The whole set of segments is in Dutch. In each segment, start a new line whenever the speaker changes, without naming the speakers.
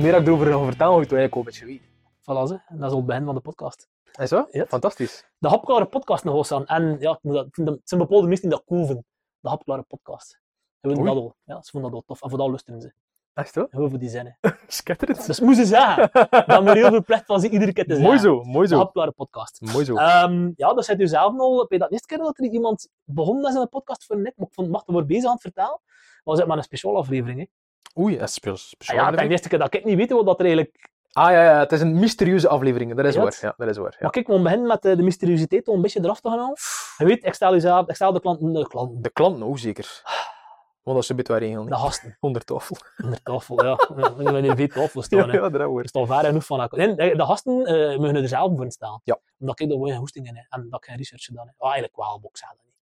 meer dat ik erover wil vertellen, hoe ik
Beetje wie. Voilà, ze. En dat is al het begin van de podcast.
En zo?
Ja.
Fantastisch.
De hapklare podcast nog wel staan. En ja, ik moet dat, ik vind dat- het zijn bepaalde mensen die dat koven. De hapklare podcast. Ze vinden
Oei.
dat al. Ja, ze vonden dat al tof. En vooral lusten ze.
Echt zo?
Heel veel die zinnen.
Schitterend.
Dus moeten ze zeggen. Dat moet heel veel plicht van ze iedere keer te zeggen.
mooi zo, mooi
De
zo.
hapklare podcast.
Mooi zo.
Ehm, ja, dat zei u zelf al. Bij dat eerste keer dat er iemand begon met zijn podcast voor net, maar ik vond Macht wordt bezig aan het vertellen, was het maar een speciale aflevering. Hè.
Oei, dat is spe-
En
speciaal.
ja, dat is de eerste keer dat ik niet weet wat dat er eigenlijk...
Ah ja, ja, het is een mysterieuze aflevering. Dat is
Ja,
waar.
het-
Ja, dat is waar. Ja.
Maar kijk, we beginnen met eh, de mysteriositeit om een beetje eraf te gaan halen. Je weet, ik stel, u zelf, ik stel de klanten, de klanten,
De klant nou zeker. Want dat is een beetje waar regel
de
niet.
gasten
Onder tafel.
onder tafel. Ja, we hebben hier veel tafel staan. hè.
daar hoor.
Er staat ver genoeg van elkaar. Nee, de gasten eh mogen er zelf voor staan.
Ja.
Omdat ik daar gewoon geen hoesting in heb en dat ik geen research gedaan heb. Ah, eigenlijk wel, maar ik zeg dat niet.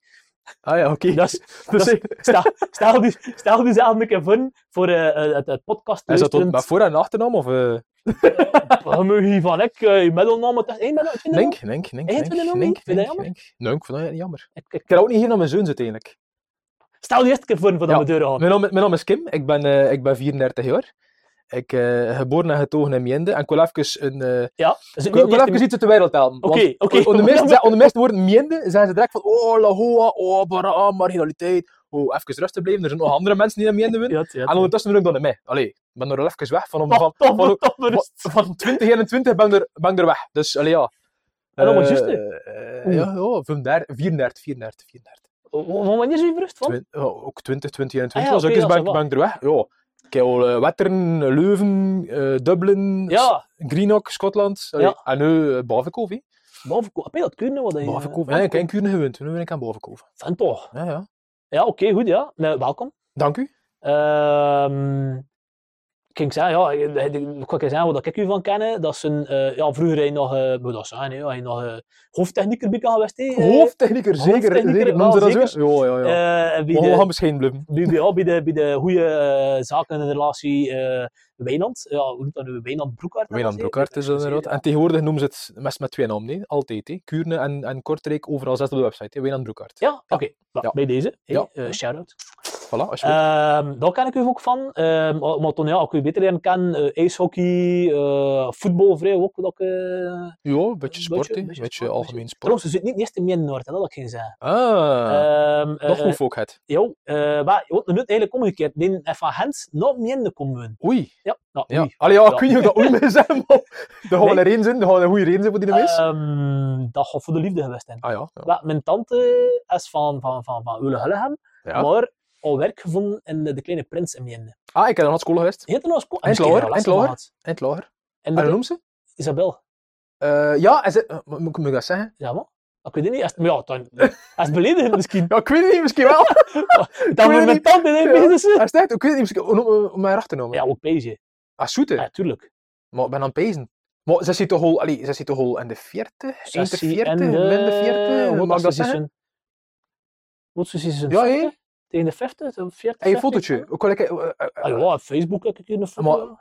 Ah ja, oké.
Dat is-
Dus,
dat Stel, stel, die, stel diezelfde een keer voor, voor eh, eh, het, het podcast
is dat tot,
luisterend.
maar voor- en achternaam? Of, eh
Je mag hier van ik, eh, je middelnaam, het is één middelnaam, twee
Nink, Nink, Nink,
Hey,
Nink,
vind je dat
Nink,
niet? Vind je dat
Nink, Nink. Nee, ik vind dat jammer.
middelnaam? Ik-
Ik
ik-
kan ook niet hier naar mijn zoons uiteindelijk.
Stel die eerste keer voor voordat
Ja.
we deuren gaan.
Mijn naam, mijn naam is Kim, ik ben, eh, ik ben 34 jaar. Ik eh geboren en getogen in Miende. En ik wil even, een, eh,
Ja, dus
ik wil, ik wil
niet
even
eerst-
iets uit de wereld helpen. want
Oké, oké.
Onder de meeste- onder de meeste woorden Miende zijn ze direct van oh, la hoa, oh, bara, marginaliteit. Oh, even rustig blijven, er zijn nog andere mensen die in Miende wonen.
Ja, het- ja, het-
En ondertussen ben ik dan in mij. Allee, ik ben er al even weg. Van,
Tof,
van,
tof,
van,
tof, rust.
van, van 2021 ben ik er, ben ik er weg. Dus allee, ja.
En dat was
Eh,
juist, hè?
eh, ja, ja, 35, 34, 34, 34.
Wa- wa- Wanneer is u verrust van?
Twin- ja, ook 20, 20,
Ah
21
ja,
was ook
oké,
eens
dat is
bank,
wel.
bank er weg. Ja. Ik heb al eh, Wetteren, eh, Leuven, eh, Dublin, S-
Ja,
Greenock, Schotland. Allee,
Ja.
En nu eh, Bavenkov. hè.
Bavenkoof. Heb je dat kunnen? Wat je, eh,
Bavenkov. Ja, ik heb in Kuurne gewend. Nu ben ik aan Bavenkov.
Van toch.
Ja, ja.
Ja, oké, goed, ja. Nou, welkom.
Dank u.
Ehm, ik ging zeggen, ja, ik- ik- ik kan zeggen wat ik u van ken. Dat is een, eh, ja, vroeger hij nog, eh moet dat zijn, hè, hij nog eh, hoofdtechnieker bij geweest. hè, eh,
Hoofdtechnieker, zeker.
hoofdtechnieker,
zeker. Noemen ze
wel,
dat zo? Ja, Oh, ja, ja.
eh, bij
Maar we
de-
gaan misschien blijven.
bij, bij, ja, bij de, bij de goede eh, zaken in de relatie eh Wijnand. Ja, hoe noemt dat nu? Wijnand Broekhart. dat
Wijnand
was, hè?
Broekhart is dat inderdaad. En tegenwoordig noemen ze het mes met twee namen. Nee? Altijd. hè. Kuurne en, en Kortrijk, overal zet op de website. hè. Wijnand Broekhart.
Ja, oké. wel,
Ja.
Bij deze. hè,
Ja.
eh, shout-out.
Voilà, alsjeblieft.
Ehm daar ken ik u ook van. Ehm, maar maar toen, ja, ik u beter leren kennen. eh, ijshockey, eh, voetbal vrij ook. Dat ik, eh,
ja, een beetje
een
sport. hè.
beetje-
Een
een
beetje,
beetje sport,
algemeen sport.
Trouwens, ze zit niet eerst in Midden-Noord, hè, dat had ik geen zeggen.
Ah,
Ehm, eh,
nog
eh,
hoe ook het.
Jo, eh, maar je wordt nu eigenlijk omgekeerd. Nee, van Gent naar Midden komen.
Oei.
Ja, nou,
Ja.
oei.
Allee, ja,
Ja.
ik weet niet of dat oei is, hè, maar daar gaan
Nee.
we een reden zijn, daar gaan we een goede reden zijn voor die mis.
Ehm, dat gaat voor de liefde geweest zijn.
ah ja, ja.
Wel, mijn tante is van, van, van, van Ulle-Hullegem,
Ja.
maar al werk gevonden in de, de Kleine Prins in Mende.
Ah, ik heb nog school geweest.
Heet er nog eens ko-
En
Ik heb
Slower,
er last
en
van
Slower.
gehad.
In het lager.
En
En hoe
de,
noem ze?
Isabel.
Eh, ja, en ze... eh, mo- Moet ik moet ik dat zeggen?
Ja, maar? Ik weet het niet. Als, maar ja, dan, als beledigend misschien.
Ja, ik weet het niet, misschien wel.
Dan
weet
moet
het
mijn
niet.
tante in
Ja.
bezig zijn.
Als het echt, ik weet het niet, misschien... Hoe noemen we- Om mij achter te noemen.
Ja, ook bezig.
Ah, zoete.
Ja, tuurlijk.
Maar ik ben aan het pezen. Maar ze zit toch al... Allee, ze zit toch al in de 40?
Ze
Eind de
is hier
40?
in de-
Min de 40? Hoe
Wat
mag
is
ik dat
ze
zeggen?
zijn- Wat is ze zijn?
Ja, hé.
40? Tegen de 50? Of 40?
Hey, een
50?
fotootje. Hoe kan ik... eh, eh, eh,
Ah, ja, op Facebook heb ik hier een foto.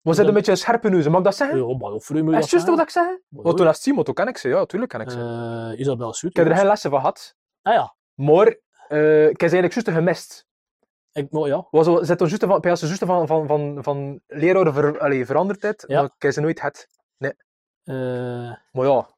We zijn een beetje scherpe neus, mag ik dat
Ja,
zeggen?
maar hoe vroeg moet je
Is het
dat
juist wat
zeggen?
ik zeg? Want toen was Simon, toen ken ik ze. Ja, tuurlijk ken ik ze.
Eh, Isabel Zuid.
Ik heb er geen lessen van gehad.
Ah ja.
Maar eh, ik heb ze eigenlijk juist gemist.
Ik, nou, ja.
Was al- ze toen juist van, bij als ze juist van, van, van, van leraar ver, allee, veranderd het,
Ja.
maar ik heb ze nooit het.
Eh,
Maar ja.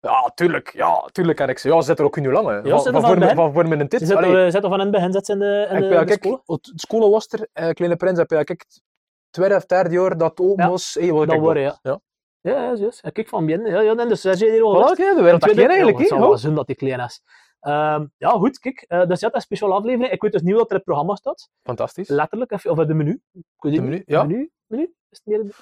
Ja, tuurlijk. Ja, tuurlijk ken ik ze. Ja, ze zitten er ook niet lang. hè.
ze
Wa-
zitten
wa-
van
voor, me-
bij hen.
wa- voor mijn
Ze
tit.
zetten
Allee,
er- zetten van in het begin zetten ze in de, in
ik
de,
ben-
in de
kijk,
school.
het school was er, eh, Kleine Prins, heb je, ja, kijk, het tweede of derde jaar dat het open
Ja,
was. Hey, wat
dat
ik
word je, ja. Eh,
Ja.
Ja, ja, juist. Ja, kijk van binnen. Ja, ja, nee, dus zij zijn hier al
Voilà,
gast.
kijk, de wereld
Ik weet
dat
ook-
eigenlijk.
ja, Het
hè.
zal wel
Ja.
zijn dat die klein is. Ehm, ja, goed, kijk. eh, dus ja, dat is een speciale aflevering. Ik weet dus niet wat er in het programma staat.
Fantastisch.
Letterlijk, of of in de menu. Ik weet
De
het niet.
menu, ja.
Menu? Menu? Is het meer...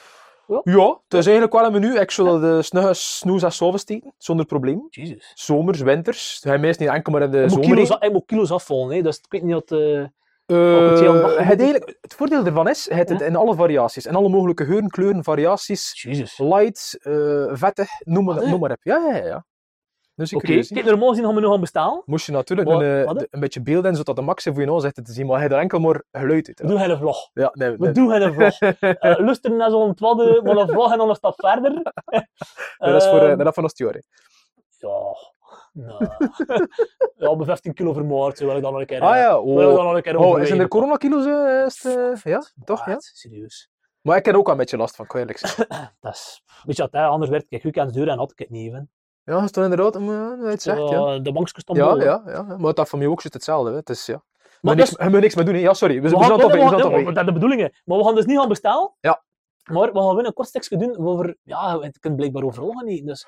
Ja, het is eigenlijk wel een menu. Ik zou dat eh, snug eens snoes en soven steken, zonder probleem.
Jezus.
Zomers, winters. Hij meest niet enkel maar in de
Ik moet,
Eh, zomer.
kilo's,
hè.
af- ik moet kilo's afvallen, hè. dus ik weet niet wat... eh,
Eh,
Ook het heel
het,
dag-
eigenlijk- het voordeel ervan is, het, het in alle variaties, in alle mogelijke geuren, kleuren, variaties,
Jezus.
light, eh vettig, noem maar,
Ah, ja.
noem maar op. Ja, ja, ja, ja. Dus ik
Oké,
curieus, hè.
kijk, normaal gezien gaan we nu gaan bestaan.
Moest je natuurlijk
Maar-
een, eh,
wat, hè?
de- een beetje beeld in, zodat de maxi voor je nou zitten te zien, maar hij er enkel maar geluid uit.
We doen geen vlog.
Ja, nee,
We
nee.
doen geen vlog. Eh lusten naar zo'n twadde, maar een vlog en dan een stap verder.
dat is voor eh,
Ehm,
dat van ons theorie.
Ja, nou. ja, bij 15 kilo vermoord, zo wil ik dan nog een keer.
Ah
eh,
ja,
Wil ik
oh.
dan nog een keer
Oh,
overwegen.
zijn er coronakilo's? eh, is het, eh, ja, toch? Ja?
Echt, Serieus.
Maar ik heb er ook wel een beetje last van, kan ik eerlijk zeggen.
Dat is, weet je wat, hè, anders werd ik weekend duur en had ik het niet even.
Ja, is toch inderdaad, maar, ja, het zegt, ja.
Zo, De bankjes stonden
Ja,
vol, hè.
ja, ja. Maar dat van mij ook zit hetzelfde, hè. Het is, ja.
Maar
Maar
dus-
niks, we niks meer doen, hè. Ja, sorry. We, we
We gaan,
zijn toch
nee,
weer,
nee,
we
we
zijn
gaan-
toch
nee,
weer.
dat de bedoeling, hè. Maar we gaan dus niet gaan bestellen.
Ja.
Maar we gaan weer een kort stukje doen over... Ja, het kan blijkbaar overal niet, dus...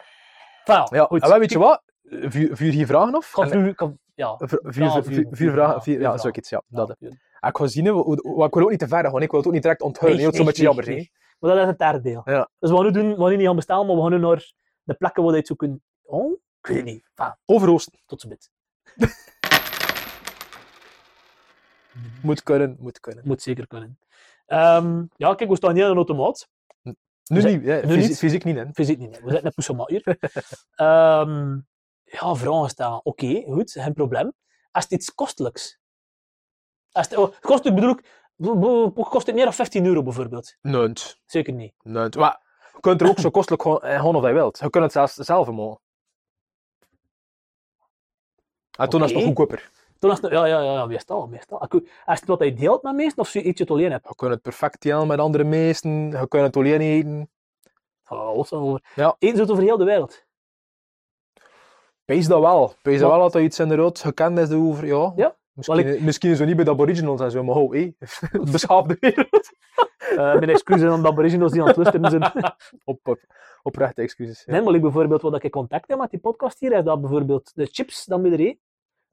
Enfin,
Ja,
goed.
en wel, weet je wat? Vuur, vuur hier vragen of? Eh,
Ik ga
En-
vuur- ik ga- ja.
Vier, vier,
Ja,
vier,
vier-
vier,
vier vragen,
vragen,
vier
vier, ja,
vragen.
zoiets, ja.
Ja,
Dat, hè. Ah, ik wil zien, hè, hoe- hoe- wat- ik wil ook niet te ver gaan, ik wil het ook niet direct onthuilen,
Nee,
hè, want het
nee,
is een beetje
nee,
jammer.
Maar dat is het derde deel.
Ja.
Dus we gaan nu, doen, we gaan nu niet gaan bestellen, maar we gaan nu naar de plekken waar je het zo kunt... Oh, ik weet het niet. Enfin,
hè. Overoosten,
tot zo bit.
moet kunnen, moet kunnen.
Moet zeker kunnen. Ehm, ja, kijk, we staan hier in een automaat.
Nu
Dus-
niet, hè,
nu
fysi-
niet?
fysiek niet, hè.
Fysiek niet, nee. we zitten een poesemaat hier. Ehm, ja, vragen stellen. Oké, goed, geen probleem. Als het iets kostelijks... Als het, oh, kostelijk bedoel ik... bo- bo- bo- Kost het meer dan 15 euro bijvoorbeeld?
Nunt,
Zeker niet.
nunt. Maar je kunt er ook zo kostelijk gewoon, eh, gewoon of je wilt. Je kunt het zelfs zelf maken. En Ah, toen was het nog
Oké.
goedkoper.
Toen als het, ja, ja, ja, ja, meestal, meestal. Als je- als het wat hij deelt met meesten, of zo eet je het alleen hebt.
Je kunt het perfect delen met andere meesten, je kunt het alleen eten.
Oh, los over.
Ja.
Eén soort over heel de wereld.
Pees dat wel. Pees dat
Maar-
wel dat er iets in de rood gekend is over, ja.
Ja,
Misschien,
wel,
misschien zo niet bij de aboriginals en zo, maar ho, hé. Beschaafde wereld.
Eh, mijn excuses aan de aboriginals die aan het luisteren zijn.
Op, op, oprechte excuses. ja.
Nee, maar ik bijvoorbeeld wat ik in contact heb met die podcast hier, is dat bijvoorbeeld de chips dan met er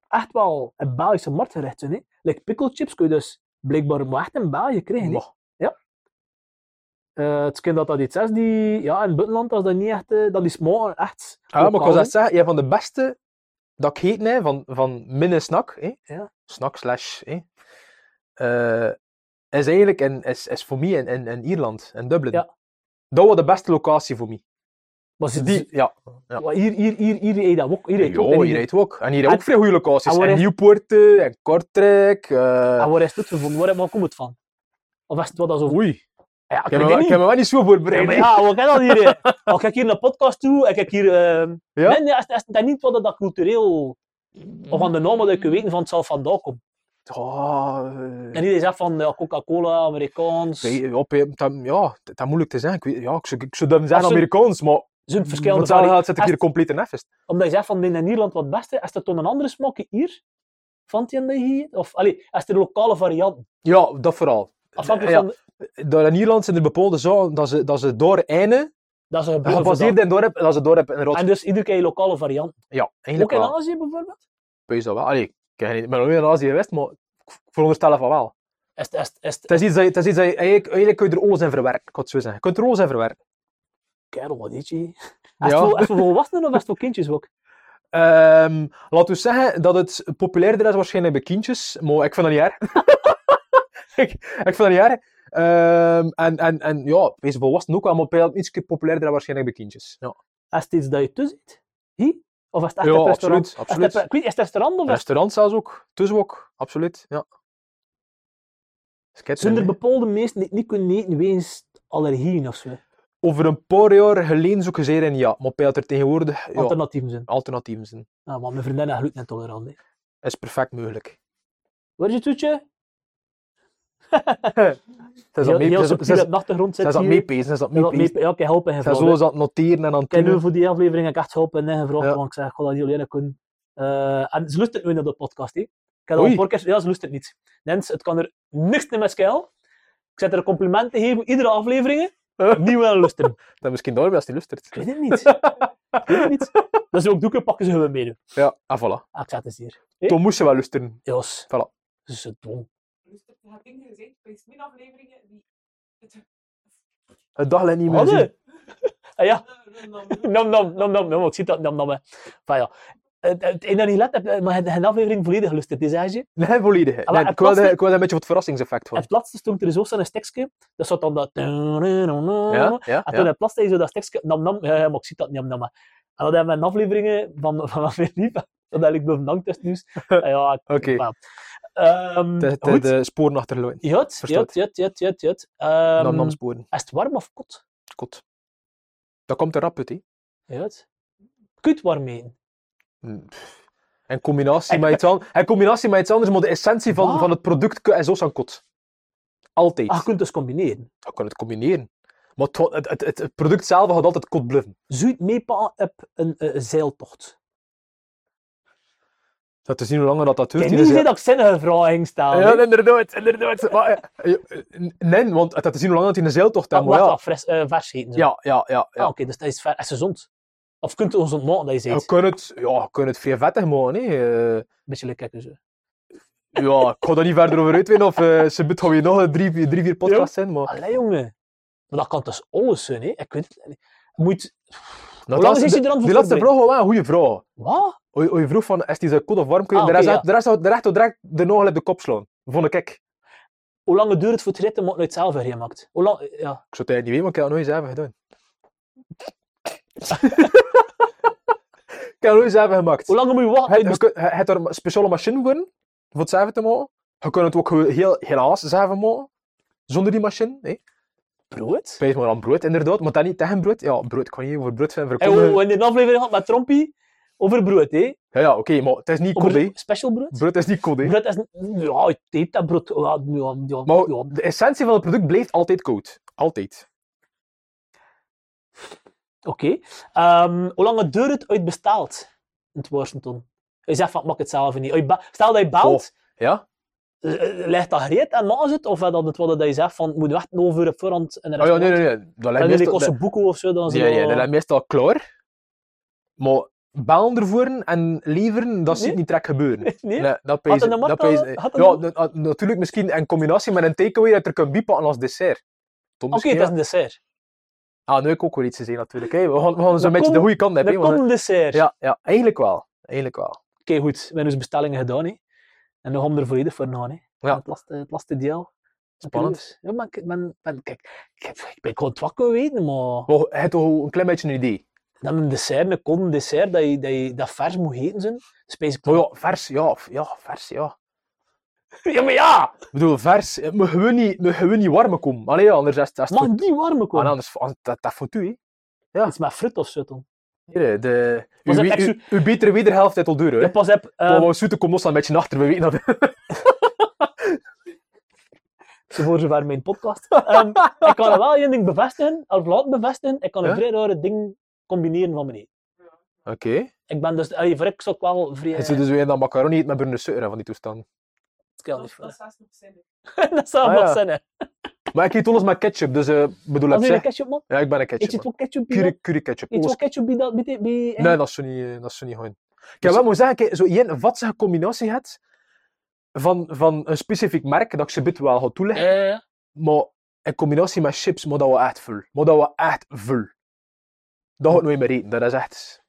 echt wel een Belgische markt gerecht zijn. hè. Like pikkelchips kun je dus blijkbaar maar echt in België krijgen. hè.
Mag.
Eh, het kan dat dat iets is die, ja, in het buitenland als dat niet echt, eh, dat is smaken echt
Ja, Ah, maar ik
lokaal,
was
hè.
dat zeggen, jij van de beste dat ik heet, hè, van, van minne snack, hè,
Ja.
snack slash, hè, eh, is eigenlijk in, is, is voor mij in, in, in Ierland, in Dublin.
Ja. Dus
Dat was de beste locatie voor mij.
Maar ze-
Die, ja.
ze- maar hier, hier, hier, hier eet dat ook. Hier eet dat ook.
Ja,
En
hier heet ook. En hier heb
En-
ook vrij goede locaties.
en waar
In
is-
Nieuwpoort, eh, en Kortrijk. eh,
En waar is het gevonden? Waar, waar komt het van? Of is het wat dat zo...
Oei, ik
Ja,
heb,
ik weet
me,
het
wel- ik
niet.
heb me wel niet zo
Ja,
voorbereid.
maar ja, wat kan dat hier? hè? Al kijk hier naar podcast toe, en kijk hier... ehm,
Ja?
Nee, nee, als, als dat niet wat dat cultureel... Of aan de normen dat je weet van het zal vandaan komen.
Ah,
En iedereen zegt van ja, Coca-Cola, Amerikaans...
eh, ja, op- dat, ja, dat is moeilijk te zeggen. Ik, weet, ja, ik, zou, ik zou dan zeggen
Als ze-
Amerikaans, maar
Zo'n
voor
verschillende
hetzelfde
varie-
geld zit ik
Als-
hier compleet in nefest.
Omdat je zegt van dit is in Nederland wat het beste, is er dan een andere smaak hier? Van die en die hier? Of allee, is er lokale varianten?
Ja, dat vooral.
Afhankelijk
Ja,
van... de-
Daar in Ierland zijn er bepaalde zaken dat ze, dat ze door ene,
Dat is een gebeuren
gebaseerd
vandaan.
in dorp, dat ze dorp in rots.
En dus iedere keer lokale varianten.
Ja,
Ook
eigenlijk
in
wel.
Azië bijvoorbeeld?
Wees dat wel. Allee, ik ken niet- ik ben nog niet in Azië geweest, maar ik veronderstel van wel.
Is, het- is, het- is, het-
Het is iets dat je, het is iets dat je eigenlijk, eigenlijk kun je er oos in verwerken, ik kan het zo zeggen. Je kunt er oos in verwerken.
kerel, wat is je? Is het
Ja.
voor- is het voor volwassenen of is het voor kindjes ook?
Ehm laten we zeggen dat het populairder is waarschijnlijk bij kindjes, maar ik vind dat niet erg. ik, ik vind dat niet erg. Ehm, en, en, en ja, wees volwassen ook wel, maar iets populairder is waarschijnlijk bij kindjes. Ja,
Is het iets dat je tussen zit? Hier? Of is het echt
ja
op
absoluut.
restaurant? Is het,
absoluut.
op- ik weet, is het restaurant of is het...
Restaurant zelfs ook. Tussen ook, absoluut. Ja. Schitterend,
Zijn er
hè.
bepaalde mensen die het niet kunnen eten wegens allergieën of zo?
Over een paar jaar geleden zoeken ze erin, ja. Maar Peter tegenwoordig, ja,
Alternatieven zijn.
alternatieven zijn.
Nou, maar mijn vriendin is glutenintolerant. hè.
Is perfect mogelijk.
Waar is je toetje?
Ze is
Heel,
dat mee-
heel
ze is-
subtiel
ze is-
op de achtergrond
ze
zit
is dat
hier.
meepezen, ze is dat
Ze is dat
meepezen.
mee- Ja, ik help en
Ze is
gevraagd.
zo aan het noteren en aan het
Ik heb nu
doen.
voor die aflevering heb ik echt geholpen en gevraagd,
Ja.
want ik zeg, ik ga dat niet alleen kunnen. Eh, en ze lust het nu naar de podcast, hè. Ik heb al
Oei.
een paar keer- ja, ze lust het niet. Nens, het kan er niks meer met schuil. Ik zet er complimenten geven, iedere aflevering. Niet wel lusten.
Dan misschien daarmee als die lustert.
Ik weet het niet. ik weet het niet. Dat ze ook doeken pakken, ze gewoon meedoen.
Ja, en voilà.
Ah, ik zet het hier.
Toen moest ze wel lusteren.
Jos.
Voilà.
Ze is zo dom.
Dus ik heb dingen gezegd bij mijn afleveringen die het
Het daglijn niet meer zien.
Hadden. Ah, ja.
random
Nam, nam, nam, nam, nam. Ik zie dat, nam, nam. hè. Enfin, ja. Het het ene dat niet let, heb, eh, maar je hebt geen aflevering volledig geluisterd, die zei je.
Nee, volledig.
Ah,
Nee,
maar
ik, wilde,
het was-
ik wilde een beetje wat verrassingseffect
En
van.
het laatste stond er zo zo'n stekje. Dat zat dan dat...
Ja, ja,
En toen
ja.
het laatste zo Ah, dat stekje... Nam, nam. Ja, ja, maar ik zie dat, nam, nam. hè. En dat hebben we in afleveringen van, van mijn lief. Dat eigenlijk bedankt is nieuws. Ah, Ja, ik-
Oké.
enfin. Ehm,
De, de,
goed.
de sporen achterlopen.
Jut, jut,
Verstopt.
jut, jut, jut, jut.
Nam
Ehm,
nam sporen.
Is het warm of koud?
Kot. Dat komt er rap uit, hè.
Jut. Kut warm eten.
Mm, pff. En combinatie,
En-
met iets an- en combinatie met iets anders, maar de essentie van,
Wat?
van het product ku- is ook zo'n kot. Altijd.
Ah, je kunt dus combineren.
Ik kan het combineren. Maar het, wa- het, het, het- het product zelf gaat altijd kot bluffen.
Zuid meepa heb een eh, zeiltocht.
Dat is niet hoe langer dat dat
Ik
duurt.
heb
die
niet
is-
gezien dat ik zinnige vragen stel. hè.
Ja, inderdaad, inderdaad. Maar, eh, eh, nee, want dat is niet hoe lang dat hij een zeiltocht
Ah,
heeft. maar
wacht,
ja.
wacht, fris, eh, vers eten. ze.
Ja, ja, ja.
Ah,
ja.
oké, dus dat is, ver, is gezond. Of kunt u ons ontmoeten dat je
Je
zegt.
kunt het, ja, je kunt het veel vettig maken. Hè. Eh,
Beetje lekker dus.
ja, ik ga daar niet verder over uitweiden. Of eh ze moet gaan weer nog een drie, drie, vier podcasts zijn. Maar,
Allee jongen. Maar dat kan dus alles zijn, hè? Ik weet het niet. Je Moet...
Nou,
lang
dat
is
de-
hij er aan het
Die laatste vraag
voorbereiden?
was wel een goede vraag.
Wat?
Hoe je- hoe je vroeg van, is die zijn code of warm? Kun je
Ah,
de rest
oké,
uit- de rest uit- de rest uit direct de nagel op de kop slaan. Vond ik. Ik
Hoe lang het duurt het voor het ritten, maar het zelf gemaakt? Hoe lang... Ja.
zou het eigenlijk niet weten, maar ik heb dat nooit eens even gedaan. ik heb dat nooit eens even gemaakt.
Hoe lang moet je wachten?
Het,
uit
je,
best-
kunt- je- je hebt er een speciale machine voor, voor het zeven te maken. Je kunt het ook gewoon heel, helaas zeven maken, zonder die machine. Hè. eh,
Brood?
Spijs maar aan brood, inderdaad, maar dat niet tegen brood. Ja, brood, ik kan niet over brood zijn
En we
verkopen.
hebben een aflevering gehad met Trompie over brood, hè?
Ja, ja, oké, maar het is niet
Over
code. hè.
special brood?
Brood is niet code. hè.
Brood is... Ja, ik deed dat brood. Ja, ja, ja,
Maar
ja.
de essentie van het product blijft altijd koud. Altijd.
Oké. Ehm, hoe lang het duurt het uit bestaalt? In het Washington. Je zegt van, ik maak het zelf niet. Uit ba- Stel dat je belt...
Ja? Oh.
Eh, Ligt dat gereed en maken ze het? Of is dat het wat dat je zegt van, moet wachten over op voorhand en de
Oh ja,
rest
nee, nee, nee. Dat lijkt
Dan wil ik
meestal,
onze
dat,
boeken of zo, dan
ja, ja, dat
ja,
lijkt meestal klaar. Maar bellen ervoor en leveren, dat ziet
Nee.
niet trek gebeuren. Nee,
Nee?
dat
Had
pees
een
ik- dat
Marta-
pees ik-
had een-
Ja, na- na- natuurlijk misschien in combinatie met een takeaway dat er kan bipakken als dessert. Tom
Oké,
misschien,
het is
ja.
een dessert.
Ah, nu heb ik ook wel iets te zeggen natuurlijk. hè. We gaan, we gaan zo'n
Er
beetje de
komt-
goede kant op.
Er
hè,
komt
want-
een dessert.
Ja, ja, eigenlijk wel. Eigenlijk wel.
Oké, goed. We hebben dus bestellingen gedaan. Hè. En dan gaan we er volledig voor gaan. Hè.
Ja.
Het, laatste, het laatste deel.
Spannend.
Cruise. Ja, maar ik ben, ben- kijk, ik, heb- ik ben gewoon het wakker weten, maar...
Maar je hebt toch een klein beetje een idee.
Dan een dessert, een cold dessert, dat, je, dat, je, dat vers moet eten Dus zijn. Spijs ik
Maar Oh ja, vers, ja, f- ja, vers, ja.
Ja, maar ja!
Ik bedoel, vers, het moet gewoon niet, moet gewoon niet warm komen. Allee, ja, anders is het... Is het
Mag
voor-
niet warm
Ah,
komen.
anders, anders- dat, dat vond u, hè.
Iets met fruit of zo, dan.
Hier, hè, de,
Was
uw,
dat
wie-
echt
uw, uw betere wederhelft heeft al door, hè.
Ja, pas op. ehm,
maar we zoeten komt ons dan een beetje achter, we weten dat.
ehm, voor zover mijn podcast. Ehm, ik kan er wel één ding bevestigen, of laten bevestigen. Ik kan een
Ja?
vrij rare ding combineren van meneer.
Oké.
Ik ben dus, allee, voor ik zou ik wel vrij...
Het is dus weer dat macaroni eet met brune suiker, hè, van die toestand.
Ik kan niet
is- dat
vullen.
is haast nog zinnig.
Dat zou
Ah,
wel
ja.
zijn, hè.
Maar ik eet alles met ketchup, dus eh bedoel
Als
ik
je
zeg.
een ketchup, man?
Ja, ik ben een
Eet je
ketchup.
het
man.
ook ketchup bij dat?
Curry, curry ketchup.
Eet je
Alles-
ook ketchup bij dat? Bij, bij, bij-
Nee, dat is zo niet, eh, dat is zo niet gewoon. Ik heb wel moeten zeggen, kijk, zo één vatsige combinatie hebt van, van een specifiek merk, dat ik ze bit wel ga toelichten,
Ja, ja, ja.
maar in combinatie met chips, maar dat we echt vul. Maar dat we echt vul. Dat gaat nooit meer eten, dat is echt...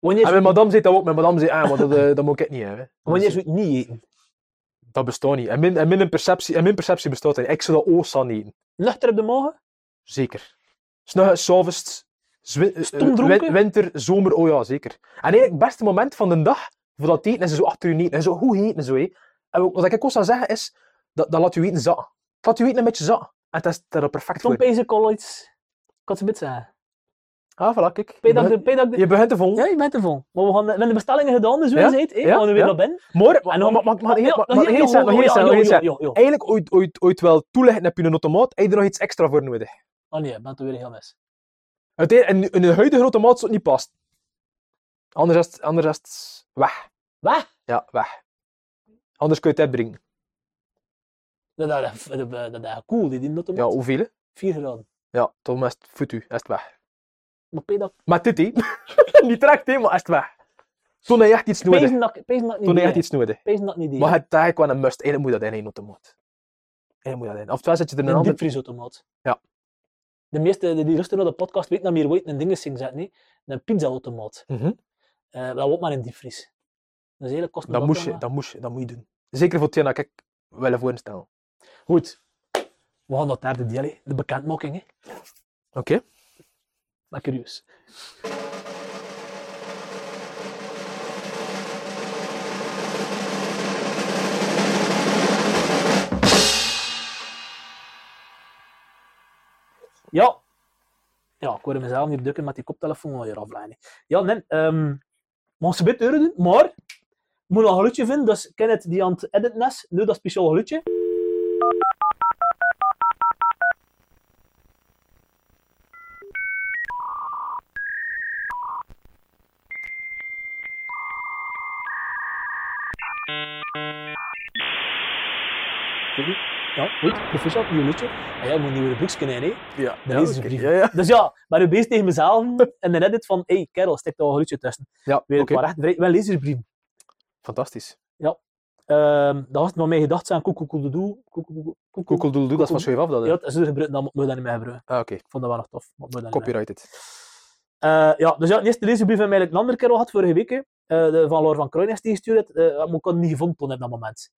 Wanneer,
En mijn madame zei dat ook, mijn madame zei, ah, maar dat, eh, dat moet ik niet hebben.
wanneer
Dus,
zou je het niet eten?
dat bestaat niet. En mijn, en mijn, perceptie, en mijn perceptie bestaat niet. Ik zou dat ook staan eten.
Nuchter op de morgen?
Zeker. Snuggen, s'avonds, zwi- eh,
Stom dronken?
win- winter, zomer, oh ja, zeker. En eigenlijk het beste moment van de dag voor dat eten is zo achter je eten. En zo goed eten, zo hé. En wat ik ook zou zeggen is, dat, dat laat je eten zakken. Het laat je eten een beetje zakken. En dat is dat is perfect
Tom
voor.
Pees ik al iets... Ik had ze bit zeggen.
Ah, voilà, kijk. Je
Pees dat de-
begint-
pees dat de...
Je begint te volgen.
Ja, je bent er vol. Maar we gaan we hebben de bestellingen gedaan, dus we
Ja?
zijn het. hè. We
Ja?
gaan er weer
Ja?
naar binnen.
Maar,
En
maar,
dan-
maar, maar, maar,
Ja,
maar,
ja,
maar,
ja,
heel snel, maar
ja,
heel
ja,
snel,
ja,
heel
ja,
snel.
ja, ja.
Eigenlijk ooit, ooit, ooit wel toelichten heb je een automaat, heb je er nog iets extra voor nodig.
Oh nee, ik ben er weer heel mis.
Uiteindelijk, e- in, in de huidige grote maat zou het niet past. Anders is het, anders is het weg.
Wat?
Ja, weg. Anders kun je het uitbrengen.
Dat dat- dat- dat- dat- dat is cool, die die noten.
Ja, hoeveel? hè?
4 graden.
Ja, dan is het voet u, is het weg.
Maar pees dat
Maar dit, hè. niet direct, hè, maar is het weg. Toen heb je echt iets nodig.
Pezen dat, ik- pezen dat ik niet
Toen heb je echt
deed.
iets nodig.
Pezen dat ik niet deed.
Maar het is eigenlijk wel een must. Eigenlijk moet je dat in één automaat. Eigenlijk moet je dat in. Oftewel zet je er een
een
ander...
diepvriesautomaat.
Ja.
De meeste die luisteren naar de podcast weten dat meer ooit een ding is zien zetten. hè. Een pizzaautomaat.
Mhm.
Eh dat wordt maar in diepvries. Dat is hele kost
Dat moest je, dat moest je, dat moet je doen. Zeker voor hetgeen dat ik wil voorstellen.
Goed. We gaan naar het derde deel, hè. de bekendmaking. Hè.
Oké.
Maar curieus. Ja. Ja, ik hoorde mezelf hier dukken met die koptelefoon al hier afleiden. Ja, nee. ehm we gaan ze bit deuren doen, maar... Ik moet nog een geluidje vinden, dus Kenneth die aan het editen is, nu dat speciaal geluidje. Ja, goed, proficiat, nieuw liedje. En jij moet nieuwe broekjes kunnen, hè?
Ja,
Dat is een brief.
Ja, ja.
Dus ja, maar nu bezig tegen mezelf en dan edit van, hey, kerel, stik daar een liedje tussen.
ja
Weet
oké.
ik waar echt, vrij- wel lezersbrief.
Fantastisch.
Ehm, dat was het maar mijn gedacht zijn, koekoekoedoe, koekoekoe- koekoe-
Google Doodle Doo, dat is van Schuif af. Dat, hè?
Ja, dat is dus gebruikt, dat moet moet je dat niet meer gebruiken.
Ah, oké.
Ik vond dat wel nog tof. maar moet
Ah,
je dat niet meer.
Copyrighted.
Eh, ja, dus ja, de eerste lezersbrief hebben we eigenlijk een andere kerel gehad vorige week. hè. Eh, de, van Laura van Kruijners die gestuurd had, eh, maar ik kon het niet gevonden toen op dat moment.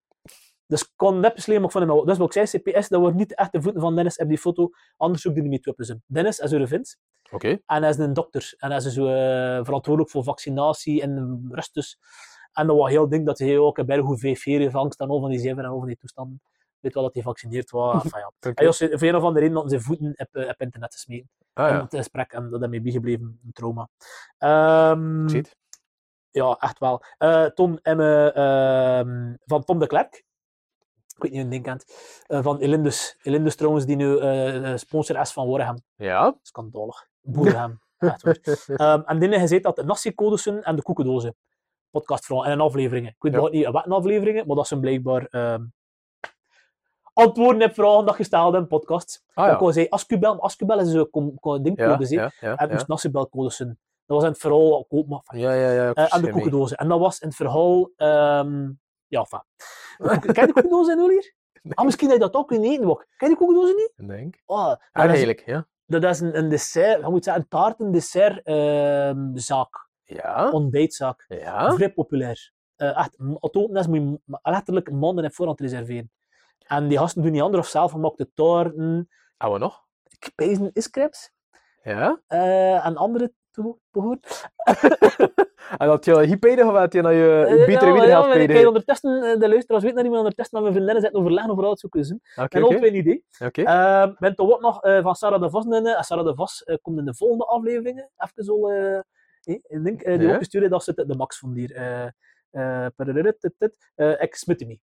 Dus ik kon net beslissen, maar ik vond hem wel- Dus wat ik zei, CPS, dat wordt niet de echte voeten van Dennis op die foto, anders zoek die niet meer toe op zijn. Dennis, als je er vindt,
Oké.
en hij is een dokter. En hij is dus, eh, verantwoordelijk voor vaccinatie en rust dus. En dat was heel ding dat hij ook een berg hoe VV vangst en over die zeven en over die toestanden. Weet wel dat hij gevaccineerd was. Enfin, ja.
Oké.
Hij was voor een of andere reden hadden zijn voeten op, eh, op internet gesmeten.
Ah
En
ja,
het gesprek en dat daarmee bijgebleven, een trauma. Ehm,
ik zie het.
ja, echt wel. Eh Tom Emme ehm, van Tom de Klerk. Ik weet niet hoe je ding kent. Eh, van Elindus. Elindus trouwens, die nu eh, eh, sponsor is van Warham.
Ja.
Schandalig. Boerham. Echt waar. Ehm, en binnen gezeten dat de nachtzeecodussen en de koekendozen. Podcast vooral. En in afleveringen. Ik weet
Ja.
nog niet wat in afleveringen, maar dat zijn blijkbaar ehm, antwoorden op vragen dat gesteld in podcasts.
Ah
Ik
ja.
wou zeggen, Ascubel, maar Ascubel is een com- com-
Ja,
dingcode, ja,
ja, ja,
en het
ja.
moest nachtzeebelcodes zijn. Dat was in het verhaal ook open, maar-
Ja, ja, ja. ik
eh, en de
verstaan mee.
koekendozen. En dat was in het verhaal... ehm ja, enfin. De koek- Ken je de koekendozen in hier?
Nee.
Ah, misschien dat je dat ook in eten mag. Ken je de koekendozen niet?
Ik Denk.
Oh, dat
Ah,
is-
eigenlijk, ja.
dat is een, een dessert, je moet zeggen, een taart, een dessert ehm, zaak,
Ja.
ontbijtzaak.
Ja.
Vrij populair. Eh echt, m- het open is, moet je m- letterlijk maanden in voorhand reserveren. En die gasten doen niet anders of zelf gemaakte taarten,
Gaan we nog?
pijzen, iscreps
Ja.
eh en andere toe- behoort.
En dat je hypeden of dat je naar je
Eh,
betere
ja,
wieden
ja,
gaat
maar ik kan
peden?
ondertussen, eh, de luisteraars weten dat niet, maar ondertussen met mijn vriendinnen zitten overleggen over uitzoeken. ze.
Oké,
En al
oké.
twee een idee.
Oké.
Ehm, Met de wat nog eh, van Sarah de Vos. En, eh, Sarah de Vos eh, komt in de volgende afleveringen. Even zo. eh, eh, ik denk, eh, die
Ja.
opgestuurd heeft, dat zit de Max van hier. eh eh perurututut, eh, Ex Mutimi.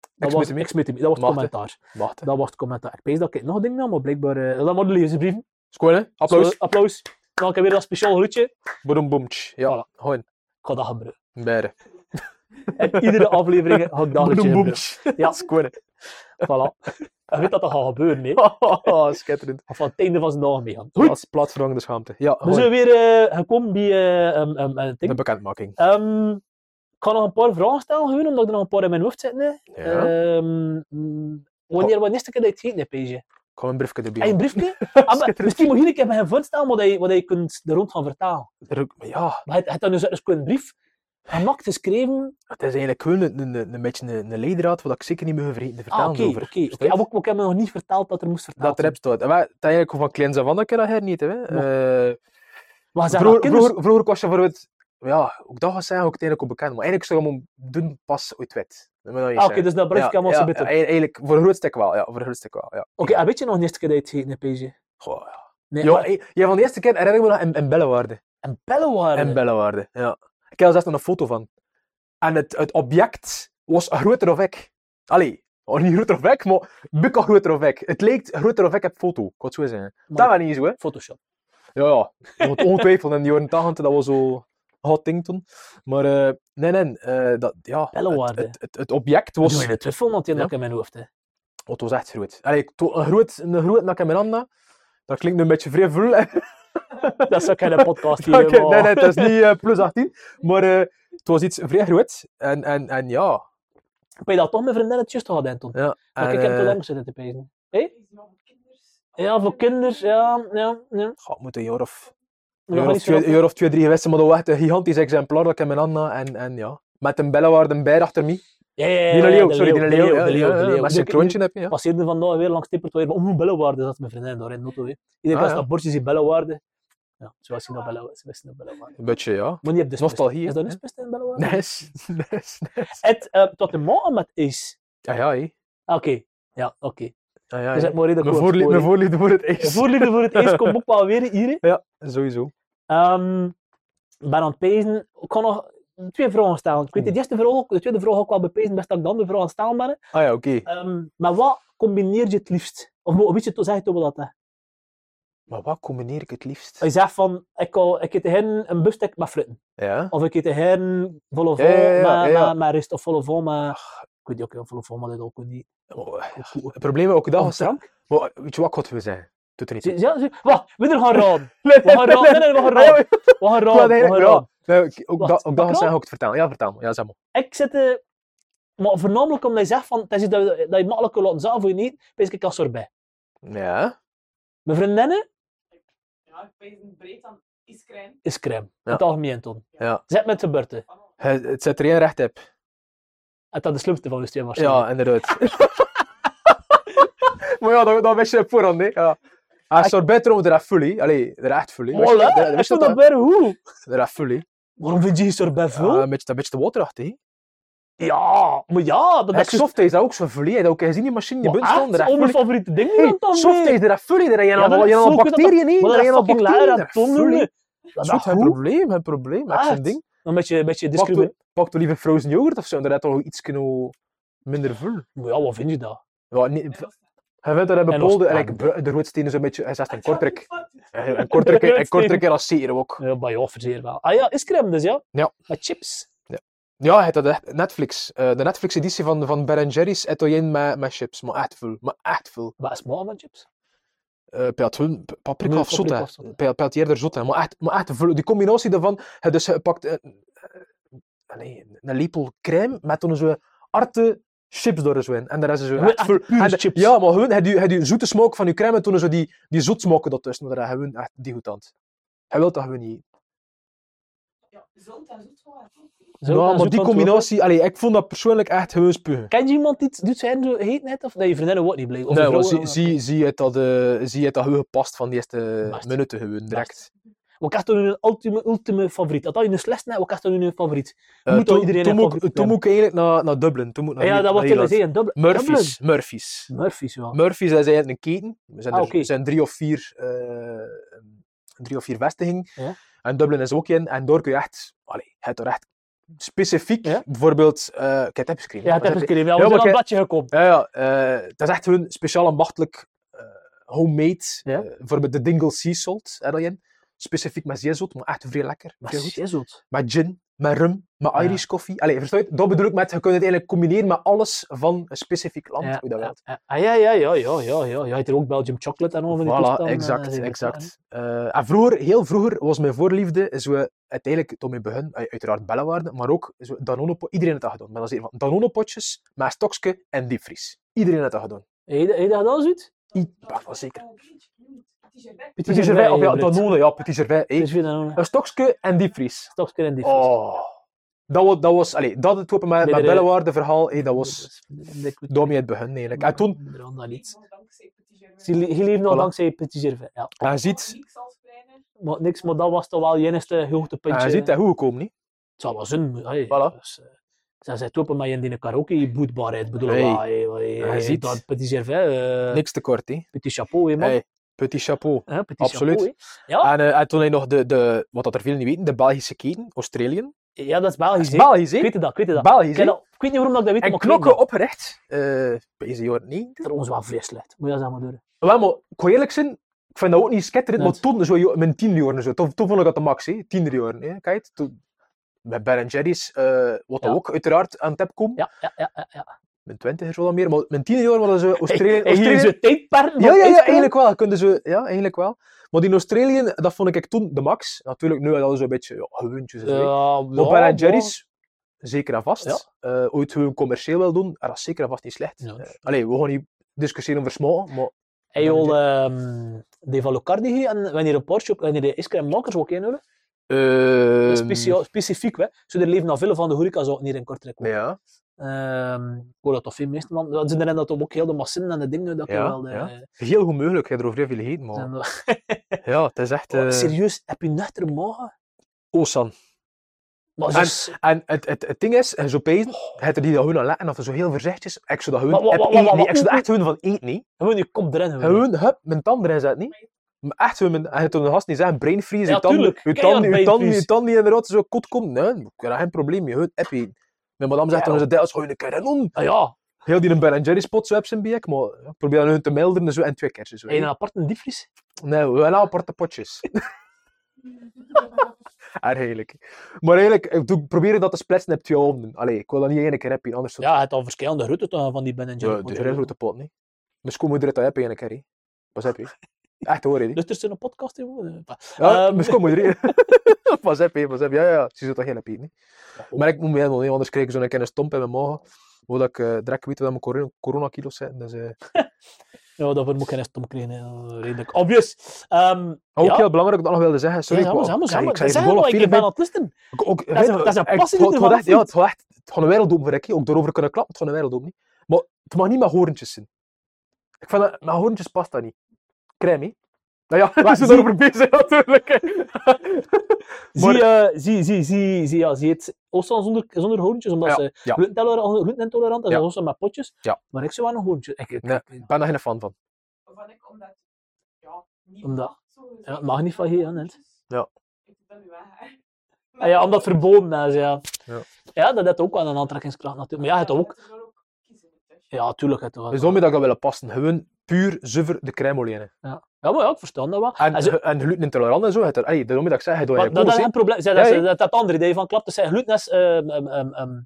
Dat
Ex
was
Mutimi.
Ex Mutimi, dat was het
Maarten.
commentaar.
Wacht. hè.
Dat was het commentaar. Ik pees dat ik nog dingen nam, maar blijkbaar. eh, dat moet de lezersbrieven.
Schoon, hè? Applaus.
Zo, applaus. Dan heb ik weer dat speciaal groetje. Ik
Boom, boom. tsch. Ja. Gewoon.
ga dat gebruiken.
Beide.
In iedere aflevering ga ik dat groetje
Boom, boom.
gebruiken.
tsch.
Ja,
Schoon, hè?
voilà. Je weet dat dat gaat gebeuren, hè.
Oh, schitterend. Dus,
Of van het einde van zijn dagen meegaan. Goed.
Goed. Plaatsvervangende schaamte. Ja,
We
gewoon.
zijn weer eh, gekomen bij eh, um, um, eh, ding.
De bekendmaking.
Ehm, ik ga nog een paar vragen stellen, gewoon, omdat ik er nog een paar in mijn hoofd zitten. hè.
Ja.
Ehm, mm, wanneer was de eerste keer dat je het gegeten hebt, Peesje?
Ik ga een briefje
Heb je
erbij.
een briefje? Ah, maar
Schitterend.
misschien moet je een keer bij hem voorstellen wat je, wat je kunt er rond gaan vertalen.
Er ook- maar Ja,
Maar je hebt dan dus dus een brief dus gemaakt, geschreven.
het is eigenlijk gewoon een, een, een beetje een, een leidraad wat ik zeker niet meer vergeten te
Ah,
vertalen
oké,
over.
oké. oké.
Verstaat?
Ah, maar ik- ik heb me nog niet verteld dat er moest verteld
Dat rap staat. En wij- Het is eigenlijk gewoon van kleins af aan dat ik dat her niet. Hè. Eh,
Maar ze ah,
vroeger,
vroeger,
vroeger, vroeger was je bijvoorbeeld... Ja, ook dat was zijn ook uiteindelijk ook bekend. Maar eigenlijk zou je hem doen pas ooit wet. Dat moet je dan
Ah,
eens
oké,
zeggen.
dus dat briefje kan wel
ja,
zo
ja,
bitter.
ja, eigenlijk- eigenlijk voor een groot stuk wel. Ja, voor een groot stuk wel. Ja.
Oké, en weet je nog de eerste keer dat je het gegeten hebt, Peesje?
Goh, ja.
Nee,
Ja,
maar-
eh, ja, van de eerste keer herinner ik me nog in, in Bellewaarde.
en bellen waren.
In Bellewaarde, ja. Ik heb er zelfs nog een foto van. En het, het object was groter of ik. Allee, oh, niet groter of ik, maar bukka groter of ik. Het leek groter of ik op foto, ik had zo zeggen.
Maar-
Dat was niet zo, hè.
Photoshop.
Ja, ja. Want ongetwijfeld in de jaren 80, dat was zo hot ding toen. Maar eh, nee, nee. eh, dat, ja, het,
Bellenwaarde.
het, het, het object
Was... Doe
was...
je de twijfel, want die
Ja.
had ik in mijn hoofd. Hè.
Oh, het was echt groot. Allee, ik to- een groot, een groot nak in mijn handen. Dat klinkt nu een beetje vrij vul. hè.
Dat is ook in de podcast hier.
Oké,
hè, maar-
nee, nee, het is niet eh, plus 18. Maar eh, het was iets vrij groot. En, en, en ja...
Ik weet dat toch mijn vriendin het juist gehad, Anton.
ja
Maar
en,
ik heb
eh,
te lang zitten te pezen. Ja,
Ja,
voor kinders, ja, ja, ja.
goh, het moet een jaar of, een
We
jaar
gaan
of,
niet
twee,
verder.
een jaar of twee, drie geweest zijn, maar dat was echt een gigantisch exemplaar dat ik in mijn handen had. En, en ja... Met een bellenwaarde bij achter mij.
Ja, ja, ja,
Die
ja,
leeuw,
de
sorry, die
de
leeuw. ja,
de leeuw,
ja,
de
ja,
leeuw.
Met
Dus
zijn
ik-
kroontje heb je,
ik
ja.
passeerde vandaag nou weer langs Tippert, waar om hoe bellenwaarde zat mijn vriendin daar in de auto. hè. Iedereen
Ah,
was
ja.
dat bordje zien bellenwaarde. Ja, ze wisten dat bellenwaarde. Ze wisten dat bellenwaarde.
Een beetje, ja.
Maar niet op de spist.
Nostalgie,
Is dat
hè?
een spist in bellenwaarde?
Nes, nes, nes.
Het, eh, tot de morgen met is.
Ja, ja, hé.
Ah, Oké, ja, oké.
Ja, Ah, ja,
Dat is
hé.
het mooie dat ik
Mijn
hoor,
voorlie-
hoor, hè.
mijn voorliefde voor het ijs.
De voorliefde voor het eerst komt ook wel weer hier. hè.
Sowieso.
Ehm, Ik ben aan het pezen. Ik kan nog twee vragen stellen. Ik weet niet, de eerste vraag, ook- de tweede vraag ook wel bepezen, best dat ik de andere vraag aan het stellen ben.
Ah ja, oké.
Ehm, maar wat combineer je het liefst? Of mo- weet je, zeg je toch wel dat? hè?
Maar wat combineer ik het liefst?
Hij zegt van, ik, hou- ik eet hen een busstek met fritten.
Ja.
Of ik eet hen volle vol
Ja, ja, ja,
met,
ja, ja.
met, met rest. Of volle vol met... Ik weet niet ook, volle vol met dit ook niet. Oh,
Het probleem ook dat
Of
was...
drank?
Maar, weet je wat ik had willen zeggen? Doet er niet toe.
Zie- zie- zie- Wacht, we gaan raden. We gaan raden. Nee, nee, we gaan
Ah, ja,
raden. We gaan
Ik wou
raden. We gaan
eigenlijk-
raden.
ja, nee, ik- ook
Wacht,
dat, ook dat
kan?
was zeggen, ook het vertellen. Ja, vertel. maar. Ja, zeg maar.
Ik zit... eh, Maar voornamelijk omdat je zegt van, het is iets dat, je- dat je makkelijk kunt laten zagen voor je niet, pees ik als sorbet.
Ja.
Mijn vriendinnen
Ja, ik ben een breed aan is klein.
is crème.
Ja.
In het algemeen, Ton.
Ja.
Zet met de beurten.
Het het zit er één recht op.
En dat is de slimste van de twee waarschijnlijk.
Ja, inderdaad. maar ja, dat, dat wist je op voorhand, hè? Ja. Ah, sorbet trouwens, er is fully. Allee, er is echt fully. Wist je-
Voilà,
dat-
ik
Wist je
vind dat
dat?
bij hoe.
Er is fully.
Waarom vind je je sorbet
Ja,
veel?
een beetje, een beetje te waterachtig, hè?
Ja, maar ja, maar dat
Dat
is juist-
soft is dat ook zo'n fully. hè. Dat ook gezien die machine, die
maar
bunt stond.
echt,
Er is
om mijn
fully.
favoriete dingen
Hey,
dan dan
soft
weer.
is er is fully. Er is
Ja, dat
al- je
is
hebt al
zo kut dat
bacteriën, hè?
Maar dat
Er
is
zijn al
fucking laar
bacteriën.
aan
Er
het
is fully.
tonderen. Dat
Dat
is
is goed, geen
goed.
probleem, geen probleem. Dat is
Echt.
zo'n ding.
Een beetje, een beetje
Pak
discriminatie.
toch, pak toch liever frozen yoghurt of zo, dan is toch iets minder vul.
Maar ja, wat vind je dat?
Ja, niet, hij vindt dat in
los-
bepaalde,
ah,
like,
goed.
bru- de roodstenen zo'n beetje, hij zegt een kortrek. eh,
Ja,
Een kortrek, een
Roodstenen.
kortrek als zeer ook.
Ja, bij jou verzeer wel. Ah ja, is crème dus, ja?
Ja.
Met chips.
Ja, hij had dat echt, Netflix. eh, de Netflix-editie van, van Ben Jerry's, eet je in met, met chips, maar echt veel, maar echt veel.
Wat is maar met chips?
Eh Pijlt hun paprika
Nee,
of zot,
paprika
hè.
of zot, hè.
Pijlt pijlt eerder zot, hè. Maar echt, maar echt veel. Die combinatie daarvan, hij dus hij pakt eh, eh, nee, een lepel crème met dan zo'n harte chips door zo in. En daar is zo
Gewoon
echt
echt
veel.
pure
en de-
chips.
Ja, maar gewoon, hij die, hij die zoete smaak van je crème en toen zo die, die zoet smaken dat tussen. Maar dat hij gewoon echt degoutant. Hij wil dat gewoon niet.
Zult en zoet wel.
Zo,
ja,
dan
maar
zoek
die
antwoord.
combinatie, allee, ik vond dat persoonlijk echt heus spugen.
Ken je iemand die het doet zijn zo heet net? Of nee, je vriendinnen wordt niet blij. Of
Nee,
je
want
vrouw-
zie, zie, zie je dat, eh zie je dat heel gepast van de eerste
Best.
minuten gewoon direct.
Wat is toen een ultieme, ultieme favoriet? Had dat je een slecht net, wat is toen een favoriet?
Eh,
Moet
toen-
al iedereen
toen
een
moet ik-
favoriet
Toen
hebben. Ah
moet ik eigenlijk naar, naar Dublin. Toen moet ik naar
ja,
hier-
dat wordt
naar
in
Ierland.
een dubbel.
Murphy's. Murphy's.
Murphy's, ja.
Murphy's dat is eigenlijk een keten. Er zijn,
Ah,
er,
oké.
er zijn drie of vier, eh, drie of vier vestigingen.
Ja.
En Dublin is ook in. En daar kun je echt, allee, je hebt er echt specifiek,
Ja?
bijvoorbeeld, eh ik heb het screen.
Ja, het heb ik gekregen. Ja, we
Ja,
zijn
maar
aan het
ik-
bladje gekomen.
Ja, ja eh, dat is echt hun speciaal en machtelijk eh, homemade.
Ja.
eh, bijvoorbeeld de Dingle Sea Salt, hè, dat je in. Specifiek met zeezout, maar echt vrij lekker.
Maar
vrij goed.
is het?
Met gin, met rum, met
Ja.
Irish koffie. Allee, versta je? Dat bedoel ik met, je kunt het eigenlijk combineren met alles van een specifiek land,
Ja,
hoe dat wilt.
ja, ja, ja, ja, ja, ja, ja. Je hebt er ook Belgium chocolate en over die
Voilà,
toestanden, eh,
exact,
zeker.
exact. Eh, en vroeger, heel vroeger, was mijn voorliefde, zo, uiteindelijk, toen we begonnen, eh, uiteraard bellenwaarde, maar ook zo, Danone, iedereen had dat gedaan. Maar dat is hier van Danone-potjes met een stokje en diepvries. Iedereen had dat gedaan.
Heb je- heb je dat al zoiets?
I- Wacht, wel zeker.
Petit
Petit Gervais, of ja, Danone, ja, Petit Gervais. hé.
Het is weer dan
Een stokje en diepvries.
stokje in die vries.
Oh. Dat was, dat was, allee, dat het open met,
Meerdere-
met Bellewaarde verhaal, hé, dat was
Ik weet-
daarmee het begin eigenlijk. Ah, En toen,
Ik bedoel dat niet. Je
Dankzij
leeft nog
Voilà.
dankzij Petit Gervais, ja.
hij ziet,
Niks als kleiner.
Maar niks, maar dat was toch wel je enigste hoogtepuntje.
hij ziet dat hoe gekomen, niet?
Het zou wel zin moeten. Hey.
Voilà.
Dus, eh, ik zei, zij toppen maar je in die karaoke je boetbaarheid. Ik bedoel,
Hey.
wel, hey, hey,
Hij
hey,
ziet.
Dat petit Gervais, eh,
Niks te kort, hè.
petit chapeau, hè, man.
Hey, petit chapeau.
Hè, petit
absoluut.
chapeau, hè. ja,
En, eh, en toen hij nog de, de, wat dat er veel niet weten, de Belgische keten, Australië.
ja, dat is Belgisch. hè.
Belgisch,
Ik
hè?
weet het dat, ik weet het dat.
Belgisch,
Ik, weet
hè?
dat- ik weet niet waarom dat ik dat weet,
En
maar
knokken
ik weet
oprecht, eh deze jaar niet.
dat. Trouwens, wel vrij slecht. Moet je dat zeg maar doen.
Wel, maar ik wil eerlijk zijn, ik vind dat ook niet schitterend, maar
Net.
toen, zo, jo- mijn tiende jaren, en zo, toen, toen vond ik dat de max, hè. tiende jaren. Hè. Kijk, toen, met Ben Jerry's, eh, wat
Ja.
ook uiteraard aan het heb komt.
Ja, ja, ja. ja, ja.
Mijn twintig is wel wat meer, maar mijn tiende jaar waren ze Australië.
Hey, hier is
Australië-
het tijdperk.
ja, ja, ja, eigenlijk wel. Konden ze, ja, eigenlijk wel. Maar die Australië, dat vond ik toen de max. Natuurlijk, nu hadden ze een beetje ja, gewoontjes. en zo, hè. maar Ben Jerry's, zeker en vast. Eh, ooit hun commercieel wil doen, en dat is zeker en vast niet slecht.
Ja.
Eh, allee, we gaan niet discussiëren over smaken, maar
Hey, joh, ehm de Valocardi hier, en wanneer een Porsche, wanneer de ijscrememakers ook in hoor.
Ehm,
Specia- specifiek, hè. Zo, er leven nog veel van de horeca zo hier in Kortrijk. ook.
Ja,
Ehm, ik hoor dat toch veel meeste man. Dat zijn erin dat ook heel de machine en de dingen dat je
Ja,
wel. eh, de-
ja. heel goed mogelijk. Je hebt er over heel veel gegeten, maar...
en de-
Ja, het is echt...
Oh,
eh
serieus, heb je nuchter mogen?
Osan.
Maar,
En-
zus,
En het, het, het ding is, je zo pezen, je hebt er die dat gewoon aan letten, of zo heel voorzichtig. is. Ik zou dat
Maar
gewoon
Oh. wa-
heb
wa- wa- wa-
eten niet.
wa-
Ik zou
hoe-
dat echt gewoon van eten niet.
gewoon je kop erin. gewoon.
Gewoon, hup, mijn tand erin zetten niet. Maar echt, we hebben- en toen de gast niet zeggen, brain freeze,
Ja,
je tanden,
tuurlijk.
je
Keihard
tanden, je
brain
tanden, je
freeze.
tanden in de rot, zo kot komt. Nee, ik heb geen probleem, je houdt appie. Mijn madame zegt
Ja.
dan, dat is gewoon een keer on.
Ah ja,
Heel die een Ben Jerry spot, zo heb ze een bek, maar ja, ik probeer dan hun te melden en zo, en twee keer zo.
heb je een aparte diepvries?
Nee, we hebben aparte potjes. Erg eigenlijk. Maar eigenlijk, ik doe- probeer dat te splitsen op twee avonden. Allee, ik wil dat niet één keer hebben, anders
Ja, het al verschillende routes dan van die Ben
Ja,
Jerry.
de hele grote pot, niet. Mijn schoonmoeder heeft dat heb één keer, hè. Pas heb je. Echt hoor, hè.
Dus er is een podcast in.
Ja,
Ehm.
mijn schoonmoeder, hè. Pas heb je, pas heb je. Ja, ja, ze zit toch heel happy, hè. Maar ik moet me helemaal niet, anders krijg ik zo'n keer een stomp in mijn maag. Omdat ik eh, direct weet dat mijn corona, kilo's zijn. Dus, eh,
Ja, daarvoor moet ik geen stom krijgen. hè. Redelijk obvious. Ehm
Ook
ja.
heel belangrijk dat ik nog wilde zeggen. Sorry,
ja,
ik
zeg maar,
wou-
zeg maar,
ik zei- ik zei
zeg maar. Zeg
gewoon
maar,
op
ik
vier
ben
benen.
aan het listen.
Ik- ook-
Dat is een-
weet-
dat is een
ik- het
passie die
gaat-
er
het gaat echt-
vanaf
Ja, het gaat echt het gaat een wereld open voor Ricky. Ook daarover kunnen klappen, het gaat een wereld open. Niet. Maar het mag niet met hoorntjes zijn. Ik vind dat, met hoorntjes past dat niet. Crème, hè? Nou ja, we zijn
zie-
daarover bezig natuurlijk. hè. Maar-
Zie, eh, zie, zie, zie, zie, ja, zie het Oostland zonder, zonder hoorntjes, omdat
Ja,
ze
ja.
glutenintolerant glutenintolerant
Ja.
en zo met potjes.
Ja.
Maar ik zou wel een hoorntje. Ik, ik,
Nee.
ik-
Ik ben daar geen fan van.
Waarvan ik omdat. Ja, niet
Omdat-
mag, zo gezegd.
het mag niet van hier, hè, net.
Ja.
Ik ben nu weg. hè.
ah ja, omdat het verboden is, ja.
Ja.
Ja, dat heeft ook wel een aantrekkingskracht natuurlijk. Maar ja, het ook.
mensen willen ook kiezen tussen.
Ja, tuurlijk. Het ook.
Dus daarmee dat ik dat wil passen. Gewoon puur zuiver de crème olie in.
Ja, maar ja, ik versta dat wel.
En,
En ze-
en, glutenintolerant en zo. Het, er- allee, daarom dat Oh ik zeg, je doet
Maar
je
dat, dat
koos,
is
hè.
een probleem. Zij,
Ja,
dat,
ja.
dat, dat andere idee van klap. Dat zijn gluten is ehm, ehm, ehm, ehm,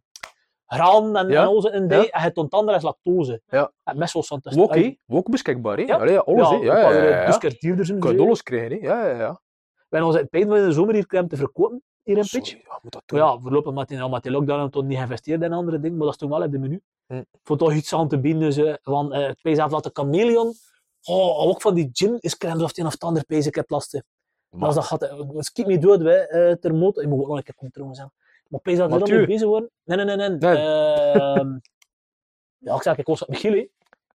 graan en,
Ja,
en oze in die. En het ontandere is lactose.
Ja.
En messels van tussen.
Wok, hè. Wok beschikbaar, hè.
Ja.
Allee, alles, hè. Ja, ja, ja, ja.
Dus keer duurder zijn.
Kun je
ze.
dollars krijgen, hè. Ja, ja, ja.
Wij zijn in pijn van de zomer hier crème te verkopen. Hier in Pitch.
Sorry, ja, moet dat doen.
Ja, voorlopig met die, ja, met die lockdown hebben we toen niet geïnvesteerd in andere dingen. Maar dat is toen wel op de menu.
Hm.
Vond toch iets aan te bieden. Dus, eh, van eh, het pees af laten chameleon. Oh, ook van die gin is crème of het een of het ander pees. Ik heb last. hè.
Maar-
Maar dat eh, gaat, skip me dood, wij, eh ter motor. Ik moet ook nog een keer komen trouwens. Hè. Maar opeens dat we er
Mathieu.
nog mee bezig worden. Nee, nee, nee. nee.
Nee.
Ehm, ja, ik zeg, ik was met Michiel, hè.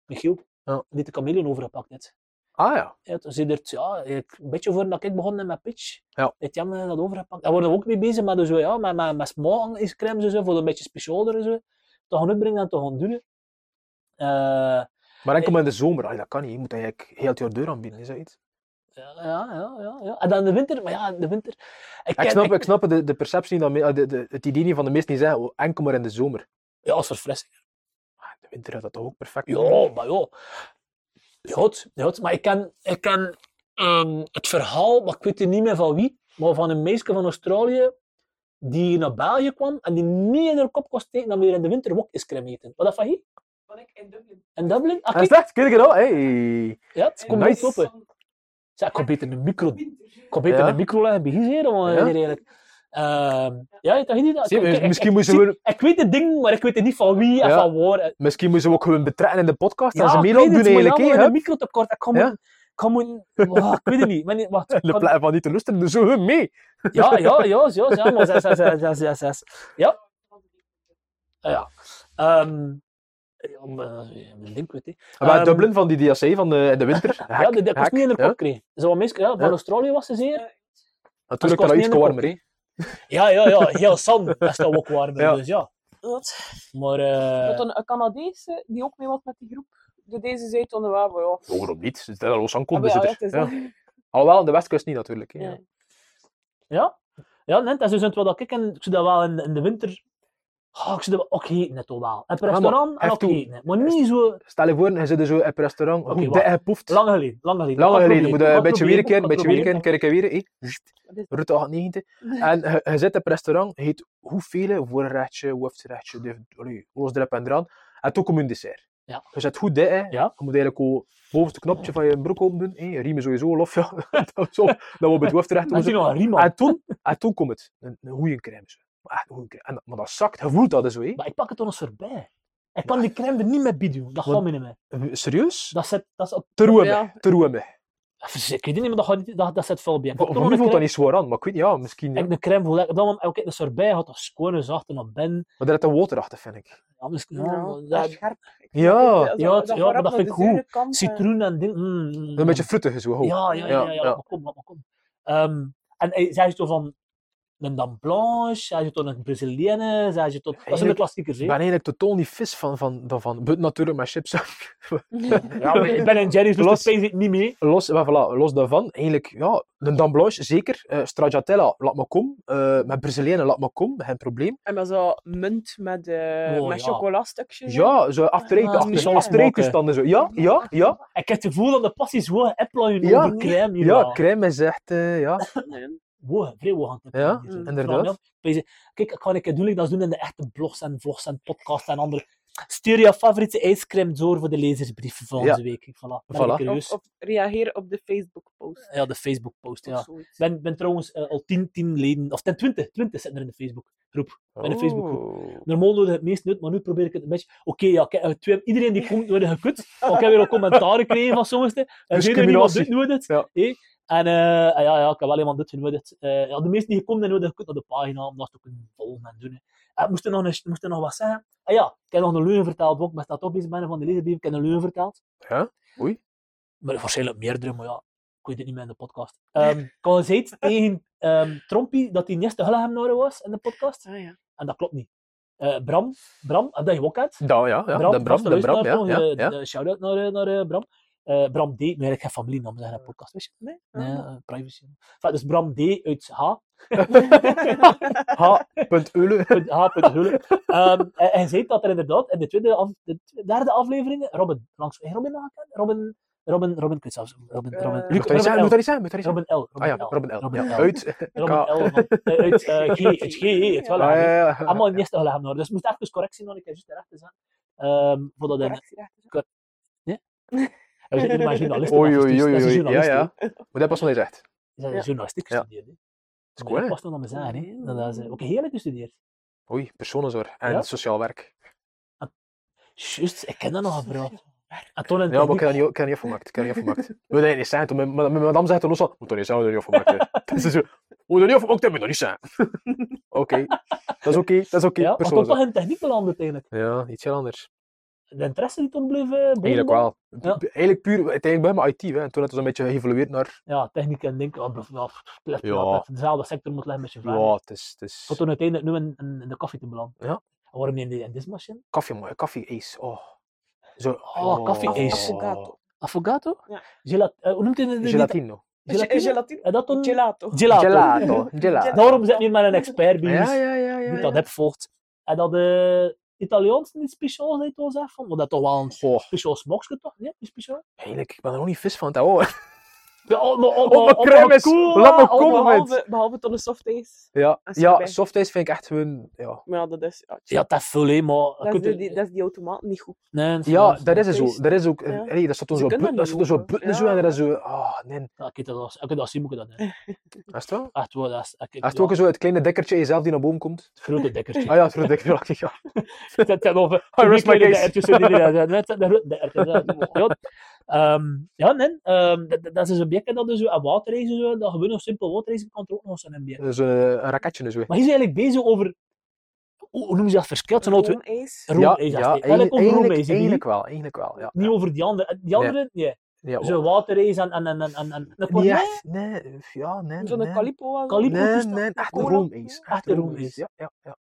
Michiel,
Ja.
die de chameleon overgepakt net.
Ah, ja.
Ja, toen zei er, ja, ik, een beetje voordat ik begon met pitch,
Ja.
heeft Jan eh, dat overgepakt. Daar worden we ook mee bezig, maar dus, zo, ja, met, met, met smaak is crème, zo, zo, voor een beetje specialer, en zo. Te gaan uitbrengen en te gaan doen. hè. Eh,
Maar enkel maar in de zomer, allee, dat kan niet. Je moet eigenlijk heel het jaar deur aanbieden, is dat iets?
ja, ja, ja, ja. En dan de winter, maar ja, de winter.
Ik
ken-
snap, ik snap de, de perceptie, niet dat me- eh, de, de, het idee niet van de meesten die zeggen, oh, enkel maar in de zomer.
Ja, als verfrissing.
Ah, De winter had dat toch ook perfect.
Ja, maar ja. Ja, het- ja, het- maar ik ken, ik ken ehm, het verhaal, maar ik weet het niet meer van wie, maar van een meisje van Australië die naar België kwam en die niet in haar kop kon steken dat weer in de winter wok is crème eten. Wat dat van hier?
Wat ik in Dublin.
In Dublin? Ah,
Dat is
kijk,
echt, kijk het al. Hey.
ja, het komt
Nice.
nice. open. Zeg, ik kon beter een micro, ik kon beter
Ja.
een micro leggen bij hier, zeer, maar
Ja.
hier eigenlijk. Ehm, ja, je dacht niet dat?
Zie je,
ik- ik-
misschien
ik-
moeten
ik-
we-
Ik weet het ding, maar ik weet het niet van wie en
Ja.
van waar.
Misschien moeten ze ook gewoon betrekken in de podcast en ze
ik
meer
weet
ook doen
het, maar
eigenlijk.
Ja,
hè,
maar
hup.
een microtekort. Ik kan
Ja?
moeten- ik kan moeten- Wah, ik weet het niet. Maar niet wacht,
In de
kan-
plaats van niet te lusten, dus zo hun mee.
ja, ja, ja, ja, ja, maar zes, zes, zes, zes, zes, zes. Ah, ja. Ehm, ja, maar, eh, mijn link weet ik.
En bij
Ehm,
Ah, Dublin van die DSC van de, in de winter. Hek,
Ja, dat dat kost
hek,
niet in de
ja.
kop kreeg. Zo'n mensen, ja, van
Ja.
Australië was ze zeer. dat
Natuurlijk
kost
dat
niet
iets
in de kop,
warmer. hè.
Ja, ja, ja, heel zand. Dat is toch ook warmer,
Ja.
dus ja. Maar, eh,
Dat een, een Canadese die ook mee was met die groep. De deze zei toen wel van ja.
Oh, Waarom niet? Ze zijn al los aan
Ah,
kon,
maar
dus
ja,
het
het is
er- ja.
dan-
Alhoewel, aan de westkust niet natuurlijk. hè, ja.
Ja.
ja. Ja, nee, dat is dus het wat ik en ik zou dat wel in, in de winter... Ah, ik zou dat wel ook eten, het toch wel. Op een
maar
restaurant en
hef
ook
toe.
eten. hè. Maar niet zo...
Stel je voor, je zit er zo op een restaurant,
Oké,
goed
wacht.
dik gepoeft.
Lang geleden, lang geleden.
Lang
Kan
geleden,
proberen,
moet je
kan
een beetje
proberen,
werken, een
kan
beetje
proberen.
werken, kerken weer. hè.
Wat is dat?
Route 98. En je, je zit op een restaurant, je eet hoeveel voorrechtje, hoofdrechtje, dit- allee, alles erop en eraan. En toen komt een dessert.
Ja.
Je zit goed dit, hè.
Ja.
je moet eigenlijk ook het bovenste knopje van je broek open doen. Hè. Je riemen sowieso al of ja. dat is op, dan wordt het hoofdrecht.
En toen nog een riem aan.
En Ah, toen, en toen komt het. Een, een goede crème. Zo. Maar echt een goede crème. En, dat- maar dat zakt, je voelt dat dus, zo. Hè.
Maar ik pak het toch eens voorbij. Ik kan die crème er niet mee bieden. joh. Dat
Want-
gaat me niet mee.
Serieus?
Dat zit, dat is op...
Te roemen,
Ja.
te roemen.
Even, Ik weet niet meer, dat, gaat niet- dat, dat zit veel bij. Ik pak toch
Voor
nog
mij voelt
een
dat
crème.
niet zwaar aan, maar ik weet niet, ja, misschien. Ja.
Ik de crème voel ik op dat moment, ook de sorbet had dat schone zacht en dat ben.
Maar daar zit een waterachtig, vind ik.
Ja, misschien-
Ja,
ja,
dat
dat-
is scherp.
Ja.
Zo-
ja, ja, maar
gaat
dat
naar
vind
de
ik goed.
zure kant, eh.
Citroen en ding. mm, mm,
Een beetje
mm.
fruitig zo. hoog.
Ja, ja, ja,
Ja,
ja,
ja.
Maar kom, maar kom. Ehm, en hij zei zo van, een Dame Blanche, zij je tot een Brazilienne, zij je tot... Dat zijn de
Eigenlijk-
klassiekers, hè?
Ik ben eigenlijk totaal niet vis van, van, daarvan. But natuurlijk met chips.
eh.
Ja, maar ik ben een Jerry's, dus
Los.
dat zit niet mee.
los, maar voilà, los daarvan, eigenlijk, ja, een Dame Blanche zeker. Eh, stracciatella, laat me kom. Eh, met Brazilianen, laat me kom. Geen probleem.
En dan zo munt met, eh
Oh,
met
ja.
chocolastukjes. in.
Ja, zo after-eight,
Ah,
achter-
nee.
after-eight-toestanden. zo. Ja, ja, ja.
Ik heb het gevoel dat de passie is gewoon appelen
Ja.
over crème hier.
Ja, crème is echt, eh, ja.
Nee.
Wow, vrij woog aan
Ja,
Mm.
inderdaad.
Kijk, ik ga een keer doen, like dat ze doen in de echte blogs en vlogs en podcasts en andere. Stuur je favoriete ijscrème door voor de lezersbrief van
Ja.
onze week. Voilà, ben ik
Voilà.
curieus.
Of, of reageer op de Facebook-post.
Ja, de Facebook-post,
of
ja.
zoiets.
Ik ben, ben trouwens eh, al 10, 10 leden, of 10, 20, 20 zitten er in de Facebook-groep. Bij de Facebook-groep.
Oh.
Normaal nodig het meest nut, maar nu probeer ik het een beetje... Oké, ja, kijk, eh, twee- iedereen die komt wordt gekut. Want ik heb weer al commentaar gekregen van sommigen. Er zijn er niemand
Discriminatie.
dit nodig.
Ja.
hè. En eh, ah ja, ja, ik heb wel iemand dit nodig. Eh ja, de meesten die gekomen zijn nodig gekut naar de pagina, om dat te kunnen volgen en doen. hè. Eh, Ik moest er nog, een, moest er nog wat zeggen. Ah ja, ik heb nog een leugen verteld, want ik ben staat op bezig ben van de lezer, ik heb een leugen verteld.
Ja? Oei.
Maar waarschijnlijk meerdere, maar ja, ik weet het niet meer in de podcast. Ehm ik had gezegd tegen ehm Trompie dat hij niet te Hullegem naar was in de podcast.
Ah, ja.
En dat klopt niet. Eh, Bram, Bram, heb dat je ook uit?
Nou ja, ja. de Bram,
vaste
de Bram,
luisteraar
ja.
toch?
ja,
Eh,
ja.
eh, Shout-out naar, eh, naar eh, Bram. Eh, Bram D, maar eigenlijk geen familienaam, dat is een podcast, weet je? Nee,
Ah.
eh, privacy. Enfin, dus Bram D uit H.
H.Ulle.
H.Hulle. Ehm en hij zei dat er inderdaad in de, tweede af, de tw- derde aflevering Robin langs... Hey, Robin nog gekend? Robin... Robin, Robin, ik weet zelfs. Robin,
Eh,
Robin,
Moet dat niet
Robin,
zijn?
L.
Moet dat niet zijn? Moet dat niet zijn?
Robin L.
Ah ja, Robin L.
Robin
Ja,
L.
Uit.
Robin
K.
L. van- eh, Uit eh, G. Het G. Het wel.
Ja, ja, ja.
dus Allemaal in eerste gelegd Dus ik moest echt dus correctie nog een keer juist erachter zijn. Ehm voordat hij
Correctie erachter.
Hij was niet maar journalist.
Oei, oei, oei,
dus Dat is
oei. Ja,
journalist. hè.
ja. Maar dat pas wat hij zegt.
Ze hebben
Ja.
journalistiek
Ja.
gestudeerd. hè.
is
Maar
cool,
Dat
hè?
past wel aan mijn zaak. hè. Dat dat ze ook heerlijk gestudeerd.
Oei, personenzorg en
Ja?
sociaal werk.
Juist, ik ken dat nog, bro. En toen in
Ja, maar ik
techniek-
heb dat niet- ik heb dat niet afgemaakt. Ik heb dat niet afgemaakt. Wil dat niet zijn? Toen mijn- mijn mijn madame zegt toen los al, moet dat niet zijn, we hebben dat niet afgemaakt. hè. Dus ze zo, Moet dat niet afgemaakt hebben, moet dat niet zijn. Oké, dat is oké, dat is oké.
ja, maar toen
Personenzorg.
toch in techniek beland eigenlijk.
Ja, iets heel anders.
De interesse die toen bleef eh, boven
Eigenlijk
dan?
wel.
Ja.
B- Eigenlijk puur, uiteindelijk bij mijn IT. Hè. En toen had het een beetje geëvolueerd naar.
Ja, techniek en denken, oh, bro, ja, pff, blijft
Ja.
altijd dezelfde sector moet leggen met je vragen.
Ja, het is. Het is...
Tot toen uiteindelijk nu in, in, in de koffie te belanden.
Ja.
En waarom niet in de- in deze machine?
Koffie, mooi. Koffie ace. Oh. Zo,
Oh, koffie ace.
Affogato.
Affogato?
Ja.
Gela- eh, hoe noemt hij het?
Gelatino.
Gelatine? Gelatine?
En dat toen?
Gelato.
Gelato.
Gelato. Gelato.
Daarom zit hier maar een expert bij ons.
Ja, ja, ja.
die
ja,
dat
ja.
heb volgt. En dat de Italiaans niet speciaal zijn, wil zeggen. van, Maar dat toch wel een
Goh,
speciaal smoksje toch? Nee, niet speciaal.
eigenlijk, ik ben er ook niet vis van. Dat, oh.
Ja, oh, maar, oh,
Oh, maar
oh,
crème
maar
is-
cool,
laat maar
ah, oh,
komen.
maar-
Behalve, behalve tot de softies.
Ja,
Als je
ja
bij-
softijs vind ik echt gewoon. Ja,
Maar ja, dat is... Ja,
Ja, dat is veel, hè, maar...
dat, is de, die, dat is die automaat niet goed.
Nee,
ja
dat
dat is het zo. Dat is ook. eh,
Ja.
Hey, dat staat
Ze
zo'n
kunnen
button, dat
niet
staat zo'n
lopen.
button zo en
Ja.
dat is zo. Oh, nee.
Ja, ik heb dat als- ik heb dat zien, moet ik dat doen.
Is het wel?
Echt waar, dat is... Ik,
Is het
ja,
ook zo het kleine dekkertje in jezelf die naar boven komt?
het grote dekkertje.
Ah ja, het grote dekkertje. Ja.
Dat zijn over...
I rest my
die
case.
erwtjes die die daar zijn. Net zijn de grote dekkertjes, ja. Ja, ehm, ja, nee. ehm, dat- dat- dat is een beetje dat dus zo. En waterreizen zo, dat gewoon nog simpel waterreizen kan er ook nog zo'n een beetje.
Zo'n eh, een raketje dus weer.
Maar hij is eigenlijk bezig over... Hoe hoe noemen ze dat verschil? Zo'n auto...
Roomijs.
Roem is dat. steeds. Eigenlijk over Roem is het niet.
eigenlijk wel, eigenlijk wel. Ja.
Niet over die andere. Die
Nee.
andere, nee.
Ja, oh.
Zo'n waterrace en... en, en, en, en, en dat
wel.
komt
Niet
niet
echt, nee, f- ja, nee.
Zo'n
nee.
Calipo. was dat.
Calippo.
Nee,
toestand.
nee, echt een
Cola.
roemees.
Echt een roemeis.
Ja, ja, ja.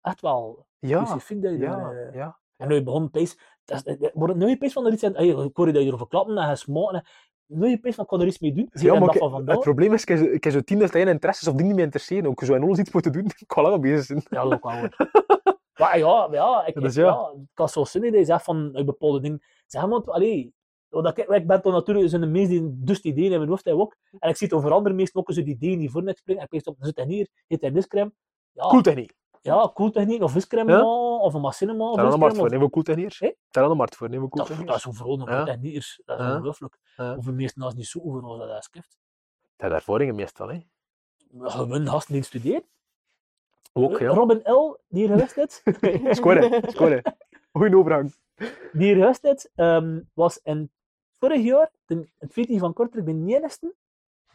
echt wel. Dus
Ja,
ik vind dat je
ja,
daar, eh,
ja.
En nu je begon pees... dat is- eh, Wordt het nu je pees van er iets aan... Hey, ik hoor je dat je erover klappen en gaan smaken. en- Nu je pees van, ik kan er iets mee doen. Zie je
Ja,
dat
maar
dat
ik-
van
het
vandaag?
probleem is, ik heb zo- ik heb zo tien dat hij interesses of die niet meer interesseren. Ook zo en alles iets moeten doen, ik kan lang al bezig zijn.
Ja, dat ook wel hoor. Maar ja, ja, ik,
Dat is
ik-
ja.
ja, het kan zo zijn dat je zegt van een bepaalde ding. Zeg maar, allee, want ik, ik ben toch natuurlijk zo'n de meest die dus die ideeën in mijn hoofd heb ook. En ik zie het over andere meesten ook zo die ideeën die voor net springen. En ik weet op, zit hij hier, heet hij viscrème. Ja,
Cool techniek.
ja, cool techniek, of viscrème,
Ja.
ja, of een machinima, of
Daar is een markt
viscrème.
voor,
of-
neem we cool techniek.
Hé?
Daar is een markt voor, neem we cool
Dat, dat is
techniek.
overal nog
Ja.
cool techniekers. Dat is
Ja.
ongelooflijk.
Ja.
Hoeveel meesten als niet zo overal dat hij schrift.
Dat ervaringen meestal,
Eh,
hè.
Gewoon gasten die studeert.
Ook, ja.
Robin L, die hier geweest is.
Scoren, scoren. Goeie overgang.
Die hier juist net, ehm, was in vorig jaar, ten, het VT van Kortrijk, de enigste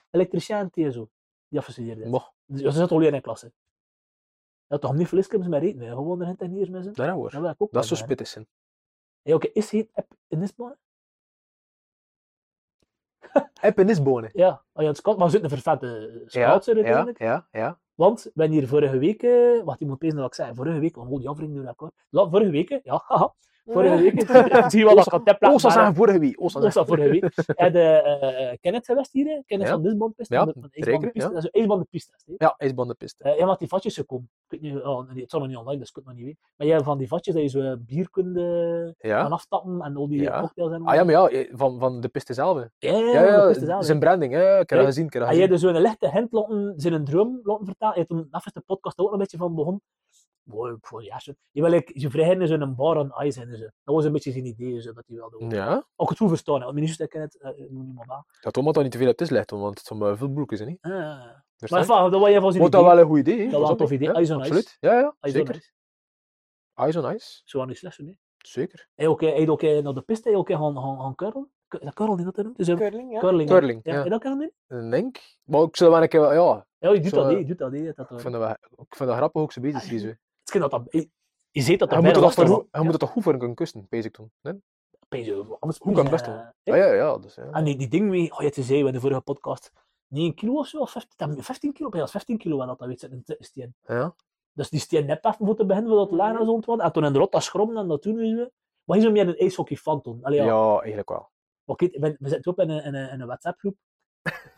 elektricien en TSO die afgestudeerd is.
Mocht,
Dus ze zat al in een klasse. Ja, toch niet verlieskrims met reden, hè. gewoon er geen techniers mee zijn.
daar hoor.
Dat wil ik ook
Dat is zo
wel zeggen.
spittig zijn.
Ja, oké, is hij app in Nisbane?
App en is bonen.
Ja, oh, ja het scout, maar we zitten een vervette
Ja,
scoutser
ja,
uiteindelijk.
ja, ja.
Want we hebben hier vorige week, eh, wat iemand pezen dat ik zei, vorige week, oh, die afring doen elkaar. La, vorige week, eh, ja, haha, vorige week, zie je wel dat ik aan het teplaten
Osa
ben, hè.
zijn vorige wie. Osa
Dat
zijn.
was dat vorige week. En de eh Kenneth geweest hier, hè. Kenneth
Ja.
van Lisbonpiste.
Ja,
van de- van de
zeker,
ijsbandenpiste.
ja.
Dat is een ijsbandenpiste. hè.
Ja, ijsbandenpiste.
Eh, ja, want die vatjes gekomen. Ik weet niet, oh, nee, het zal nog niet online, dus ik kan het nog niet weten. Maar jij hebt van die vatjes dat je zo eh, bier kunt eh, gaan
Ja.
aftappen en al die
Ja.
cocktails en
Ah ja, maar ja, van, van de piste zelf. hè.
ja, ja,
Ja,
ja,
ja,
dat is het eigenlijk.
zijn branding. Ja, ja, ik heb dat
Kijk,
gezien. Ik heb dat
Had jij
gezien.
dus zo'n lichte hint laten, zijn een droom laten vertalen? Je hebt toen de podcast ook nog een beetje van begon. Mooi, voor ja, zo. Je wil ik je vriendin is in een bar aan ijs en zo. Dat was een beetje zijn idee, zo, dat hij wilde. doen.
Ja,
Ook het goed verstaan, hè, want mijn zuster kent het, eh, ik moet niet meer aan.
dat Thomas dat niet te veel op het is legt, want het zijn maar veel broekjes, hè, niet?
Ah. Maar
Verstaan?
enfin, dat was je van zijn
Wordt dat
idee.
wel een goed idee, hè?
Dat was een tof
Snap je?
idee.
Ja,
Eyes on ice.
Absoluut. Ja, ja,
Hij is
zeker.
zeker.
Eyes on ice.
Zo aan die slecht, nee.
Zeker.
Hij ook, eh, hij ook eh, naar de piste, hij ook eh, gaan, gaan, gaan curlen. Cu- Dat curlen niet dat hij noemt, dus eh,
Curling, ja.
curling. hè.
Curling,
Ja,
ja.
en dat kan niet.
Ik Denk. Maar ik zou wel een keer... wel- Ja,
Ja, je doet
Zo,
dat,
eh,
hè, je doet dat, hè, dat, dat,
ik vind dat, wel- ik vind dat grappig ook zo bezig is. Je
Het is Ah, dat dat, je- je ziet dat eh,
moet
dat bijna
het toch
lastig
voor-
is.
je moet het toch goed voor kunnen kussen, bezig toen. Nee?
Hoe
Hoe kan best wel. Ja, ja, ja. Dus, ja.
En die, die ding mee, oh, je te zei bij de vorige podcast, 9 kilo of zo, of 15, dan- 15 kilo, bijna 15 kilo wel dat, dat weet ze, een steen.
ja.
Dus die steen net even voor te beginnen, voor dat
Mm.
lager zo ontwant. En toen in de rot dat schromde en dat toen is we. Maar hij is meer een ijshockey fan toen. Allee, ja.
Ja, eigenlijk wel.
Maar kijk, we, we zitten ook in een, in een, in een WhatsApp groep.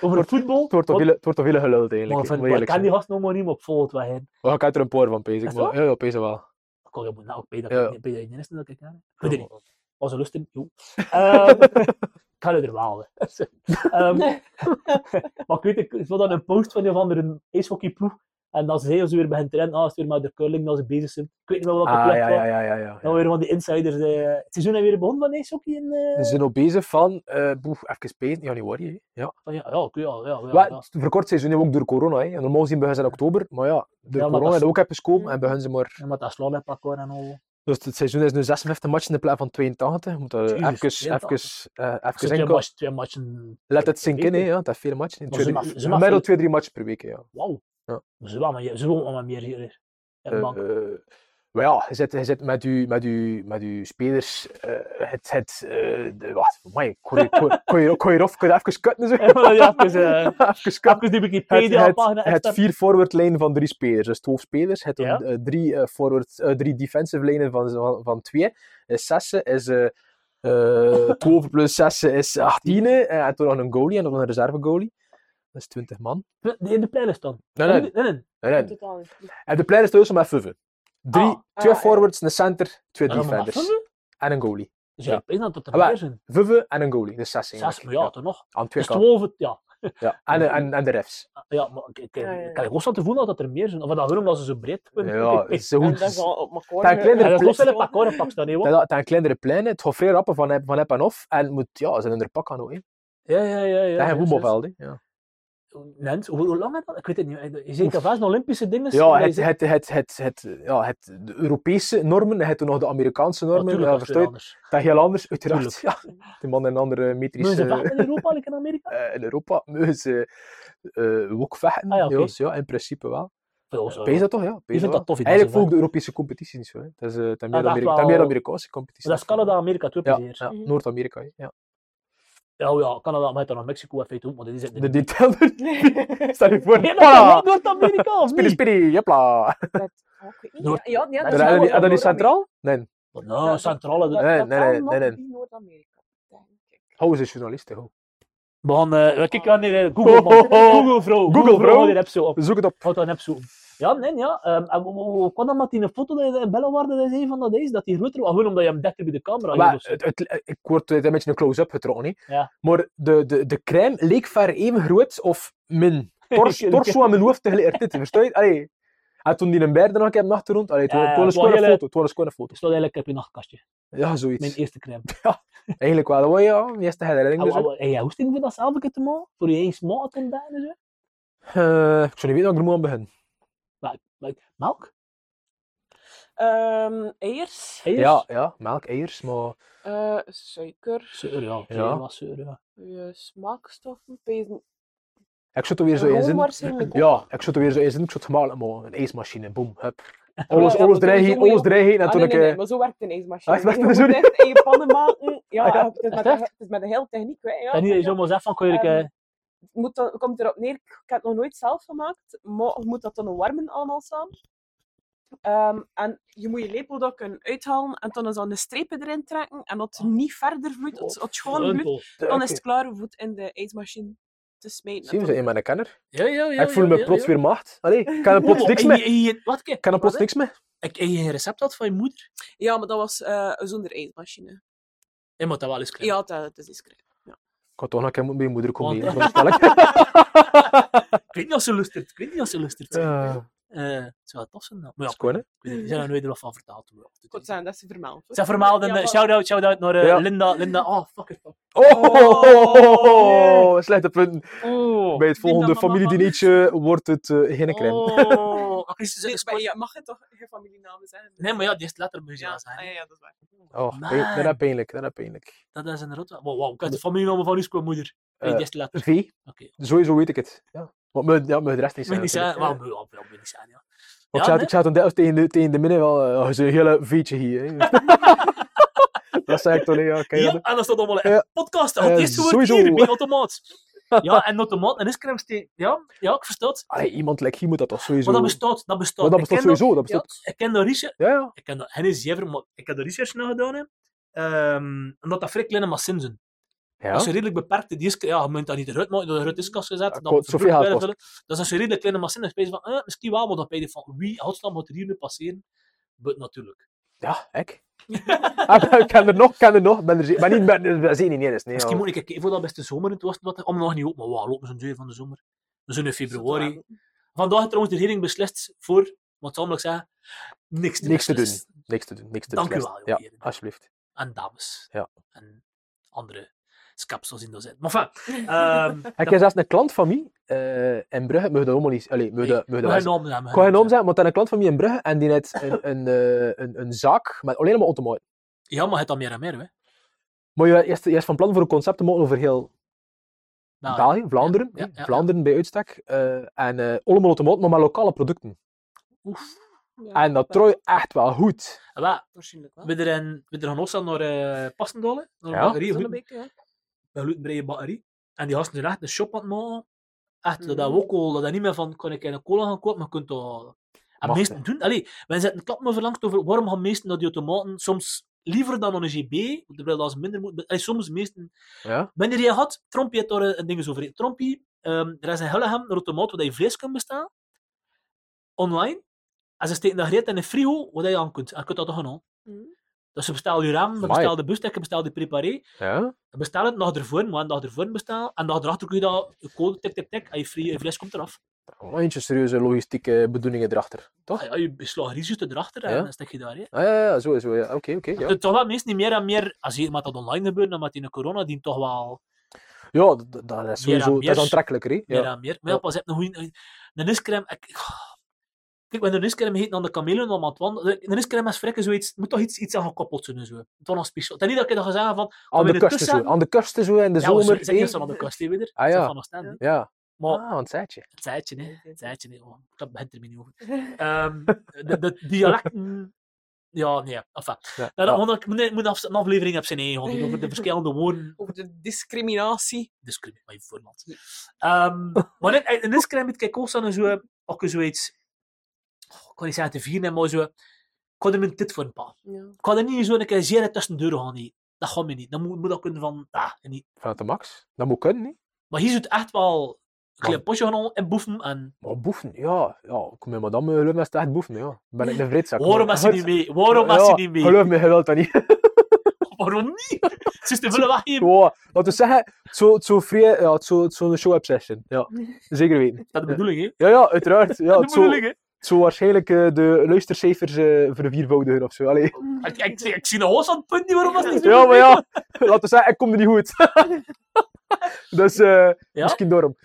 Over het voetbal.
Het wordt toch
want-
veel- het wordt toch veel geluld
maar
eigenlijk.
ik
hè, moet
vind- maar ik
eerlijk
kan
zijn.
die gast nog maar niet meer op volgend weg heen.
Maar Ik heb er een paar van bezig.
Echt
maar-
waar?
Ja, ja, bezig wel.
Ik kan je nou ook bij dat
Ja.
ik bij dat ik niet dat ik aan. Ik weet het niet. was een lust in. joh. Ehm, ik ga nu er wel. hè. Ehm, maar ik weet, ik ik zag dan een post van een of andere ijshockeyploeg. En dan zei ze weer bij hen trainen, ah, is het weer maar de curling, dat ze bezig zijn. Ik weet niet wel wat de
Ah,
club
ja,
was.
ja, ja, ja. ja.
Dan weer van die insiders. eh, het seizoen is weer begonnen van ijshockey in... eh,
Ze zijn nog bezig van, eh boef, even spelen, januari. hè. Ja.
van, ja, ja, oké, ja, ja, ja,
Wel,
ja.
het verkort seizoen ook door corona. Hè. En normaal gezien beginnen ze in oktober, maar ja, door
maar
corona
dat is-
is ook even komen en beginnen ze maar...
En met dat slalompak hoor en al.
Dus het seizoen is nu 56 matchen in plaats van 82. Je Moet dat even,
Jezus,
even,
82.
eh, even
Zo twee,
inkomen.
matchen, twee matchen.
Laat het zinken, hè.
weken.
Ja. Dat is veel matchen.
Maar ze
Twee,
mag-
drie-
ze mag
Gemiddeld
veel-
twee, drie matchen per week, ja.
Wauw.
Ja.
Ze wonen ze wonen maar meer hier. hier. In de
Eh,
bank.
eh, maar ja, je zit, je zit met, uw, met, uw, met uw spelers. eh, het, het, eh de, wacht, amai, kon je, kon, kon je, kon je eraf- kon je even kutten? Zo?
En dan ja, even, eh,
even kutten.
even
Het,
die
het,
Wikipedia-pagina
het vier forward lijn van drie spelers, dus 12 spelers. Het
Ja.
eh, drie, eh, forward, eh, drie defensive lijnen van, van, van twee. Eh, zessen is eh eh 12 plus 6 is 18. eh, en toen nog een goalie en nog een reserve goalie. Dat is 20 man.
In de playlist dan.
Nee, nee,
nee, nee.
nee,
In
nee.
totaal.
En de plein is thuis met Fuffen. Drie,
Ah,
twee
ah, ja.
forwards, een center, twee
Ja, maar maar
defenders.
Fussen?
En een goalie.
Dus
Ja.
ik weet dat het er
Ah, wel.
meer zijn.
Vuve en een goalie. Dus zes
Zes,
eigenlijk.
maar ja, toch nog.
Aan twee
Dus
kanten.
twaalf, ja.
Ja. En, de- en, en de refs.
Ja, maar ik, ik,
Ja, ja,
ik kan ook staan te voelen dat er meer zijn. Of dat waarom dat ze zo breed kunnen.
Ja,
Ik- ik-
zo
En
goed.
dat is
Het
al op elkaar.
Daar kleine
Ja,
plek-
dat klopt wel een pak hoor, een pak staan, hè, hoor.
zijn- het zijn kleinere pleinen. Het gaat vrij rappen van heb, van heb en of. En het moet, ja, ze zijn onder pak aan ook. hè.
Ja, ja, ja. ja
Dat zijn
juist, juist.
voetbalvelden. hè. Ja,
Nens, hoe, hoe lang is dat? Ik weet het niet. Je ziet dat vaak een Olympische dingen.
ja,
dat
het,
is-
het, het, het, het, ja, het, de Europese normen. Het toen nog de Amerikaanse normen.
natuurlijk
Ja,
was het weer
verstuit.
anders.
Dat is heel anders, uiteraard. Ja, die eh, man in een andere
Moeten ze
metrische...
vechten in Europa, like in Amerika?
eh, in Europa mogen ze eh, ook vechten.
Ah, ja, oké.
ja, dus ja, in principe wel.
Veel zo.
Pees dat toch, ja. Pees
vindt dat
wel.
tof, die
Eigenlijk
dansen,
volgt de Europese competitie niet zo. Hè. Dat is, eh, ten meer,
dat is
Amerika- ten
wel-
meer Amerikaanse competitie.
Dat is Canada, Amerika, toch?
Ja,
precies.
ja,
Mhm.
Noord-Amerika. hè. Ja.
Ja, oh ja, Canada, maar het dan nog Mexico en feite ook, maar die zitten
De detailer. Stel je voor.
Nee,
Voilà.
dat wordt Amerika of
Spiri,
niet?
spiri, jepla.
Ja,
Noord-
ja, ja,
Daar
En
dat is
dan-
hebben
wel
en dan
wat
is centraal? Nee,
Maar
Ja,
nou,
dat-
centrale.
Dat-
de-
Nee,
dat
nee,
kan
nee,
nog
nee, nee.
niet Noord-Amerika, denk ik.
houden ze journalisten. Ho.
We gaan, eh, kijk aan hier, eh, Google, man.
Ho, ho, ho.
Google, vrouw.
Google,
Google,
vrouw.
vrouw. Die heb zo op.
Zoek het op.
Houd dat heb zo op. Ja, nee, ja. ehm, en hoe- hoe hoe kwam dat met die foto dat je in Bellewaarde dat zei van dat is? Dat die groter was? Gewoon omdat je hem dichter bij de camera
Maar
hield of zo.
het, het- ik word eh, een beetje een close-up getrokken. hè.
Ja.
Maar de, de, de crème leek ver even groot of min. Tors, torso en mijn hoofd tegelijkertijd. Versta je? Allee. En toen die een beer er nog een keer op de achtergrond. Allee, het
Ja,
wa- het
ja,
was een
het was
schone
heel, eh,
foto. Het was een schone foto.
Ik stond eigenlijk op je nachtkastje.
Ja,
Mijn
zoiets.
eerste crème.
Eigenlijk wel. hoor, Ja, eerste herinnering. dus, hè.
En jij hoest voor dat zelf een keer te maken? Voor je eigen smaak te ontdekken en zo?
Eh, ik zou niet weten waar ik er moet aan beginnen.
Like, melk?
Ehm, eiers,
Eiers?
Ja, ja, melk, eiers, maar
eh, suiker,
Zeur, ja.
Ja.
Ja. Wat zeur, ja.
eh, smaakstoffen, pezen.
ik zou er weer zo in zin.
Roomwaarschijnlijk ook.
Ja, ik zou er weer zo in zin. Ik zou het gemakkelijk maken. Een ijsmachine, boom, hup.
maar
Alles, alles
ja, maar dat is
dreig,
zo
alles
moeilijk.
dreig. En
Ah,
toen
nee,
ik...
nee, nee,
eh,
maar zo werkt een ijsmachine.
Ah, echt?
Je moet
Sorry.
echt eigen pannen maken. Ja,
Ah, ja.
het is met,
Echt, echt?
het is met een hele techniek. Hè, ja. Ehm,
En nu is zomaar zeggen van, kun je een keer-
moet dan, komt erop neer, ik heb het nog nooit zelf gemaakt, maar je moet dat dan warmen allemaal samen. Ehm, en je moet je lepel dan kunnen uithalen en dan dan de strepen erin trekken en
Ah.
dat het niet verder vloeit, dat
Oh,
het schoon vloeit, dan is het klaar om het in de ijsmachine te smijten.
Zie je, we zijn in mijn kenner.
Ja, ja, ja.
ik voel
ja,
me
ja,
plots
ja.
weer macht. Allee, ik kan er plots
Oh,
niks
en
mee.
je- en je- Wat?
Ik kan er plots
Wat,
niks mee.
Ik en je geen recept had van je moeder?
Ja, maar dat was eh, zonder ijsmachine.
Je moet dat wel eens krijgen.
Ja, dat, dat is discreet.
Ik had toch nog een keer moeten bij je moeder komen
Want-
eten, veronderstel ik.
Ik weet niet als ze lustert. Ik weet niet als ze lustert. Eh
Eh,
het zou wel tof zijn. dan. Maar
dat
ja,
is goed, hè.
ik weet niet, we zijn er nooit nog van vertaald. maar ja, het is-
Goed zijn, dat is vermeld.
Zijn vermaal, dan, eh,
Ja, voilà.
shout-out, shout-out naar eh,
Ja.
Linda, Linda, oh, fuck it, fuck.
Oh,
Oh,
slechte punten.
Oh,
Bij het
Ik denk
volgende
dat mama-
familiedineetje wordt het eh geen crème.
Oh, ach, is- is-
Nee,
is-
maar je mag het toch geen familienamen zijn?
Nee, maar ja, die is letter moet je
ja,
zelf zijn.
ah, ja, ja, dat is waar.
Oh,
Man.
pijn- dat is pijnlijk, dat is pijnlijk.
Dat is een rot. Wow, wow, ik had de familienaam van uw moeder. Nee,
Eh,
die is letter.
V,
Oké.
sowieso weet ik het. Ja. Maar mijn, ja, mijn de rest niet
Moet
zijn.
niet zijn,
natuurlijk.
waarom
Ja.
moet je wel niet zijn, ja.
Want
Ja,
ik zat-
nee.
ik zat een deel tegen de, tegen de midden wel, eh, dat is een hele V'tje hier. hè. dat zei ik toch, nee, ja, kijk.
Ja,
dat-
en dat staat allemaal in.
Ja.
Podcast, dat had
Eh,
eerst gehoord
sowieso.
hier, bij automaat. Ja, en automaat en iskremsteen. Ja, ja, ik versta het.
Allee, iemand like hier moet dat toch sowieso...
Maar dat bestaat, dat bestaat.
Maar dat
Ik
bestaat
ken dat-
sowieso, dat bestaat.
Ik ken dat research,
Ja, ja.
ik ken dat, hen is jever, maar ik heb de research nog gedaan, hè. Ehm, omdat dat vrij kleine machines zijn.
Ja,
Dat is een redelijk beperkte disk. Ja, je moet dat niet eruit maken, door de rutistkast gezet.
Ja,
dan
kost
vervoer je
zoveel
het
geld
verder. Dat is een redelijk kleine machine. Dan spijt je van, eh, misschien wel, maar dan ben je van, wie, godsnaam, moet er hier nu passeren? But natuurlijk.
ja ik. Ah, ik ken er nog, ik ken er nog. Ik Ben er, ze- ben niet, ben, ben zeker niet in eerst, nee.
misschien
ja.
moet ik een keer voor dat beste zomer in het was, wat om nog niet op, maar wauw, lopen ze een deur van de zomer. We zijn in februari. Vandaag heeft trouwens de regering beslist voor, wat zal ik zeggen, niks te,
Niks te doen.
beslissen.
Niks te doen, niks te
Dank u
beslissen.
wel,
Ja,
jongen.
alsjeblieft.
En dames.
Ja.
En andere skapsels in dat zin. Maar enfin, ehm,
Ik heb zelfs een klant van mij eh, in Brugge, mag je dat helemaal niet... Allee, mag je
nee,
dat- mag je
we
dat
gaan
wijzen?
een naam zeggen, we
Ik kan
gaan
geen naam
een naam zeggen.
zeggen, want dan een klant van mij in Brugge en die net een, een, eh, een, een zaak met alleen maar automaten.
eh, Ja, maar het dan meer en meer, hè.
Maar je is, je is van plan voor een concept te maken over heel
Nou,
Italië, Vlaanderen,
ja,
hè,
ja, ja.
Vlaanderen bij uitstek. eh, en eh, allemaal automaten, maar met lokale producten.
Oef. Ah,
Ja,
En dat trooi echt wel goed.
Wel,
waarschijnlijk wel.
We er een- we er gaan opstaan naar eh Passendalen, naar een
Ja.
bakkerie, een
Zonnebeke, ja.
glutenvrije bakkerie. En die gasten zijn echt een shop aan het maken. Echt, dat dat
Mhm.
ook al, dat dat niet meer van, kan ik een cola gaan kopen, maar je kunt dat... En
Mag,
meesten
hè.
doen, allee, wij zetten klap me verlangd over waarom gaan meesten naar die automaten soms liever dan aan een GB, terwijl dat ze minder moeten... Allee, soms meesten...
Ja?
Wanneer je had, Trompie heeft daar een ding over. Trompie, ehm er is in Hellegem een automaat waar je vlees kunt bestellen. Online. En ze steken dat gereed in een frigo waar je aan kunt. En je kunt dat toch gaan halen.
Hm.
Mhm.
Dus ze bestel je ramen, je
Amai.
bestel de bustekken, bestel de preparé.
Ja?
Je bestel het, dag ervoor, maar een dag ervoor bestel. En dag erachter kun je dat, je code, tik, tik, tik, en je, free, je vlees komt eraf.
Wel Eentje serieuze logistieke bedoelingen erachter, toch?
Ah Ja, je beslag risico's erachter en
Ja.
dan stek je daar. Hè.
Ah, ja, ja, zo, zo, ja. Oké, oké. ja.
Dus Toch wel mensen niet meer en meer, als je met dat online gebeurt, dan met die corona, die toch wel
ja, dat- dat, dat is sowieso, dat
meer.
is aantrekkelijker, hè?
meer
Ja.
en meer. Maar ja,
Ja.
pas heb een goeie... Een iscrème... Ik... Kijk, met een iscrème heet dan de kamelen om aan het wandelen. Een iscrème is frikken zoiets... er moet toch iets, iets aan gekoppeld zijn en zo. Het was nog speciaal. Het is niet dat ik dat ga zeggen van...
Aan de
we in de
kusten zo,
tussen-
aan de kusten zo, in de
ja, we
zomer.
zijn
hè.
eerst aan de kast, hè, weer.
Ah,
Zijn
ja.
Van Oostende.
Ja.
Ja.
Maar
Ah, want zei het je.
het zeitje, hè. Het zeitje, hè. Oh, ik heb- begint er me niet over. Ehm, de, de dialecten... Ja, nee. Enfin,
Ja.
nou, dat
Ah,
moet ik moet een- moet een afs- een aflevering op zijn eigen gaan doen, over de verschillende woorden.
Over de discriminatie.
Dus ik weet mijn voorland. Ehm, maar net, en is krijg ik kijk ook zo'n zo, ook zoiets, oh, ik kan niet zeggen te vieren, maar zo, ik had er mijn tit voor een pa.
Ja.
Ik had er niet zo een keer zeer tussen de deur gaan, nee. Dat gaat me niet. Dan moet, moet dat kunnen van, ah, niet.
Vanuit de max. Dat moet kunnen, niet?
Maar hier zit echt wel een klein potje gaan halen en boeven en
Maar boefen, ja. ja ik kom met madame, eh, geloof me, is het echt boeven, ja. Ben ik een vreedzak.
waarom
maar-
is ze niet mee? Waarom is ze
Ja,
niet mee?
Geloof me, geloof dat niet.
Waarom niet? Ze is te veel weggeven.
Wow, laten we zeggen, het zo, het zo vrij, ja, het zo, het zo'n show-obsession. Ja, zeker weten.
Dat is de bedoeling, hè?
Ja, ja, uiteraard. Ja,
Dat
het
is
zo,
de bedoeling, hè?
het zo waarschijnlijk eh, de luistercijfers eh verviervoudigen of zo. Allee.
Hm.
Ik, ik, ik, zie een hoos aan het punt, niet, waarom was het niet
Ja, maar ja, laten we zeggen, ik kom er niet goed. dus eh,
Ja?
misschien daarom.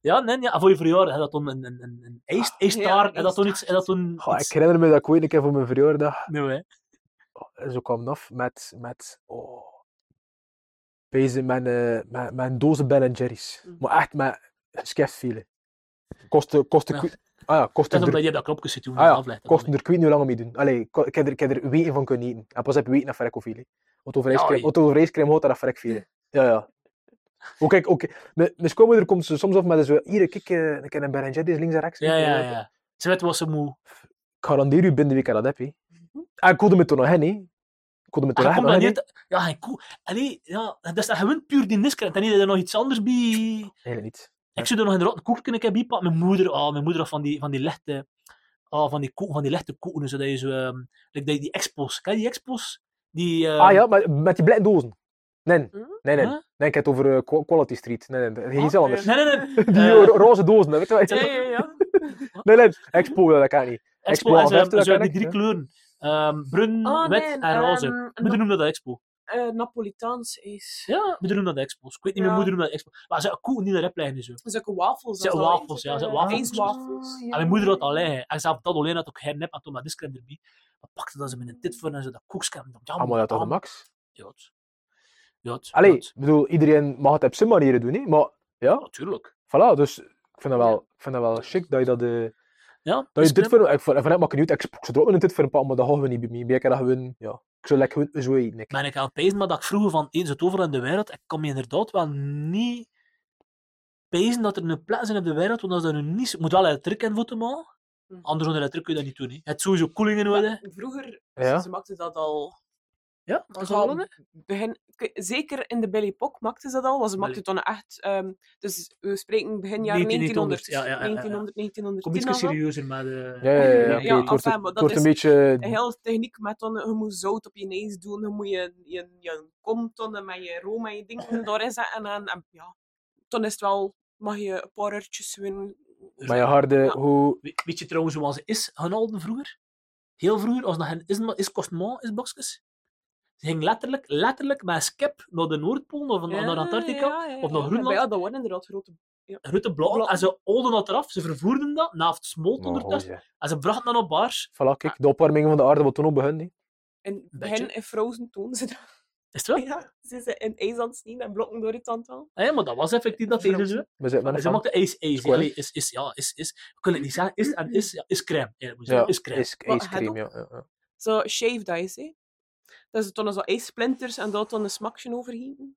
Ja, nee, ja. En voor je verjaardag, hè, dat toen een, een, een, een ijs- ijstaart, en dat toen iets... En dat toen
Ah, Goh,
iets-
ik herinner me dat ik ooit een keer voor mijn verjaardag
Nee, hè.
eh, zo kwam af met, met oh, bezig met, eh, met, met een dozen Ben Jerry's.
Mhm.
Mm.
Maar echt met geschift vielen. Kostte, kostte,
Ja.
koe- ah ja, kostte
Dat is
er
omdat je dat knopje zit toen.
Ah ja,
aflegt, dat
kosten
dan
er kwijt niet hoe lang om mee doen. Allee, ik, ik, heb er, ik heb er weten van kunnen eten. En pas heb ik weten dat verrek hoeveel. hè. Want over
Ja,
ijscream,
je-
want over ijscream houdt dat dat verrek veel. hè. Ja, ja. Ook kijk, ook, mijn, mijn schoonmoeder komt zo soms af met zo, hier, kijk, eh, ik heb een berenjet, die is links en rechts. Eh,
Ja, ja, ja. Ze weet wat ze moe. Ah,
Ik garandeer u binnen de week dat heb je.
Mhm.
En ik hoorde me toen nog hen, hè. Ik hoorde me toen
Hij
nog
komt
hen,
dan
hè.
niet. Ja, hij koe. Allee, ja, dat is dat gewoon puur die niskant. En niet dat er nog iets anders bij.
Helemaal niet.
Ik zou er nog een rotten koek kunnen bij pakken. Mijn moeder, ah, mijn moeder had van die, van die lichte, ah, van die koeken, van die lichte koeken, zodat je zo, ehm, like die, die expos, ken je die expos? Die, ehm,
Ah ja, maar met die blauwe dozen. Nee, nee,
Hm?
nee.
Huh?
Nee, ik heb het over eh, Qua- Quality Street. Nee, nee, dat is iets
Oké.
anders.
Nee, nee, nee.
Die
eh,
ro- roze dozen, dat weet je
Ja,
wel.
ja, ja.
Nee, nee, Expo, dat kan niet.
Expo, en
Expo
zo, hebben-
58,
zo hebben
dat
die drie
ken
kleuren. Ehm, brun,
Oh,
wit
nee,
en roze.
ehm, een
Moeder noemt dat expo.
Na- eh, Napolitaans is.
Ja, moeder noemt dat expo. Ik weet niet meer,
Ja.
moeder noemt dat expo. Maar ze koeken die erop liggen en zo.
Zulke wafels.
Zulke wafels, ja, zulke wafels.
wafels.
En mijn moeder had alleen. En ze had dat alleen had ook hernep en toen dat discrem erbij. Maar pakte dat ze met een tit voor en ze dat koekskrem.
Ah, maar dat is de max.
Ja. het- Ja. het-
Allee,
ja,
ik
het-
bedoel, iedereen mag het op zijn manieren doen, hè. Maar,
ja,
ja,
Natuurlijk.
voilà. Dus ik vind dat wel, ik vind dat wel chic dat je dat... eh,
Ja,
Dat je dit
discrem.
voor... Ik vind het makkelijk uit. Ik zou er ook een dit voor een paar, maar dat gaan we niet bij mij. Bij elkaar dat gewoon... Ja. Ik zou lekker gewoon zo eten, ik.
Ben ik aan het pijzen, maar dat ik vroeger van eens het overal in de wereld, ik kan me inderdaad wel niet pijzen dat er een plaats is op de wereld, want dat is er nu niet... Je moet wel elektriek in voeten maken,
Mhm.
anders zonder elektriek kun je dat niet doen. hè. Je hebt sowieso koeling nodig.
Vroeger,
Ja.
ze maakten dat al.
Ja,
dat begin, k- zeker in de Billy Pok maakten ze dat al, want ze maakten toen echt. ehm, dus we spreken begin jaren
1900,
1900,
ja, ja, ja, ja.
1900, 1910.
Kom iets
al wel.
serieuzer met... de.
Ja, ja, ja.
Ja,
ja, oké, het wordt,
enfin, maar
het
dat
wordt een
is
beetje...
Een hele techniek met dan, je moet zout op je neus doen, je moet je, je, je kom tonnen met je room en je dingen doorheen zetten. En, en ja, toen is het wel, mag je een paar uurtjes winnen.
Maar je harde...
Ja.
Hoe...
We- Weet je trouwens hoe ze is gaan halen vroeger? Heel vroeger, als dat hen is, is kostmaal is boxjes. Ze ging letterlijk, letterlijk met een skip naar de Noordpool of naar, naar Antarctica. of naar Groenland.
Ja, dat worden inderdaad grote...
Grote bladen.
Bladen.
En ze olden dat eraf. Ze vervoerden dat. Na het smolt
Nou,
ondertussen.
goeie.
En ze brachten dat op baars.
Voilà, kijk. De opwarming van de aarde wordt toen ook begonnen, hè.
In het
Beetje.
begin in Frozen toen ze dat.
Is het wel?
Ja, ze zijn in IJsland zien en blokken door het aantal.
Ja, maar dat was effectief dat
Verrot.
deden ze.
We zitten met
Ze
een fan.
maakten ijs, ijs.
Square.
Allee, is, is, ja, is, is. Ik kan het niet zeggen. Is en is, ja, is crème. eigenlijk moet je
Ja,
zeggen. is crème.
ice,
Maar
ice
het
cream,
ook.
ja. ja, ja.
Zo shaved ice, hè. Dat ze toen zo ijsplinters en dat dan een smakje
je
overgieten.
dat?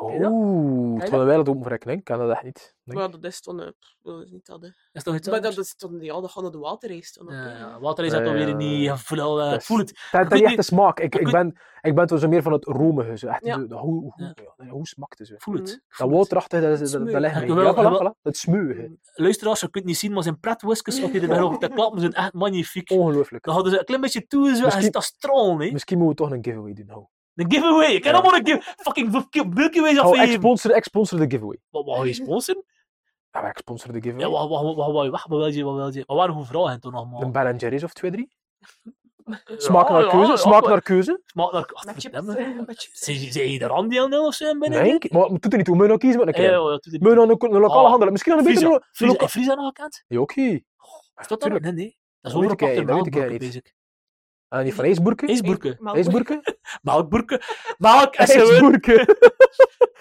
Oeh,
Ken
Oh, het
je
was een wereld open voor ik, nee. Ik kan dat echt niet. Nee.
Maar dat is toen... eh, pff, Dat is niet dat, hè.
Is toch iets
Maar dat
anders?
is toen... Ja, dat gaat naar de waterreis toen. op,
Ja,
hè.
ja, water is dat
Ja,
dan
ja,
weer niet.
ja.
Ik voel, eh,
Dat is-
voel het.
Dat dat
Ik weet
is echt
niet-
de smaak. Ik,
ik
ik,
weet-
ben, ik ben toch zo meer van het romige. Zo. Echt,
Ja.
de- de- hoe, hoe,
Ja.
ja, hoe smaakt het zo?
Voel het.
Mhm.
ik voel
Mm. Dat
het.
waterachtig, dat, is-
Het
dat, dat,
smeuïge.
ligt mee.
Ja,
Ja,
wel- wel-
voilà, voilà. Het smeuïge.
luisteraars, je kunt niet zien, maar zijn pretwhiskers op je er nog te klappen zijn echt magnifiek.
Ongelooflijk.
Dan hadden ze een klein beetje toe en zo, en
Oh. Misschien-
is dat strol, hè?
Misschien moeten we toch een giveaway doen. Nou.
Een giveaway! Ik kan
Ja.
allemaal een give- fucking give- giveaways
Oh, ik,
afgeven!
sponsor, ik sponsor de giveaway.
Wat wou je sponsoren?
Ja, maar ik sponsor de
Ja,
giveaway.
wat wat- wat- wat wou je weg? Wat wil je? Wat wil je? Wat waren hoe vragen toen
Een
allemaal?
Ben Jerry's of twee, drie.
Ja,
Smaak naar
ja,
keuze.
ja,
smaak
ja.
naar keuze.
Smaak naar... Ach,
Met chips.
verdomme.
Met chips.
Zijn zijn je er aan deel nul of zo in binnen?
Nee, maar maar het doet er niet toe. Moet je nog kiezen met een
Ja, ja,
crème?
ja, doe dit
Moet je
niet.
nog een, een lokale
Ah,
handelaar? Misschien nog een
Friese-
betere... lo-
Friese-
loka-
en Friese eh, nog gekend?
Ja, oké.
Is dat dan?
tuurlijk.
Nee, nee.
Dat
Dat is
weet
overal
ik eigenlijk-
pakter
dat weet ik
melkboerken
eigenlijk niet.
bezig.
En die van ijsboerken?
Ijsboerken.
Maar-
Ijsboerken?
Melkboerken. Melk is gewoon...
Ijsboerken.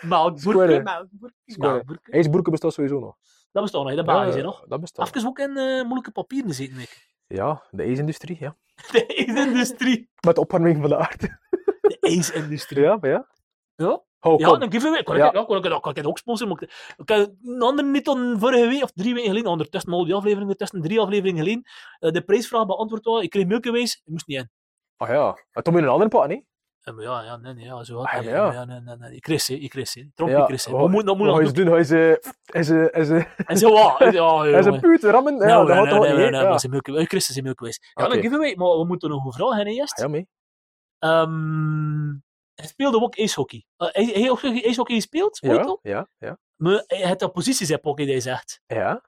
Melkboerken.
Square.
Maar-
Square.
Melkboerken.
Ijsboerken bestaat sowieso nog.
Dat bestaat nog, hè, dat
Ja,
België nog.
Dat bestaat.
Even ook in eh, moeilijke papieren zitten, ik.
Ja, de ijsindustrie, ja.
De ijsindustrie.
Met de opwarming van de aarde.
De ijsindustrie.
Ja, maar ja.
Ja,
Hou,
ja
kom.
een giveaway. Kan ik,
Ja.
ja. kan ik, dat kan ik ook sponsoren. Maar ik, ik heb een andere niet dan vorige week of drie weken geleden, ondertussen al die afleveringen, tussen drie afleveringen geleden, eh, de prijsvraag beantwoord was. Ik kreeg milkwees, ik moest niet in.
Ah ja. Maar toen moet je een andere pak, nee?
Eh, maar ja, ja, nee, nee, ja, zo had
Ah,
hij.
ja,
ja,
ja.
maar ja, nee, nee, nee. Ik kreeg ze, ik kreeg ze. Tromp,
Ja,
ik kreeg ze.
wat-
Wat moet dat moet
Hoe ga je
nog
ze doen? Ga je ze... En ze... En ze...
En ze, wat? Ja, ja,
En ze
jongen.
puut rammen? Ja,
Nou,
dat
nee,
gaat
nee,
toch
nee,
niet,
nee,
hè?
nee,
Ja.
maar ze milkwees. Christus is milkwees. Ja,
Oké.
een giveaway, maar we moeten nog een vraag hebben eerst.
Ah, Ja, mee.
Ehm, hij speelde ook ijshockey. Eh, hij hij heeft ook ijshockey gespeeld, ooit
Ja,
al.
ja, ja.
Maar hij had dat posities heb ook, die hij zegt.
Ja.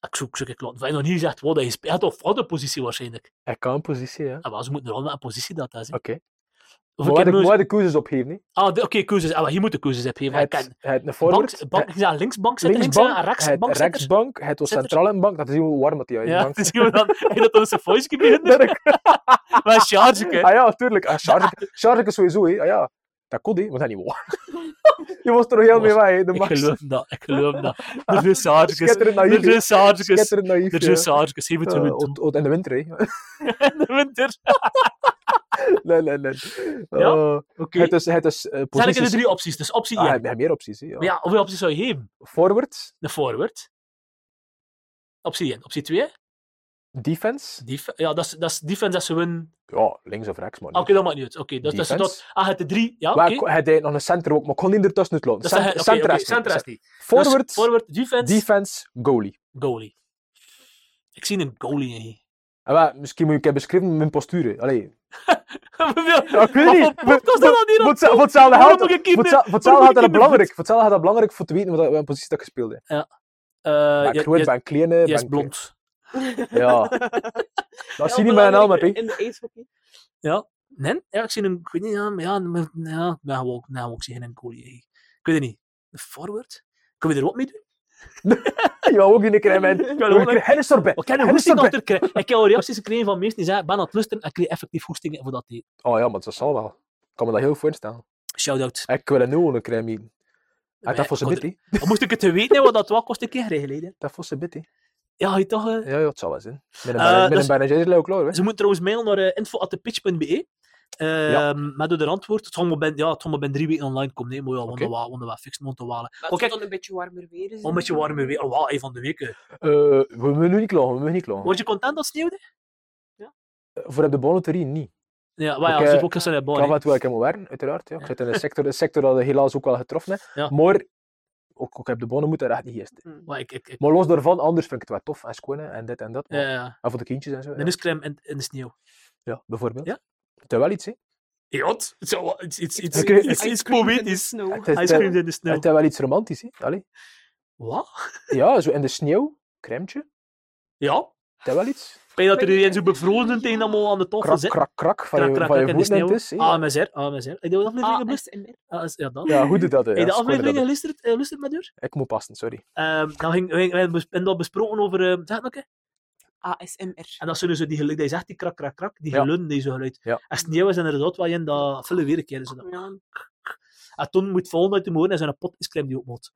Ik zoek zoek ik laat. Hij nog niet gezegd wat hij speelt. Hij had toch foute positie waarschijnlijk.
Ik kan een positie, ja.
Ah, maar ze moeten er al met een positie dat is. hè.
Oké.
Of
Maar
ik
waar
heb
de-
nu-
waar de keuzes opgeven, nee?
Ah, de- oké, keuzes. Ah, maar hier moet de keuzes hebben.
Hij
want
had-
ik
hij had een
kan
forward.
bank, bank,
hij-
ja, linksbank zetten,
Linksbank,
linksbank, en
hij had
rechtsbank zetten.
rechtsbank, hij had een
Zetter.
centrale bank. Dat is hoe warm dat hij uit
Ja,
bank.
dus je dan je dat onze voice gebeurt.
Dirk.
Maar charge ik.
Ah ja, tuurlijk. Ah, charge, charge is sowieso, hè. Ah ja. Dat kon, hè. Maar dat is niet waar. Je was er nog heel mee weg, hè. De
Ik
max.
geloof dat, ik geloof dat. Er zijn sargekes,
Schitterend naïef,
er
hè.
zijn sargekes,
Schitterend naïef. Eh,
er
ja.
zijn sargekes. Je moet het
Eh,
goed
ook-
doen.
ook in de winter, hè.
In de winter.
Nee, nee, nee.
Ja?
Oh.
Oké.
Het is, het is eh,
Dat zijn eigenlijk de
posities.
drie opties. Dus optie
Ah,
1.
je hebt meer opties. hè, Ja.
ja, hoeveel opties zou je geven?
Forward,
De forward. Optie 1. Optie 2.
defense.
Def ja, dat is, dat is defense dat ze winnen.
Ja, links of rechts, man.
Oké, dat maakt niet uit. Oké, dus dat ze
Defense.
tot... Ah, het de drie. Ja, oké. Dus
Maar hij deed nog een center ook, maar ik kon niet ertussen het lopen.
Dat zijn
Cent- Center is niet.
Centra is die. Dus
Forward,
forward, defense,
defense, goalie.
goalie. Ik zie een goalie in hier.
En Ah, wel, misschien moet ik even beschrijven mijn postuur. hè. Allee. Ja,
Wat
ik weet
voor
niet.
podcast is dat hier
Voor
aan?
hetzelfde- voor hetzelfde
Waarom
geld-
moet ik hier
voor
mee-
hetzelfde- voor hetzelfde
moet
gaat dat
ik hier mee
belangrijk. Voor hetzelfde gaat dat belangrijk voor te weten wat, wat positie dat ik gespeeld heb.
Eh,
Maar
ja,
ik groot,
ja,
ben klein, hè,
jij is
ben
blond.
klein. Ja. Dat zie je
Heel
niet met een helm,
belangrijk
hè.
In de ijshockey.
Nee, ja, ik zie een... Ik weet niet, ja, maar ja, maar- ja, nou, ook, nou, ook zie geen goalie. in. Ik weet het niet. De forward? Kunnen we er wat mee doen?
Ja, ook in de keer, man. Ik
wil ook nog-
sorbet.
Wat kan een
Hennis
hoesting
erbij.
achter krijgen? Ik heb al reacties gekregen van mensen die zeiden, ben aan het lusten en ik kreeg effectief hoestingen voor dat deed.
Oh ja, maar dat zal wel. Ik kan me dat heel goed voorstellen.
Shout-out.
Ik wil een nieuwe een crème eten. Ah, Dat voor zijn
kon
bit, hè.
Maar Moest ik het te weten hebben, wat dat wel kost een keer geleden.
Dat voor zijn bit, hè.
Ja, je toch... eh,
Ja, ja, het zal wel zijn. Met een
Eh,
bijna-
dat
met
is-
een bijna is het ook klaar, hè.
Ze moeten trouwens mailen naar eh, info.pitch.be. Ehm
Ja.
Maar door de antwoord, het zal maar ben, ja, het zal maar ben drie weken online komen. Nee, maar ja, want
Oké.
dat wa- want dat wa- fixen, want dat wa-
Maar
Oh,
het
kijk.
kan een beetje warmer weer. dus is
Al een beetje
het.
warmer weer. Oh, wauw, één van de weken.
Eh, We moeten nu niet klagen, we moeten niet klagen.
Word je content dat het sneeuwde?
Voor op de bonneterie niet.
Ja, maar ja,
Ik,
dat is
eh,
ook gisteren
Ik
bij
gaf het wel ik moet werken, uiteraard. Ja. Ik zit in een sector, een sector dat helaas ook wel getroffen is.
Ja.
Maar ook, ook heb de bonnen moeten er echt niet eerst.
Maar ik, ik, ik,
Maar los daarvan, anders vind ik het wel tof en schoon hè, en dit en dat. maar-
eh,
En voor de kindjes en zo.
de
Ja,
nuscrème in, in de sneeuw.
Ja, bijvoorbeeld.
Ja?
Het is wel iets, hè?
Jot, het is wel- het is- het is- het is-
Oké.
het is iets
Ice cream in de
poëtisch.
snow.
Het is,
Ice cream
wel-
in de sneeuw.
het is wel iets romantisch, hè? Allee.
Wat?
Ja, zo in de sneeuw, crèmetje.
Ja.
Het is wel iets.
Ben je dat er iedereen zo bevrozen tegen dat allemaal aan de tafel
Krak,
zit?
krak, krak van
Krak,
je,
krak,
van
krak
je
in de
voeten dus, en
sneeuw. Ah,
tussen. hè.
AMSR, AMSR. Heb je de aflevering
Ah,
geblust?
is in meer.
Ah, is- Ja, dat.
Ja, hoe doet dat? hè?
Heb je
Ja,
de
schoon dat
aflevering
dat.
geluisterd, eh, geluisterd met u?
Ik moet passen, sorry.
Ehm dan ging, we, we hebben bes- dat besproken over. eh, zeg het nog, hè?
ASMR.
En dat zullen ze die geluid, die zegt die krak, krak, krak, die
Ja.
geluiden, die zo geluid.
Ja.
Als het nieuw is, inderdaad, wat je in dat vullen weer een keer. Zo. dat.
Ja.
En toen moet volgende uit de morgen en zijn pot is klem die op moet.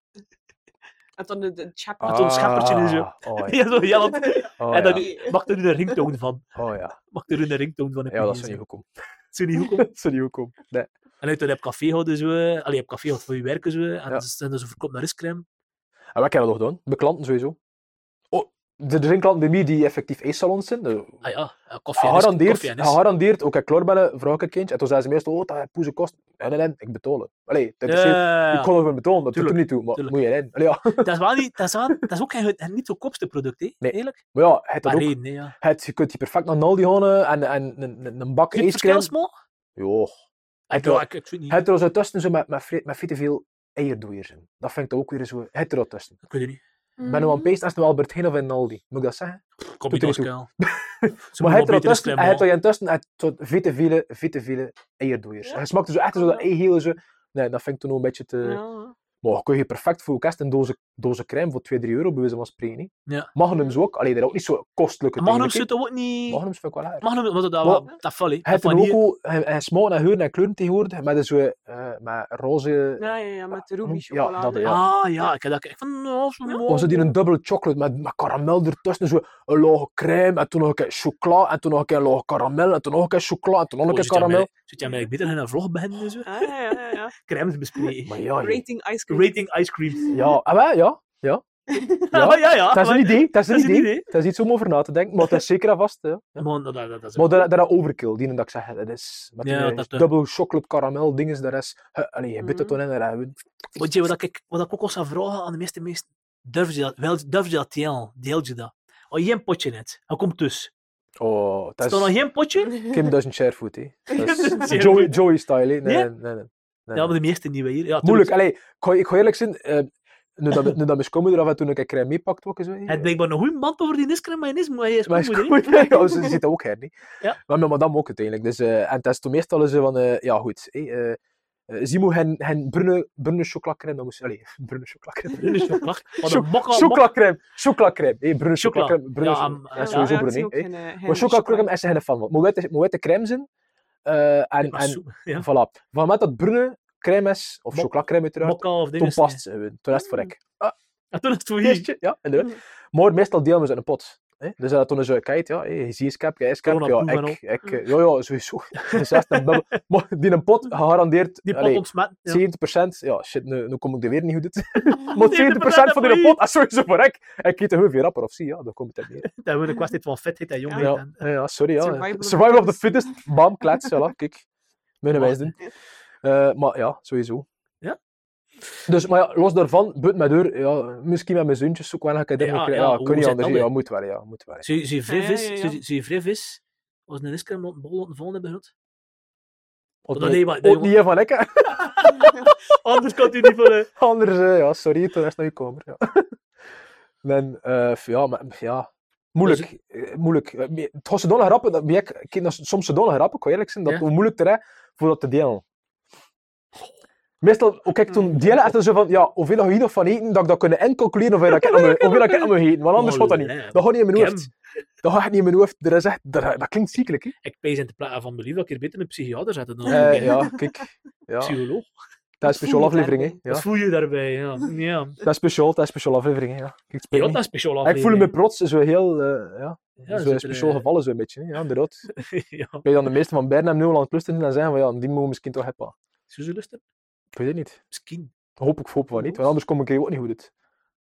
En dan de, de chap.
Ah. zo'n scheppertje en zo.
Oh ja.
Ja, zo, ja, want,
Oh,
en dan
ja.
maak er nu een ringtoon van.
Oh, ja.
Maak er nu een ringtoon van.
ja, dat zou niet goed komen.
zo niet goed.
Dat zou niet goed komen. Nee.
En uit dat heb café houden zo. Allee, je hebt café gehad voor je werken zo. En
Ja.
ze zijn dus verkoopt naar riscrème.
En wat kan dat nog doen? Bij klanten sowieso. Oh, er er zijn klanten bij mij die effectief ijssalons zijn. Dus
Ah ja, ja, koffie en is.
Gegarandeerd, Ah,
Koffie en is.
gegarandeerd, ook ik kloorbellen, vraag ik een kindje. En toen zei ze meestal, oh, dat heeft poeze kost. En nee, nee, ik betaal het. Allee, dat is
Ja,
Ik kon ervoor betalen, dat doet er
Tuurlijk,
niet toe, maar
tuurlijk.
moet je erin. Allee, ja.
dat is wel niet, dat is, wel, dat is ook geen, het niet het goedkoopste product, hè?
Nee.
Eerlijk.
Maar ja, het dat
Maar
ook.
reden, hè, ja.
Het, je kunt je perfect naar Naldi gaan eh, en, en een, een, een bak
Is het verschil
ijscream.
smal?
Jo.
Ik,
wel-
ja, ik, ik weet niet.
Het er zo tussen zo met, met, fri- met veel te veel eierdooiers in. Dat vind ik toch ook weer zo. Het er al tussen.
Ik weet het niet.
Mm.
Ik ben nu aan
Mhm.
het peest als het wel Albert Heijn of in Naldi. Moet ik dat zeggen?
Kom
Doet
niet
er
als
niet
kuil.
maar het er al tussen, en het er intussen, het tot veel te veel, veel te veel eierdooiers.
Ja.
En Het smaakt zo echt zo dat ei heel zo. Nee, dat vind ik toen ook een beetje te...
Ja.
Maar kun je perfect voor je kast een doze, doze crème voor 2-3 euro bij wijze van spreken. hè.
Ja.
Magnums ook. Allee, dat is ook niet zo kostelijk.
Magnum
uiteindelijk, hè.
zit ook niet...
Magnums vind ik wel lekker.
Magnum, want dat,
Wat?
wel- dat val, hè.
Hij
Dat
heeft een
vanille-
logo, hij, hij smaakt naar geuren en kleuren tegenwoordig, met zo, eh met roze...
Ja, ja, ja, met de
Ja,
ruby
dat,
chocolade.
ja.
Ah, ja, ik heb dat... Ik van, oh, zo mooi.
Oh, ze die een dubbele chocolate met, met karamel ertussen, zo een lage crème, en toen nog een keer chocola, en toen nog een keer lage karamel, en toen nog een keer chocola, en toen nog een
Oh,
keer
zit jij
karamel.
mij- Zit jij mij beter in een vlog beginnen en zo?
Ah, ja, ja, ja, ja.
Crèmes bespreken.
Maar ja, joh.
Rating ice cream.
Rating ice cream.
ja, ah, wel, ja. Ja.
Ah, ja, ja.
Dat is een
maar-
idee, dat is een idee.
idee.
Dat is iets om over na te denken, maar dat is zeker en vast. Ja.
Man, dat, dat, dat, dat is...
Maar dat, dat is overkill, die dat ik zeg, dat is met
Ja,
die
dat, eh. Mm.
dubbel chocolate karamel dinges, daar is, eh, allee, je bit het
Mhm.
toen in, daar hebben we-
Weet je wat ik, wat ik ook al zou vragen aan de meeste mensen? Durf je dat? Wel, durf je dat deel? Deel je dat? Oh, geen potje net. Dat komt dus.
Oh,
Is
dat
er nog
is
geen potje?
Kim doesn't share food, hè. Dat is
Doesn't share
Joey-
food.
Joey-style, hè. Nee,
Ja?
nee, nee, nee. nee.
Ja, maar de meeste niet hier. Ja, tuurlijk.
Moeilijk. Allee, ik ga, ik ga eerlijk zijn. eh, nu, dat, nu dat mijn schoonmoeder af en toe een keer crème meepakt, wat ik zo...
Hij had blijkbaar een goede band over die niskrem, maar hij is maar hij is
mijn
goed, hè?
schoonmoeder, ja, ze zit ook her, niet?
Ja.
Maar mijn madame ook uiteindelijk. Dus, eh, en het is toen meestal zo van, eh, ja goed, hey, eh, eh, ze moet hen, hen brune, brune chocolacrème, dat moest... Allee, brune chocolacrème.
Dit is zo'n klacht. Wat een
Choc-
mokka- mokka-
Chocolacrème, chocolacrème. Hey, brune
Chocola.
chocolacrème. Brune
Ja,
cho-
ehm,
ja,
eh,
sowieso
ja, dat
brune,
is
hè.
ook geen, eh, geen
Maar chocolacrème
chocolade.
is er geen fan van. Moet witte- Moet witte crème zijn. eh, en,
Maar
en
Ah, zo- Ja,
voilà. Van het moment dat brune crème is, of
Mok-
chocolacrème uiteraard,
mokka of
toen
dingen.
past ze. Toen is het voor ik.
En toen is het voor hier. Mm.
Feestje, ja, inderdaad. Maar meestal delen we ze in een pot. hè. Dus dat toen ze kijkt, ja, hey, zie je cap, jij is cap, ja,
Coronaproef en Mm.
ik, ik, eh, ja, ja, sowieso. Dat is echt een bubbel. Maar die een pot, gegarandeerd,
Die pot
allee,
ontsmet. Ja.
70%, ja, shit, nu, nu kom ik er weer niet goed uit. maar 70% van die pot, dat is sowieso voor ik. Ik eet een hoeveel rapper of zie, ja, daar komt het uit neer.
Dat wordt een kwestie van fitheid en jongheid.
Ja,
En,
ja, ja, sorry, ja.
Survival of the
Survival of the fittest, bam, klets, ja, kijk. Mijn wijs doen. Eh, maar ja, sowieso.
Ja.
Dus, maar ja, los daarvan, but met deur, ja, misschien met mijn zoontjes zoek wel een keer dingen
Ja,
krijgen.
ja,
Ja,
hoe
kun je
zit
anders,
dat
ja,
weer?
moet wel, ja, moet wel.
Zie zie je vrij
Ja,
vis?
ja, ja,
zie-
ja.
Zie je vrij vis? Was een iskram een bol laten vallen hebben gehad? Oh,
Ook
nee, maar- nee,
ook niet van lekker.
Anders kan het u niet van... eh,
Anders, eh, ja, sorry, toen is het naar je kamer. Ja. En, eh, f- ja, maar, ja, moeilijk.
Dus-
eh, moeilijk. Eh, me- Het was zodanig grappen, dat ben ik, ik ken dat soms zodanig grappen, ik wil eerlijk zijn, dat
Ja.
het moeilijk te rijden voor dat te delen. Meestal, ook ik
Hmm.
toen delen, echt zo van, ja, hoeveel ga je hier nog van eten, dat ik dat kunnen incalculeren, hoeveel dat ik aan mijn- hoeveel dat ik aan mijn eten, want anders gaat dat niet.
Olé,
Dat gaat niet in mijn
Kim,
hoofd. Dat gaat niet in mijn hoofd. Er is echt, dat, dat klinkt ziekelijk. Hè?
Ik pees in de plaats van belief dat ik hier beter een psychiater zet dan een
Eh, ja, kijk. Ja.
psycholoog.
Dat is speciaal aflevering. Hè?
Wat
Ja.
voel je daarbij? Ja, ja.
Dat is speciaal, dat is speciaal aflevering. Hè? Ja. Kijk, het
ja
spijt
dat
me.
is speciaal
ik voel me
aflevering.
trots, zo heel, eh, ja,
Ja,
zo
zit
een
er,
speciaal
eh,
gevallen zo een beetje. Hè? Ja, inderdaad.
ja,
Kijk, dan de meeste van Bernham nu al aan het plus zijn en zeggen van, ja, die mogen we misschien toch hebben.
Suzeluster?
Ik weet het niet.
Misschien.
Hoop ik, hoop van niet, want anders kom ik hier ook niet goed uit.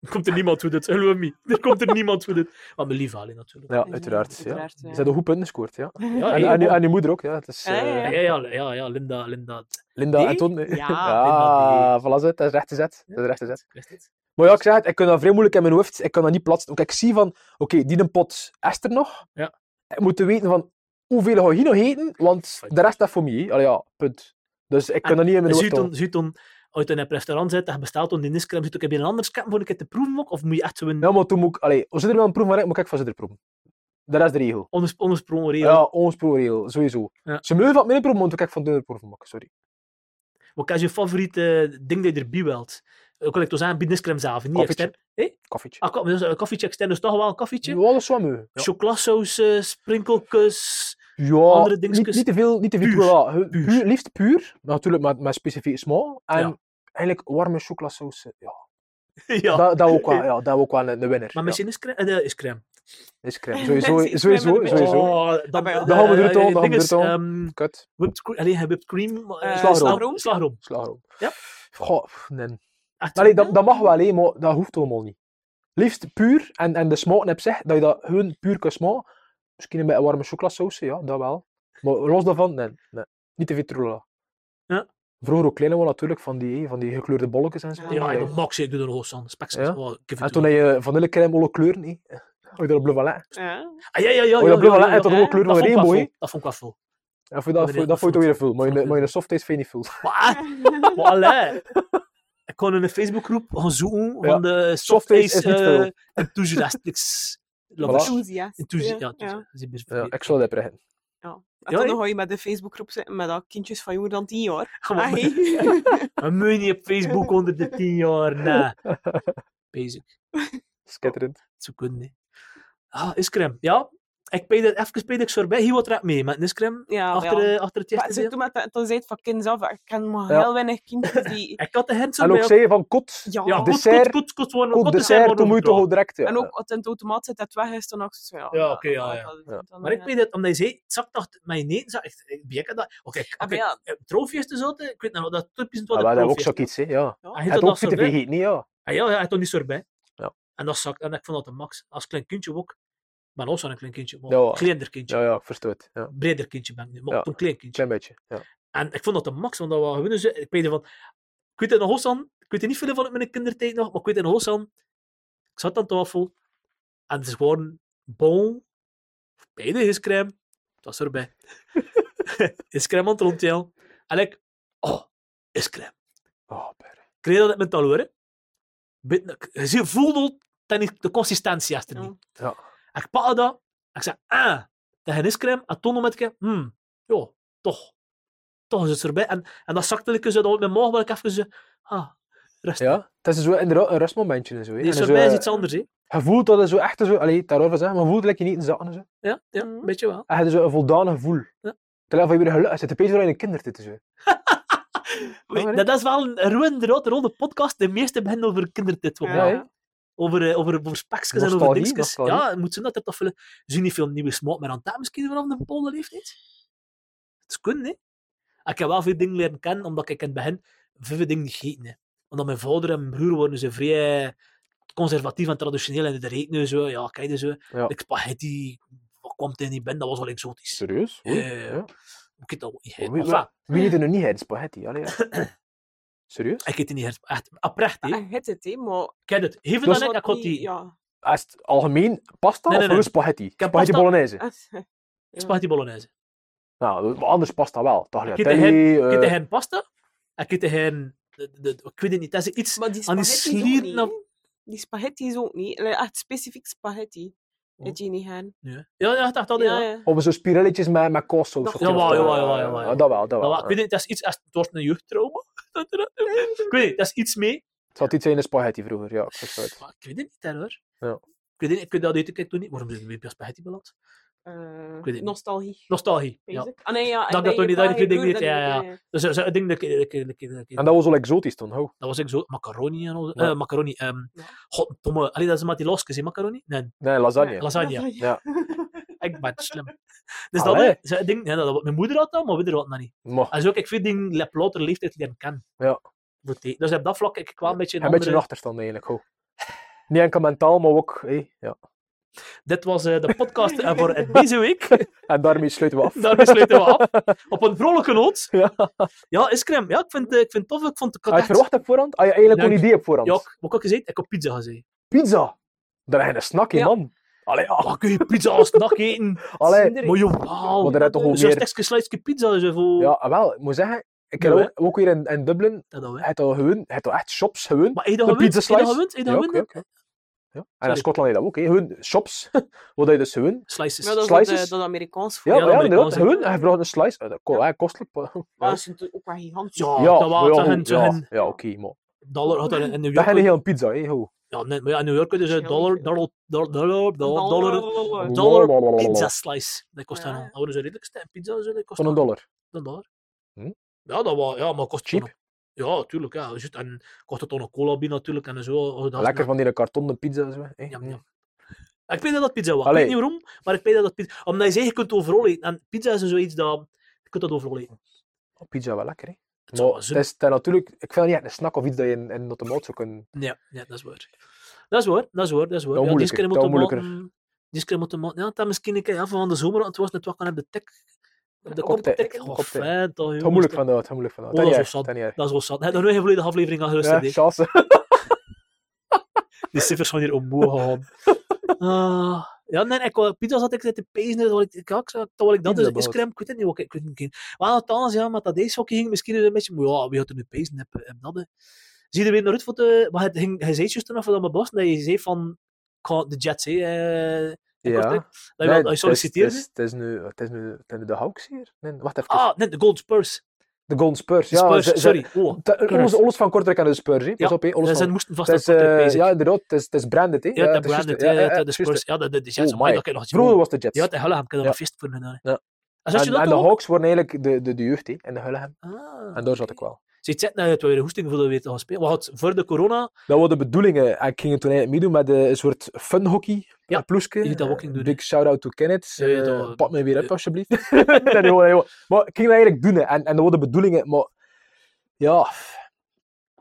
Er komt er niemand hoe dit, geloof me. Er komt er niemand hoe dit. Maar mijn lief alleen natuurlijk.
Ja, uiteraard. Ja.
uiteraard,
Ze
ja.
hebben goed punten gescoord, ja.
Ja,
En,
ja,
en, en je moeder ook, ja. Het is,
Ja, ja,
eh,
ja, ja, ja, ja, Linda, Linda.
Linda
Nee?
en Ton. hè.
Ja,
ja voilà, ze, dat is recht gezet. Dat is recht gezet.
Ik wist het.
Maar ja, ik zeg het, ik kan dat vrij moeilijk in mijn hoofd. Ik kan dat niet plaatsen. Ook ik zie van, oké, die een pot is er nog.
Ja.
Ik moet weten van, hoeveel ga je hier nog eten? Want
Fijn.
de rest is voor mij. hè. Allee, ja, punt. Dus ik kan
En
dat niet in mijn hoofd houden.
Zuton, Zuton, als je in een restaurant zit en je bestelt om die niskrem, zit ook heb je een ander scherm voor een keer te proeven ook? Of moet je echt zo'n
Ja, maar toen moet ik, allee, als ze er wel een proef van hebben, moet ik ook van ze er proeven. Dat is de regel.
onders- ondersprongen regel?
Ja, ons pro-regel, sowieso.
Ja.
Ze mogen van mijn proeven, maar ik ook van de proeven maken, sorry.
Wat is je favoriete ding dat je erbij wilt? Ook wil ik toch zeggen, bij niskrem zelf, niet
Koffietje.
extern. Hé?
Koffietje.
Ah, ko- dus een koffietje extern, dus toch wel een koffietje?
Ja, dat is wel mooi. Ja,
Chocolasaus, eh, sprinkelkus.
Ja,
Andere
niet,
dingetjes.
niet te veel, niet te veel
Puur.
chocola. Hu-
Puur.
puur, liefst puur, maar natuurlijk met, met specifieke smaak. En
Ja.
eigenlijk warme chocolasaus. Ja.
ja.
Dat, dat, ook wel, ja, dat ook wel een, een winnaar.
maar
ja.
misschien is crème. eh, is crème.
Is crème. Sowieso,
Mensen, is
sowieso,
crème met een beetje-
sowieso.
Oh, dan,
Ah, maar ja.
Dan gaan we
eh,
er toch, dan
eh,
gaan we
ding is,
er toch.
ehm,
Kut.
whipped cream. Allee, whipped cream. eh,
Eh,
slagroom.
slagroom. Slagroom.
Slagroom.
Ja.
Goh, pff, nee.
Echt.
Allee, dat, dat mag wel, hè, maar dat hoeft allemaal niet. Liefst puur, en, en de smaken op zich, dat je dat gewoon puur kan smaken. Misschien een beetje warme chocolasaus, ja, dat wel. Maar los daarvan, nee. nee. Niet te veel troela.
Ja.
Vroeger ook kleiner was natuurlijk, van die, van die gekleurde bolletjes en zo.
Ja,
Ja,
Allee.
ja, max, ik doe er nog eens aan. Speks.
Ja.
Oh, give
en
it
toen
to me.
had je vanillecrème, alle kleuren, hè. Had je dat op bleu valet?
Ja.
Ah, ja, ja, ja.
Had Oh, je
ja,
dat bleu
ja,
valet
ja,
en tot
ja.
alle kleuren
Dat
van
vond ik
regenboog,
wel
hè.
veel. Dat vond ik wel veel.
En voor dat,
Dat
voor,
vond
dat
ik
vond je
wel
toch weer veel. Maar je,
Vond ik
maar je softies vind je niet veel.
Maar, maar allee. Ik kon in een Facebookgroep gaan zoeken van de
Softface is
softface
niet veel.
eh enthousiastics. Lovers.
Enthousiast.
Enthousi- Ja,
ja.
enthousi-
Ja,
ja.
ik zou dat brengen.
En
Ja,
dan
hè?
ga je met de Facebookgroep zitten met dat kindjes van jonger dan tien jaar.
Gewoon
Ah,
met-
hey.
Maar moet je niet op Facebook onder de 10 jaar, nee. Basic.
Schitterend.
Zo kunnen, hè. Ah, iskrem. Ja, ik pay dat even pay dat ik sorbet. Hier wat raad mee, maar iskrem.
Ja,
achter,
Ah, wel.
eh, achter het
Maar
eerste
ze
deel.
toen met dat, toen zei het van kind zelf, ik ken maar
Ja.
heel weinig kindjes die...
Ik had de hint zo
En ook
bij.
zei je van kot.
Ja,
Ja, goed,
dessert-
goed, goed, goed, worden-
Koop
goed
dessert,
worden
toen moet je toch al direct.
overgebracht.
Ja.
en ook als het in de automaat zit, dat weg is, dan dacht ik zo, ja...
Ja, oké, ja, ja.
dat-
Ja.
dan,
Maar ik
eh,
weet dat, omdat je zei, het zakt nog mijn nee, zak, ik, ik bejek eh, dat. Oké, oké,
Ah, maar ja.
eh, trofees te zouten, ik weet nog dat typisch wat
Ah,
een
wel, dat is ook
trofee is.
zoiets, hè. Ja.
ja.
Hij
Het
had
ook
dat
zitten
sorbet.
vergeten, niet, ja.
Ah, ja, ja, hij had toch niet sorbet.
Ja.
En dat zakt, en ik vond dat de max. Als klein kindje ook. Maar ook zo'n klein kindje, maar
Ja.
kleiner kindje.
Ja, ja, ik verstoor het. Ja.
breder kindje ben ik nu, maar
Ja.
toen klein kindje.
Klein beetje. Ja.
En ik vond dat de max, want dat waren gewoon zo- Ik weet van, ik weet het nog Hossan, ik weet er niet veel van uit mijn kindertijd nog, maar ik weet het nog Hossan, ik zat aan tafel en het is gewoon bon, beide iscrème, het was erbij. iscrème aan het rondteel. En ik, oh, iscrème.
Oh, per.
Ik kreeg dat uit mijn taal hoor. hè. Bit- ik- Je voelde al dat ik de consistentie had er niet.
Ja.
En ik pakte dat en ik zei, ah, dat is iscrème. En toen met ik, hmm, ja, toch. Toch is het erbij. En, en dat zakte ik zo, dat op mijn maag wel ik even zo, ah, rustig.
ja. Het is zo inderdaad een rustmomentje en zo. hè.
Die
En zo,
sorbet is
eh,
iets anders, hè.
Je voelt dat het zo echt zo... Allee, daarover zeggen, maar je voelt dat je niet in zakken. en Zo.
Ja, ja, een
Mhm.
beetje wel.
En je hebt zo een voldaan gevoel.
Ja.
Terwijl je weer gelukkig zit. Het is beter dan in een kindertijd. Zo.
Weet-
maar, hè?
dat is wel een ruwe, rode podcast. De meeste beginnen over kindertit.
Ja,
Ja,
Ja.
hè.
ja.
over, eh, over, over spekjes en over
Nostalgie,
dingetjes.
nostalgie.
Ja, het moet zijn dat er toch veel... Zie niet veel nieuwe smaak meer aan tafel misschien vanaf een bepaalde leeftijd? Het is kunnen, hè. Ik heb wel veel dingen leren kennen, omdat ik in het begin veel dingen niet gegeten heb. Omdat mijn vader en mijn broer worden ze vrij conservatief en traditioneel en de reet nu zo, ja, kijk dus zo.
Ja.
Ik spaghetti, wat kwam het in die ben, dat was wel exotisch.
Serieus? Oei,
Ja, ja, ja.
ja.
Ik heb dat ook niet
Wie-
gegeten.
wie-
Enfin,
Wie eet er nu niet het spaghetti? Allee, ja. Serieus?
ik heb het niet gegeten. Echt, oprecht, hè.
Ja,
Ik
je hebt het, hè, maar...
heb het. Geef het
Ah, Dus-
dan ik, ik had die...
Ja.
Is het algemeen pasta
Nee,
of
nee,
gewoon
nee.
spaghetti?
heb
spaghetti
pasta-
bolognese?
Ja.
Spaghetti bolognese.
Nou, maar anders pasta wel.
Ik heb
Tagliatelle,
Ik heb
eh,
tegen pasta. en Ik heb tegen... de- de- de- Ik weet het niet, dat is iets...
Maar die
aan die
spaghetti is ook
slieren
niet,
of-
hè. Die spaghetti is ook niet. Like, Echt specifiek spaghetti.
Oh.
Het je niet hen.
Ja, ja, ja, dat, dat, ja.
Ja, ja.
of zo spirelletjes met, met kaassaus.
Dat-
of zo. Ah,
Jawel, jawel, jawel, jawel, jawel.
Dat wel, dat
Maar
wel.
wat, ik weet niet, dat is iets... als- Het wordt een jeugdtrauma. dat er- Ik weet niet, dat is iets mee.
Het had iets in de spaghetti vroeger, ja. ik zeg het.
Maar ik weet het niet, hè, hoor.
Ja.
Ik weet het niet, ik weet dat uit, ik doe niet. Waarom zijn we weer bij spaghetti beland?
Eh,
Ik weet het niet.
nostalgie.
Nostalgie, ja.
basic. Ah, nee, ja.
Dat-
en
dat
bij
toch
je
niet, dat
pa,
ik
je
denk
broer,
niet,
dan-
ja, ja. Dus dat is een ding dat ik- dat ik- dat ik- dat ik-
En dat was wel exotisch toen, ho.
Dat was ik zo, macaroni en al.
Ja.
eh, macaroni, ehm
Ja.
goddomme. Allee, dat is maar die losjes, hè, macaroni? Nee,
Nee, lasagne.
Ja,
Lasagne.
Ja.
ik ben slim. Dus dat,
Allee.
dat is een ding, ja, dat, mijn moeder had dat, maar we hadden dat niet.
Maar,
En zo heb ik veel dingen op latere leeftijd leren kennen.
Ja.
Voor het eten. Dus op dat vlak heb ik wel een beetje een
een beetje een
andere-
achterstand eigenlijk, ho. Niet enkel mentaal, maar ook... hé, ja.
Dit was eh, de podcast eh, voor eh, deze week.
En daarmee sluiten we af.
Daarmee sluiten we af. Op een vrolijke noot.
Ja.
Ja, is crème. Ja, ik vind, eh, ik vind het tof. Ik vond het
Had
ik had
je
echt-
verwacht op voorhand? Had je eigenlijk
Nee,
een idee op voorhand?
Ja, ik- wat ik ook gezegd, ik heb pizza gezegd.
Pizza! Daar heb je een snack in,
Ja.
man. Allee, ja.
Oh, kun je pizza als nacht eten?
Allee.
Maar joh, wauw.
Maar daar heb je toch wel
Zo'n
meer...
stukje slice pizza. Zo voor...
Ja, wel, ik moet zeggen... Ik heb
Ja,
ook, ook hier in, in Dublin,
Dat wel, hè.
het al gewoon, het al echt shops gewoon.
Maar eet dat
Een
gewend?
pizza
Eet dat
slice?
gewend? Eet dat
Ja, ook,
gewend?
ook, ja. En in
Sorry.
Schotland is dat ook, hè. Gewoon shops, wat je dus gewoon...
Slices.
Ja, dat is dat, eh,
Slices?
dat Amerikaans
Ja,
Ja,
voor.
ja,
dat moet ik wel
inderdaad,
zeggen.
gewoon. Hij vraagt een slice. Eh, Dat ko-
Ja.
hè, kostelijk. maar-
Maar dat is natuurlijk ook wel gigantisch.
Ja.
ja,
Ah, dat wel,
ja,
dat
goed,
hen- zo
ja,
hen-
ja, oké, maar...
Dollar had er in New
Dat
York.
gaat niet heel een pizza, hè, hoe.
Ja, nee, maar ja, in New York is het
Ja,
dollar,
niet veel.
dollar, dollar, dollar, dollar, Oh. dollar,
Blablabla.
dollar pizza slice. Dat kost
Ja.
dan een oude zo redelijk stijl pizza. Zo, dat kost
Van een
dan
dollar.
een dollar.
Hm?
Ja, dat was, ja, maar kost
Cheap.
gewoon- Ja, tuurlijk. Ja. Juist, en kost het dan een cola bij natuurlijk en zo. oh, dat is
Lekker
nog-
van die kartonnen pizza. Zo, hè.
Jam, jam. Ik weet dat dat pizza was.
Allee.
Ik weet niet waarom, maar ik weet dat dat pizza... Omdat je zegt, je kunt overal eten. En pizza is zoiets dat... Je kunt dat overal eten.
Oh, Pizza wel lekker, hè.
Het zou
Maar
wel
het
zin-
is, het is natuurlijk... Ik vind het niet echt een snack of iets dat je in, in de maat zou kunnen...
Ja, ja, dat is waar. Dat is waar, dat is waar. Dat is waar.
Dat
ja,
moeilijker,
die
dat
moeten
moeilijker.
maken. Die keer moeten maken. Ja, dat misschien een keer ja, van de zomer, want het was net wat kan op de tik. Op de
Op de-
koptik.
op de
Oh,
koptik.
fijn toch,
Het
jongens.
gaat moeilijk vanuit, het gaat moeilijk vanuit.
Oh,
Ten
dat
jaar,
is wel
ten jaar.
Dat is wel zat. Heb je nog geen volledige aflevering aan gerust?
Ja, chance.
Die cijfers van hier omhoog gegaan. Ah, ja, nee, ik wou, pizza zat ik te pezen, dat wil ik, ik, ja, ik, zou- dat wil ik dat, dus
Pizza
is
bout.
crème, ik weet het niet, wat ik, ik weet het niet. Maar althans, ja, maar dat deze hockey ging misschien een beetje, maar ja, wie had er nu pezen, heb, heb dat, hè. Zie je er weer naar uit voor de, maar het ging, hij zei juist toen af aan mijn bos, dat je zei van, ik ga de Jets, hè, eh, in
Ja.
Kortrijk. dat je,
Nee, het
wel- dat je
is-
solliciteerde.
Het is, het is nu, het is nu, het is nu de Hawks hier. Nee, wacht even.
ah, nee, de Gold Spurs.
De Golden Spurs.
De
Ja,
Spurs,
ze- ze-
sorry. Oh,
te- Alles, alles van Kortrijk aan de Spurs, hè. Pas
Ja,
op, hè. Alles
ze
van...
moesten vast
Het
dat
is, eh, ja, inderdaad. Het is, het is branded, hè.
ja, dat
het is juist- ja,
branded,
ja,
ja, ja,
ja,
de
juist,
Spurs, ja, de, de, de Jets,
Oh,
maar
my.
dat kan je nog eens
Vroeger
doen.
was de Jets.
Ja, de Hullegem kan er
Ja.
een feest voor gedaan.
Ja.
En, zag je
en
dat
en de
ook?
Hawks worden eigenlijk de, de, de jeugd, hè, in de Hullegem.
Ah,
En daar zat ik wel.
Ze zit nou uit weer een hoesting voor de weer te gaan spelen. Want voor de corona,
Dat was de bedoeling. eh. Ik ging toen eigenlijk meedoen met eh, een soort funhockey.
Ja,
een ploeske.
je moet dat ook
Eh,
niet doen,
Big shout-out to Kenneth.
Ja, ja,
Eh,
dat-
Pak me weer
ja.
op, alsjeblieft. nee, nee, nee, nee. Maar ik ging dat eigenlijk doen. hè. En, en dat was de bedoeling. hè. Maar ja...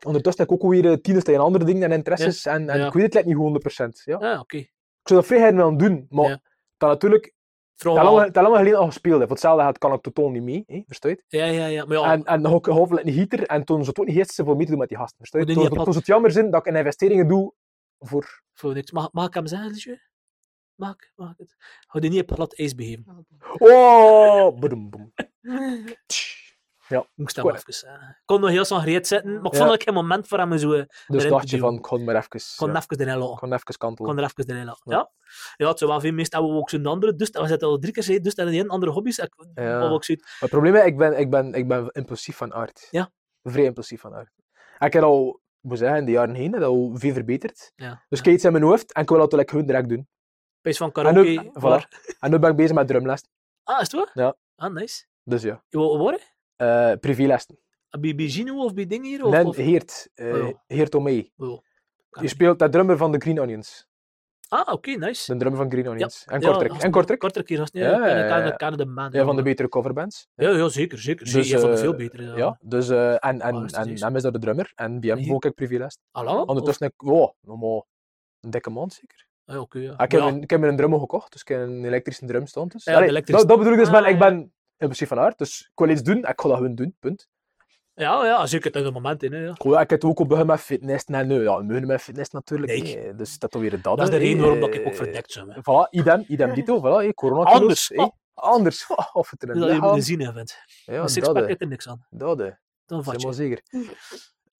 Ondertussen heb ik ook weer eh, tieners tegen andere dingen en interesses. En, en
Ja.
ik weet het net niet 100%. Ja.
ah, oké.
Ik zou dat vrij graag willen doen. Maar
Ja.
dat natuurlijk... Het
Vraag
is
wel-
lang- het is lang geleden al gespeeld. hè. Voor hetzelfde geld kan ik totaal niet mee. hè, Versta je het?
Ja, ja, ja. Maar ja,
En, en ook hoofdelijk niet gieter. En toen zou het ook niet eerst voor mee te doen met die gasten. Versta je?
Moet je
Toen
niet
zou
op-
toen zou het jammer zijn dat ik in investeringen doe voor...
voor niks. Mag, mag ik hem zeggen, Liesje? Mag, ik- mag ik het? Houd je niet op plat ijs begeven.
Oh, boem, boem. Dus
Moest dat
Goed.
maar even zeggen. Ik kon nog heel snel gereed zitten, maar ik
Ja.
vond dat ik geen moment voor hem zo... eh, Ik
Dus
erin
dacht je
te duwen.
van, ik kon maar even,
kon
ja,
even erin laten.
ik kon even kantelen.
kon er even erin laten. Ja.
Ja.
Ja, het zijn wel veel mensen hebben ook zo'n andere... Dus dat was het al drie keer gezegd, dus dat zijn andere hobby's. Ik,
Ja.
wat ik zoiets-
Maar Oh, het probleem is, ik ben, ik, ben, ik ben impulsief van aard.
Ja.
Vrij impulsief van aard. En Ik heb al, ik moet zeggen, in de jaren heen, dat al veel verbeterd.
Ja.
Dus
ja.
ik heb iets in mijn hoofd en ik wil dat like, gewoon direct doen.
Pijs van
En
karaoke.
nu,
waar-
voilà. en nu ben ik bezig met drumles.
Ah, is het waar?
Ja.
Ah, nice.
Dus ja,
Je wou worden?
Eh privélessen.
Bij, bij Gino of bij dingen hier? Of,
Nee,
of-
Heert, eh
Oh.
Heert Omei.
Oh.
Die speelt de drummer van de Green Onions.
Ah, oké, nice.
De drummer van Green Onions. En
Ja,
Kortrijk.
gast-
En Kortrijk.
Kortrijk hier, gast. Ja,
Ja,
ja,
ja, ja, ja.
de man.
Ja, van de betere coverbands.
Ja, ja, zeker, zeker. Dus,
Dus,
ja, van de
eh,
veel betere. Ja.
Ja, dus eh, en, en,
Ah, dat is
en
serieus.
hem is dat de drummer. En bij hem
Nee. Oh,
ook ik privilege.
Hallo?
Ondertussen, ik, wow, nog maar een dikke maand zeker.
Of- ja, oké, ja.
Ah, ik,
Maar
heb
ja,
een, ik heb een drummer gekocht, dus ik heb een elektrische drum staan. Dus.
Ja,
Allee,
een elektrische-
dat, dat bedoel ik dus,
Ah,
maar ik
ja.
ben in principe van aard, dus ik wil iets doen, en ik ga dat gewoon doen, punt.
ja, ja, zeker tegen het moment in. Hè, ja.
Ik, wil- ik heb het ook op begonnen met fitness, nee, nee, ja, een met fitness natuurlijk,
Nee.
nee, dus dat is weer dat.
Dat is de
hè,
reden waarom dat
eh,
ik ook verdekt ben. hè.
Voilà, idem, idem dito, voilà, hey, corona
Anders,
Hey,
oh.
anders, of het er
Dat
een
je
lichaam-
moet zien, Oh, hè, vent.
Ja,
Een
dat,
sixpack
hè,
heeft er niks aan.
dat, hè.
Dan vat
helemaal
je.
zeker.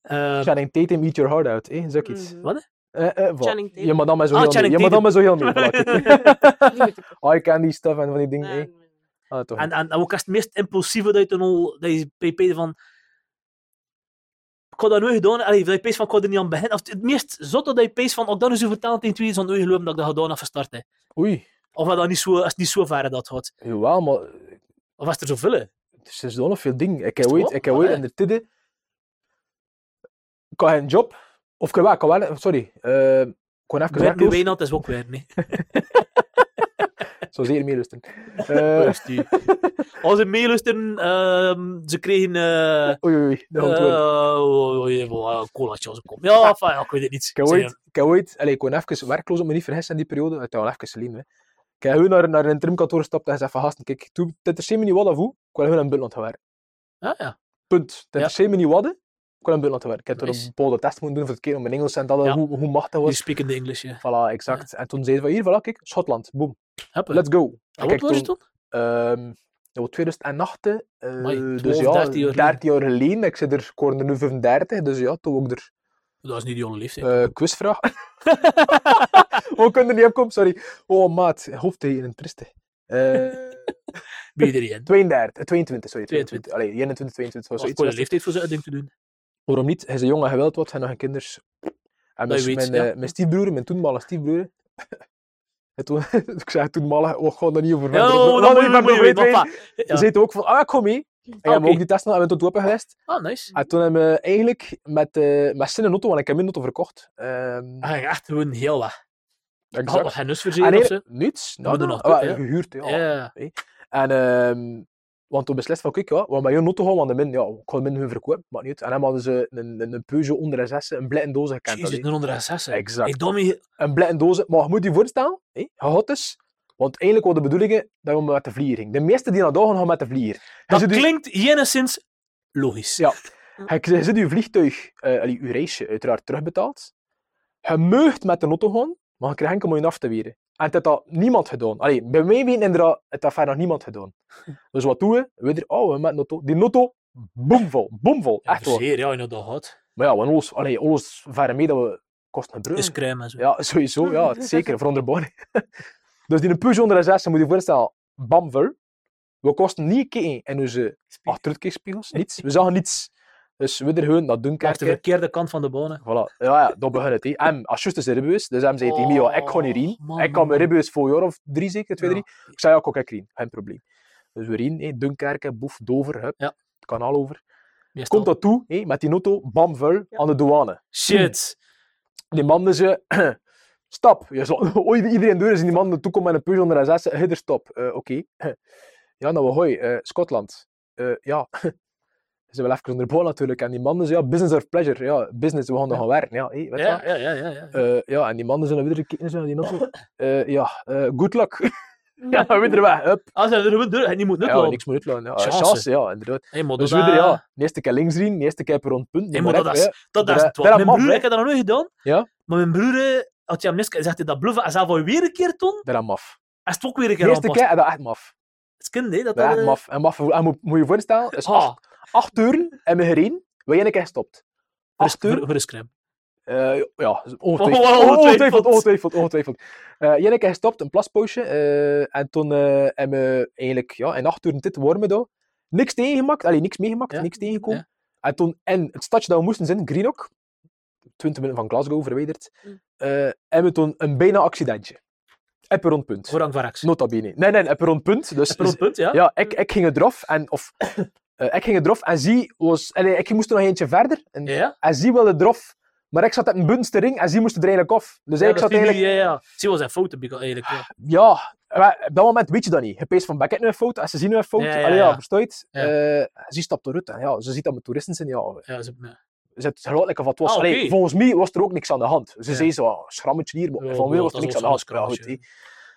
Eh,
Channing Tatum, eat your heart out, hè, zeg iets.
Mhm.
Wat?
Eh, eh, voilà.
Channing Tatum.
Je madame is zo
Ah,
heel mee.
Channing
Je madame is zo heel mee. voilà, kijk.
Die moet ik-
I candy stuff en van die dingen.
Nee,
eh.
nee.
Ah, toch
en, en ook als het meest impulsieve dat je toen al, dat je pp van. Ik had dat nooit gedaan, allee, dat je pees van ik had er niet aan beginnen. Of het meest zotte dat je pees van, ook dan is je verteld in twee, zo'n nooit geloven dat ik dat gedaan heb van start. hè.
Oei,
Of dat dat niet zo, als het niet zo ver dat gaat.
jawel, maar
Of was er zoveel? hè.
er is nog veel dingen. Ik heb
het
ooit,
waar?
ik heb ooit
Allee.
in de tidde... Ik had geen job. Of ik wel, ik had wel... Sorry. eh, ik kon even
Ik werk nu
werkloos.
Wijnand, dat is ook weer, nee.
Zo zeer meer lusten. Eh,
Als ze meelusten, ehm, ze kregen... eh
Oei, oei, oei.
eh
dat gaat worden.
oh, oh, eh, oh, colaatje als ik kom. Ja, enfin, ja, ik weet het niet.
Ik heb
Zeg,
ooit... Ik heb ooit... Allee, ik kon even werkloos, op me niet vergissen in die periode. Het is al even geleden, hè. Ik heb gewoon naar, naar een interimkantoor gestapt en gezegd van gasten, kijk, toen- het interesseert me niet wat of hoe. Ik wil gewoon in het buitenland gaan werken.
ja, Ah, ja.
Punt. Het interesseert me niet wat. hè. Ik wil in het buitenland gaan werken. Ik heb toen
Nice.
een bepaalde test moeten doen voor het keer om mijn Engels en dat,
Ja.
hoe, hoe machtig
Die
was.
speaking the English, ja.
Voilà, exact. En toen zeiden we hier, voilà, kijk, Schotland, boom,
Happen.
let's go. En
En Ah, wat
kijk,
was het toen?
ehm, dat was 2008, eh,
Amai,
dus
12,
ja,
13
13
jaar
jaar, geleden. Ik zit er, ik word er nu 35, dus ja, toen ook er
Dat is niet die jonge leeftijd.
eh quizvraag. oh, ik kon er niet op komen, sorry. Oh, maat, hoofd in een triste. Eh
Ben je erin?
32, 22, sorry.
22.
22. Allee, 21, 22. was
Dat
zoiets.
is voor de
was het.
leeftijd voor zijn uitding te doen.
Waarom niet? Hij is een jongen geweld, wat zijn nog een kinders. En
Dat
mijn,
je weet,
mijn, eh,
ja.
mijn stiefbroer, mijn toenmalige stiefbroer. en toen, ik zei toenmalig, oh, gewoon daar niet over
Ja,
verder.
oh,
We
dat
gaan daar
moet je-
niet
dat moet je
verder over
weten,
weten. Ze
papa.
zitten ook van, ah, ik kom mee. En we hebben
oké.
ook die test gedaan, en we hebben tot open geweest.
Ah, nice.
En toen hebben we eigenlijk met, eh met zin een auto, want ik heb mijn auto verkocht. Ehm
Ah, echt gewoon heel wat. Had nog
exact.
geen
En
nusverzekering of zo?
nee, niets.
we doen nog
Ah,
tot,
ja,
hè.
gehuurd, ja.
Ja.
En ehm want toen beslist van, kijk, ja, we gaan met jouw auto gaan, want de min, ja, ik ga de min hun verkopen, maar niet uit. En dan hadden ze een, een, een Peugeot onder de 6, een blitten doos gekend.
Jezus,
alleen.
een onder assessen.
Exact.
Ik domme...
een blitten doos. Maar je moet je voorstellen, hé, je gaat dus. Want eigenlijk was de bedoeling dat we met de vlieger gingen. De meesten die naar daar gaan, gaan met de Dus vlieger. Je
Dat
zit je-
klinkt jenigszins logisch.
Ja. Je, je zit je vliegtuig, eh allee, je reisje uiteraard terugbetaald. Je meugt met de auto gaan, maar je krijgt enkel maar je af te weren. En het heeft dat niemand gedaan. Allee, bij mij weten inderdaad, het heeft verder nog niemand gedaan. Dus wat doen we? We er, oh, we met een auto. Die auto, boomvol, boomvol.
Ja, dus
Echt waar.
Zeer, ja, inderdaad. Had.
Maar ja, we hadden alles, allee, alles verder mee dat we kost een brug.
Is crème en zo.
Ja, sowieso, ja, het is zeker, voor onderbouwing. dus die Peugeot 106, moet je voorstellen, bam vol. We kosten niet een keer dus, in onze achteruitkijkspiegels, eh, ah, niets. We zagen niets. Dus we er gewoon dat doen,
Kijk, de
kijken.
verkeerde kant van de bonen.
Voilà. Ja, ja, dat begon het. hè. En als juist is de ribbeus, dus hem zei tegen mij, ja, ik ga niet
Oh, man,
rien. Ik
man,
kan mijn
man.
ribbeus voor een jaar of drie zeker, twee,
Ja.
drie. Ik zei, ja, ik ook ik rien, geen probleem. Dus we rien, hè, Dunkerken, Boef, Dover, hup,
Ja.
kanaal over.
Meestal.
Komt dat toe, hè, met die auto, bam, vuil,
Ja.
aan de douane.
Shit.
Die mannen ze. Stap. Je zal, ooit iedereen deur is in die mannen toekomt met een Peugeot 106. Hidder stop. Eh, Oké. Ja, nou, hoi. eh, Schotland. Eh, ja. Ze wel even onder de bal natuurlijk. En die mannen ze, ja, business or pleasure. Ja, business, we gaan nog gaan werken. Ja, hé, weet je
Ja,
wat?
ja, ja, ja. ja.
Eh, ja, en die mannen zullen weer kijken zo naar die auto. Eh, ja, eh good luck. ja, maar weer weg. Hup.
Ah, ze hebben er gewoon door. En die moet nut
Ja,
lopen.
niks meer uitlaan. Ja,
Chance.
chance, ja, inderdaad.
Hey, maar
Dus
dat,
weer,
dat-
ja, de eerste keer links zien, de eerste keer per rond punt.
Hey,
maar
maar dat
recht,
is,
ja.
dat, dat
daar-
is het
daar
wel.
heb
Mijn
man,
broer,
hè.
ik heb dat nog nooit gedaan.
Ja.
Maar mijn broer, eh, had je hem net gezegd, dat bluffen, als hij voor weer een keer toen,
Daar aan maf.
als het ook weer een
De
keer
eerste
aanpast.
keer, en dat echt maf.
Het is kind, hè. Dat
Dat is
dat,
echt
eh,
maf. En maf, en moet, moet je voorstellen, is
ah,
acht, acht uren en we gereden, we één keer gestopt.
voor-
Acht uur,
voor- Voor een scrim.
eh, ja,
Oh,
ongetwijfeld,
wow,
ongetwijfeld,
ongetwijfeld.
ongetwijfeld, ongetwijfeld. Eh één keer gestopt, een plaspoosje, eh, en toen eh, hebben we eigenlijk ja, in acht uur dit warmen daar. Niks tegengemaakt, allee, niks meegemaakt,
Ja,
niks tegengekomen. En toen, en het stadje dat we moesten zijn, Greenock, 20 minuten van Glasgow verwijderd,
Mm.
eh, hebben we toen een bijna accidentje. Eppe rond punt.
Voorrang van Rax.
Nota bene. Nee, nee, eppe rond punt. Dus
Op een punt, ja.
ja, ik, ik ging eraf en of eh, ik ging eraf en zie was allee, ik moest er nog eentje verder en,
Ja, ja.
en zie wilde eraf Maar ik zat met een bunste ring en zij moest er eigenlijk af. Dus ik zat
dat vind
eigenlijk...
ik- Ja, ja. Zie was zijn fouten begaan, eigenlijk. Ja.
Ja, maar op dat moment weet je dat niet. Je peest van, ben ik nu een fout? En ze zien nu een fout.
Ja, ja,
Allee, ja,
ja.
versta je het?
Ja.
Eh, ze stapt eruit en ja, ze ziet dat met toeristen zijn. Ja,
Ja, ze, ja.
ze het geluid lekker wat was.
Ah, oké.
Allee, volgens mij was er ook niks aan de hand. Ze
Ja.
zei zo, ah, schrammetje hier, maar
Ja,
van mij
ja,
was er
dat
niks
is
aan de hand.
wel
Ja,
een
goed,
schrammetje,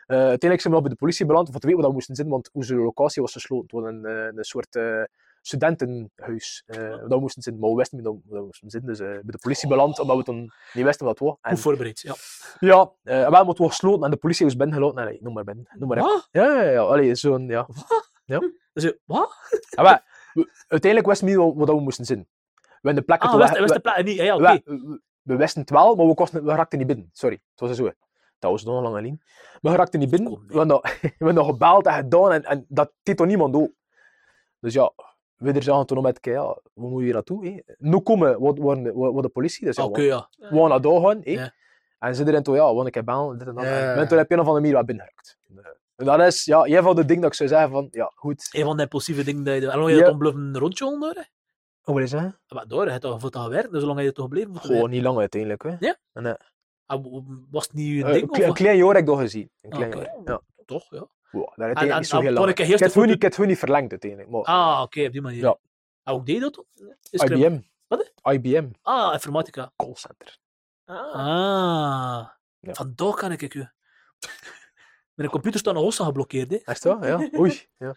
hé. Eh, uiteindelijk zijn we nog bij de politie beland, want we weten waar we moesten zitten, want onze locatie was gesloten. Het was een, eh, een soort eh, studentenhuis. eh waar we moesten zitten, maar we wisten niet waar we- waar we moesten zitten. Dus eh, bij de politie beland,
Oh.
omdat we toen niet wisten wat het was. En,
Goed voorbereid. Ja.
ja, eh wel moeten we gesloten en de politie was binnengelaten. En, allee, noem maar binnen, noem maar even.
Wat?
Ja, ja, ja. Allee, zo'n, ja.
Dus, eh, wat?
En wij- we- uiteindelijk wisten we niet wat- wat we moesten zitten. We in de plekken
Ah,
te
wist,
weg-
wist
we-
de plaat niet. Ja, ja, oké.
we, we- we wisten het wel, maar we, kosten, we raakten niet binnen. Sorry, het was zo. Dat was nog een lange lijn. Maar we raakten niet binnen.
Kom, nee.
We hebben nog- we hebben nog gebeld en gedaan en, en dat deed toch niemand ook. Dus ja, we er zagen toen nog met elkaar, ja, we moeten hier naartoe. Hé. Nu komen we, we, we, we de politie, dus ja,
Ah, Oké,
we,
ja.
we gaan naar daar gaan. Hé.
Ja.
En ze erin toen, ja, want ik heb bellen, dit en dat.
Ja, ja,
En
ja.
toen heb je een van de meer wat binnengerukt. En dat is, ja, jij van de ding dat ik zou zeggen van, ja, goed.
Een van de impulsieve dingen die je... En hoe lang je
Ja.
dat bluffen rondje onder? hè?
Hoe wil je zeggen?
Ja, Maar door, je hebt toch voor het gewerkt, dus hoe lang heb je toch gebleven? voor het
Gewoon niet lang uiteindelijk. Hè.
werk? En w- was het niet een
Eh,
ding?
een,
of
kle- een
wat?
klein jaar heb ik dat gezien. Een
Ah,
klein
oké.
jaar, ja.
Toch, ja.
Wow, dat heeft
En-
eigenlijk
en-
niet zo
en
heel
kon
lang.
ik een
Ik
eerste
heb het
foto-
niet- ik heb het gewoon niet verlengd uiteindelijk. Maar
Ah, oké, op die manier.
Ja. Ah,
En ook deed je dat toch? Is er een-
IBM.
Wat?
IBM.
Ah, informatica.
Callcenter.
Ah.
Ah,
Ja.
vandaar kan ik je. Mijn computer staat nog hossa geblokkeerd, hè.
Echt wel? Ja. Oei. Ja.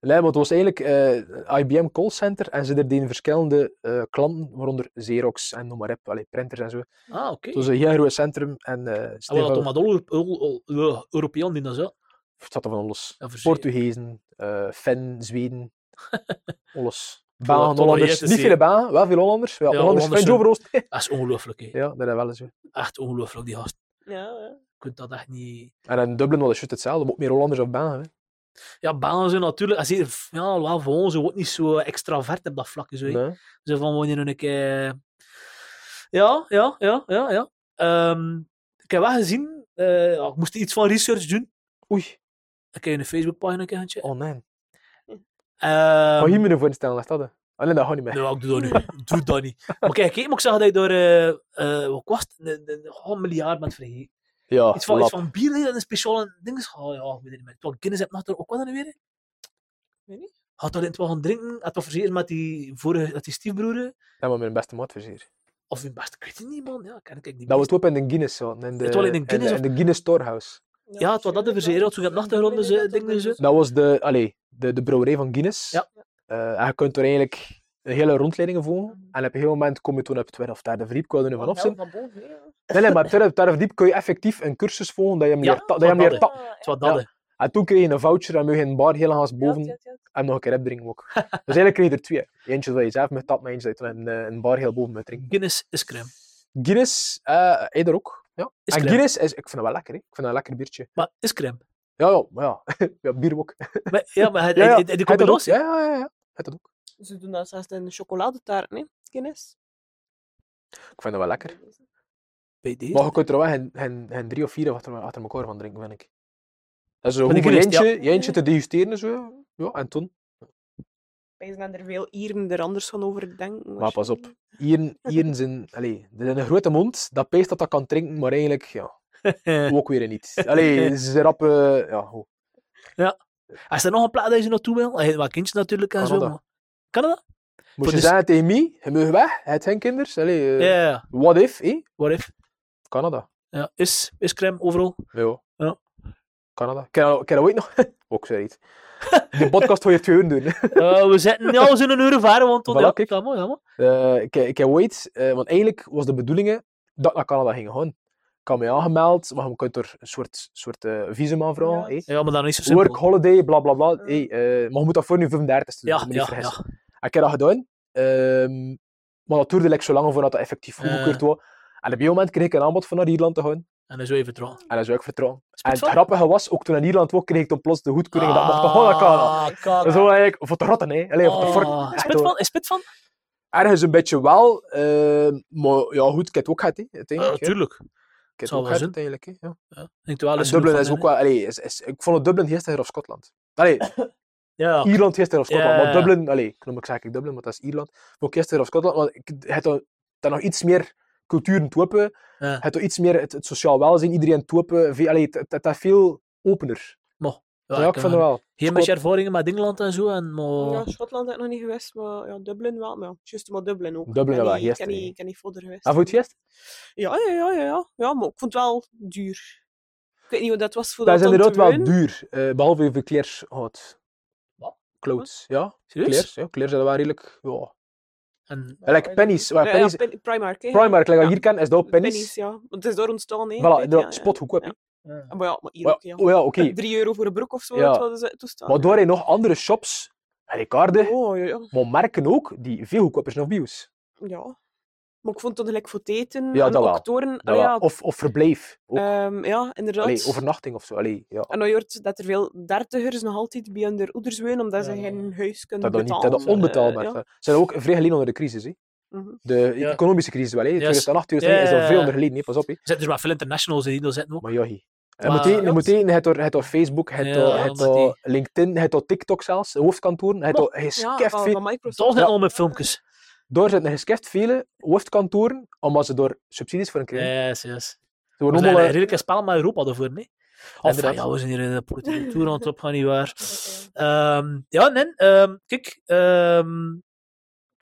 Nee, maar het was eigenlijk eh IBM Callcenter en ze deden verschillende eh, klanten, waaronder Xerox en noem maar op, allee, printers en zo.
Ah, oké.
Het was een heel groot centrum en eh
En wat dat
Stefan,
toch met alle Euro- Euro- Euro- Europeanen die dat zo?
het zat er van alles.
Ja, verzeker.
Portugezen, eh Finn, Zweden, alles.
Tot-
Baan,
tot al
Hollanders.
hier te
Niet
zien.
veel Baan, wel veel Hollanders. Ja,
Ja,
Hollanders,
Hollanders
Finn,
zijn-
Overoost.
Dat is ongelooflijk, hè.
Ja, dat is wel eens. hè.
Echt ongelooflijk, die gast.
Ja, ja.
Je kunt dat echt niet...
En in Dublin was het juist hetzelfde, maar ook meer Hollanders of Baan. Hè.
Ja, banen zijn natuurlijk... en zeker- Ja, wel, voor ons wordt niet zo extravert op dat vlak. Zo, hè.
Nee.
Zo van wanneer ik. eh Ja, ja, ja, ja, ja. Ehm, ik heb wel gezien, eh, ja, ik moest iets van research doen.
Oei,
Ik heb een Facebookpagina een keer gaan checken.
oh nee.
Ehm,
Mag je me ervoor instellen, is dat? hè? Ah, nee, dat gaat niet meer.
Nee, ik doe dat niet. doe dat niet. Maar kijk, kijk, maar ik zag dat je door, eh eh, wat was het? Een, een, een miljard bent vergeten.
Ja,
Iets van,
Ah,
iets
lap.
van bier, hè, dat een speciale ding is. Oh ja, ik weet het niet meer. Toen Guinness heb nog ook wat dan weer.
Weet niet.
Had dat in het wel gaan drinken, had dat verzekerd met die vorige, met die stiefbroer.
Dat was mijn beste matvizier.
Of hun best, ik weet het niet man. Ja, kan ik niet
Dat
meer.
was ook in de Guinness. zo, In de,
Het was in de Guinness
In de, Guinness Storehouse.
Ja, het was dat de verzekering, toen ik op nachtergronden ze- dingen ze-
Dat was de, allee, de, de brouwerij van Guinness.
Ja.
Eh, en je kunt er eigenlijk een hele rondleidingen volgen. En op een gegeven moment kom je toen op het tweede of derde verdiep. Ik wil er nu vanaf zijn.
Van boven, hè, ja.
Nee, nee, maar op het tweede of derde verdiep kun je effectief een cursus volgen dat je hem
Ja,
leert, ta- dat je hem
dat
leert
wel,
tappen.
Het was dat
Ja.
hè.
En toen kreeg je een voucher en mocht je in een bar heel haast
Ja,
boven.
ja, ja, ja.
En nog een keer opdrinken ook. Dus eigenlijk kreeg je er twee. Eentje dat je zelf met tappen, eentje dat je in eh, een bar heel boven moet drinken.
Guinness is crème.
Guinness, eh eerder ook. Ja.
Is
en
crème.
Guinness is, ik vind dat wel lekker, hè. ik vind dat een lekker biertje.
Maar is crème.
Ja, ja, maar ja. ja bier ook.
Maar, ja, maar het,
Ja, ja.
het- het- Eh, die
Heb je dat ook?
combinatie.
Ja, ja, ja. ja. Heb je dat ook.
Ze doen dat zelfs in de chocoladetaart, nee? Guinness.
Ik vind dat wel lekker.
Bij deze.
Maar je kunt er wel geen, geen, geen drie of vier achter, achter elkaar van drinken, vind ik. Dat is een
Van die
goed voor
Guinness,
jeentje, jeentje te degusteren en zo. Ja, en toen.
Wij zijn er veel Ieren er anders van over denken.
Maar pas op. Ieren, ieren zijn, allee, dat is een grote mond, dat peest dat dat kan drinken, maar eigenlijk, ja,
Eh,
ook weer niet. Allee, ze zijn rap, eh, ja, goed.
Is er nog een plaat dat je naartoe wil? Hij heeft wel kindjes natuurlijk en zo.
Canada.
Maar... Canada?
Moest je
de s-
zeggen tegen mij, je mag weg, het zijn kinders, allee,
Ja,
eh,
ja, ja.
what if, eh?
What if?
Canada.
Ja, is, is crème overal.
Ja.
Ja.
Canada. Ken je dat- ken je dat ooit nog? Ook zoiets. Die podcast wil je twee uur doen.
Eh, we zitten ja, we zijn een uur varen, want tot
Voilà,
ja,
kijk.
ja, mooi, ja, mooi.
Eh, ik, ik heb ooit, eh, want eigenlijk was de bedoeling dat ik naar Canada ging gaan. Ik had me aangemeld, maar je kunt er een soort, soort eh, visum aanvragen.
Ja.
eh.
Ja, maar dan is het zo
Work,
simpel.
holiday, bla bla bla. eh, eh, maar je moet dat voor nu 35 doen,
Ja,
moet me
ja,
niet vergissen.
ja.
En Ik heb dat gedaan, ehm, maar dat duurde like, zo lang voordat dat effectief
Ja.
goedgekeurd was. En op een moment kreeg ik een aanbod van naar Ierland te gaan.
En dan zo even trouw.
En dat zou ik vertrouwen. En het
van?
grappige was, ook toen in Ierland was, kreeg ik dan plots de goedkeuring dat ik mocht gaan naar Canada.
Ah, Canada.
Zo eigenlijk, voor te rotten, hè. Allee, voor te forten.
Ah, Is
Echt
het
hoor.
van? Is het van?
Ergens een beetje wel, ehm, maar ja goed, ik heb het ook gehad, hè,
Eh,
uiteindelijk. hè.
Natuurlijk.
Ik heb het
Zou
ook
wel
gehad,
zijn.
uiteindelijk. hè, Ja.
Dublin
En Dublin is ook wel... Allee, is, is, ik vond het Dublin gisteren of Schotland. Allee,
Ja,
Ierland gisteren of Schotland.
Ja,
Maar
ja, ja.
Dublin... Allee, ik noem ik eigenlijk Dublin, maar dat is Ierland. Maar gisteren of Schotland, want ik, het, had, dan nog iets meer culturen toepen.
Ja.
Het iets meer het, het sociaal welzijn, iedereen toepen. Veel, allee, het, het, het is veel opener. Ja, ik vind het wel.
Geen beetje ervaringen met Engeland en zo. En, maar...
Ja, Schotland heb ik nog niet geweest, maar ja, Dublin wel. Maar ja, juist maar Dublin ook.
Dublin wel, Ah,
Ik
gisteren.
ben niet- ik ben niet verder geweest.
En voor het gest?
Ja, ja, ja, ja, ja. Ja, maar ik vond het wel duur. Ik weet niet wat dat was voor
Dat is
om te
inderdaad wel
wonen.
duur. eh, behalve je verkleers houdt.
Wat?
Clothes. Ja,
Serieus?
kleers. Ja, kleers zijn wel redelijk... Ja.
En,
Ja, like pennies. waar
Ja, ja,
pennies
Pen- Primark, hè.
Primark, like wat
Ja.
je hier kan, is dat ook pennies.
ja. Want het is daar ontstaan, hè.
Voilà,
Kijk,
dat
ja, ja.
spot goedkoop. hè.
ja.
Ah, Maar ja, maar hier
Maar-
ook, ja.
Oh ja, oké.
3 euro voor een broek of zo,
Ja.
dat hadden ze toestaan.
Maar daar zijn nog andere shops, Ricardo,
Oh, ja, ja.
maar merken ook, die veel goedkoper zijn dan bios.
ja. Maar ik vond dat gelijk voor het eten,
Ja,
en
dat wel.
ook toren-
Dat
ah,
wel.
ja,
Of, of verblijf. Ook.
ehm, ja, inderdaad.
Allee, overnachting of zo. Allee, ja.
En dan hoort dat er veel dertigers nog altijd bij hun ouders wonen, omdat ze
Ja.
geen huis kunnen
Dat dat, niet,
betalen.
dat dat onbetaalbaar
Eh,
is.
ja.
Ze zijn ook vrij geleden onder de crisis. Hè.
Mhm.
De
Ja.
economische crisis wel. Hè.
Ja,
2008, 2009 is
ja,
al
ja,
veel
ja.
onder geleden. Hè. Pas op. Hè.
Er zitten dus maar veel internationals in die dat zitten ook.
Maar ja, hé. je
Maar-
moet eten, je moet eten, je hebt door- je hebt door Facebook, je hebt
Ja,
door- je hebt
omdat
door LinkedIn, je hebt door TikTok zelfs, hoofdkantoren. Je hebt
Nog.
door je
Ja,
skeft
van,
veel-
van
Daar
Microsoft.
zijn allemaal filmpjes.
Daar zitten geskeft vele hoofdkantoren, omdat ze door subsidies voor een krijgen.
Yes, yes.
Ze worden
We zijn
allemaal,
een
eh,
redelijk spel met Europa daarvoor, nee? En dan,
afgezet.
ah, ja, we zijn hier in de politieke tour aan het opgaan, nietwaar. Ehm ja, nee, ehm, kijk, ehm,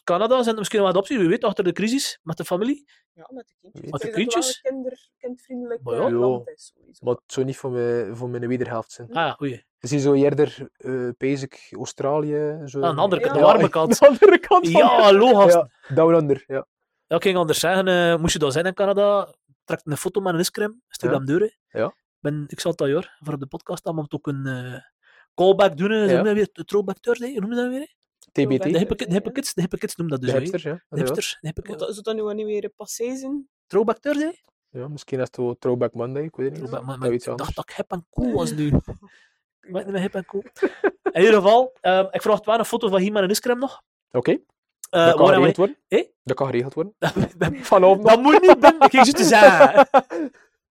Canada zijn er misschien wel wat opties, wie weet, achter de crisis, met de familie.
Ja, met de kindjes.
Met de
Ik denk dat
kindjes?
het wel een kinder, kindvriendelijk
Maar
eh,
ja.
land is, sowieso.
eh, Maar het zou niet voor mijn, voor mijn wederhelft zijn.
Ah, oei.
Het is hier zo eerder eh Pezig, Australië. Zo.
Aan de andere
kant,
de warme kant.
De andere kant van
Ja, hallo, gasten.
ja, down under. Ja.
Ja, ik ging anders zeggen, eh, moest je daar zijn in Canada, trek een foto met een iscrem, stuur
Ja.
hem door. hè.
Ja.
Ik Ben, ik zal het al jaar, voor op de podcast, dan moet ook een eh, callback doen, hè. ze
Ja.
noemen dat weer, de throwback Thursday, hoe noemen ze dat weer? hè?
TBT.
De
De,
Throwback.
hippe, ki- de hippe kids, de hippe kids noemen dat dus. hè.
hipsters, ja.
De
inderdaad.
hipsters, de hippe
Want
kids.
dat- Zou dat nu wel niet weer een passé zijn?
Throwback Thursday?
Ja, misschien is het wel Throwback Monday, ik weet het niet.
Throwback, maar,
Of
maar
iets
ik
anders.
dacht dat ik hip en cool was nu. ik ben niet meer hip en cool. In ieder geval, ehm, ik verwacht wel een foto van hier met een iscrem nog.
Oké,
Eh,
dat kan
waar
geregeld worden.
Eh?
Dat kan geregeld worden.
wij-
Vanavond nog.
Dat moet niet, Ben. Ik ging zo te zeggen.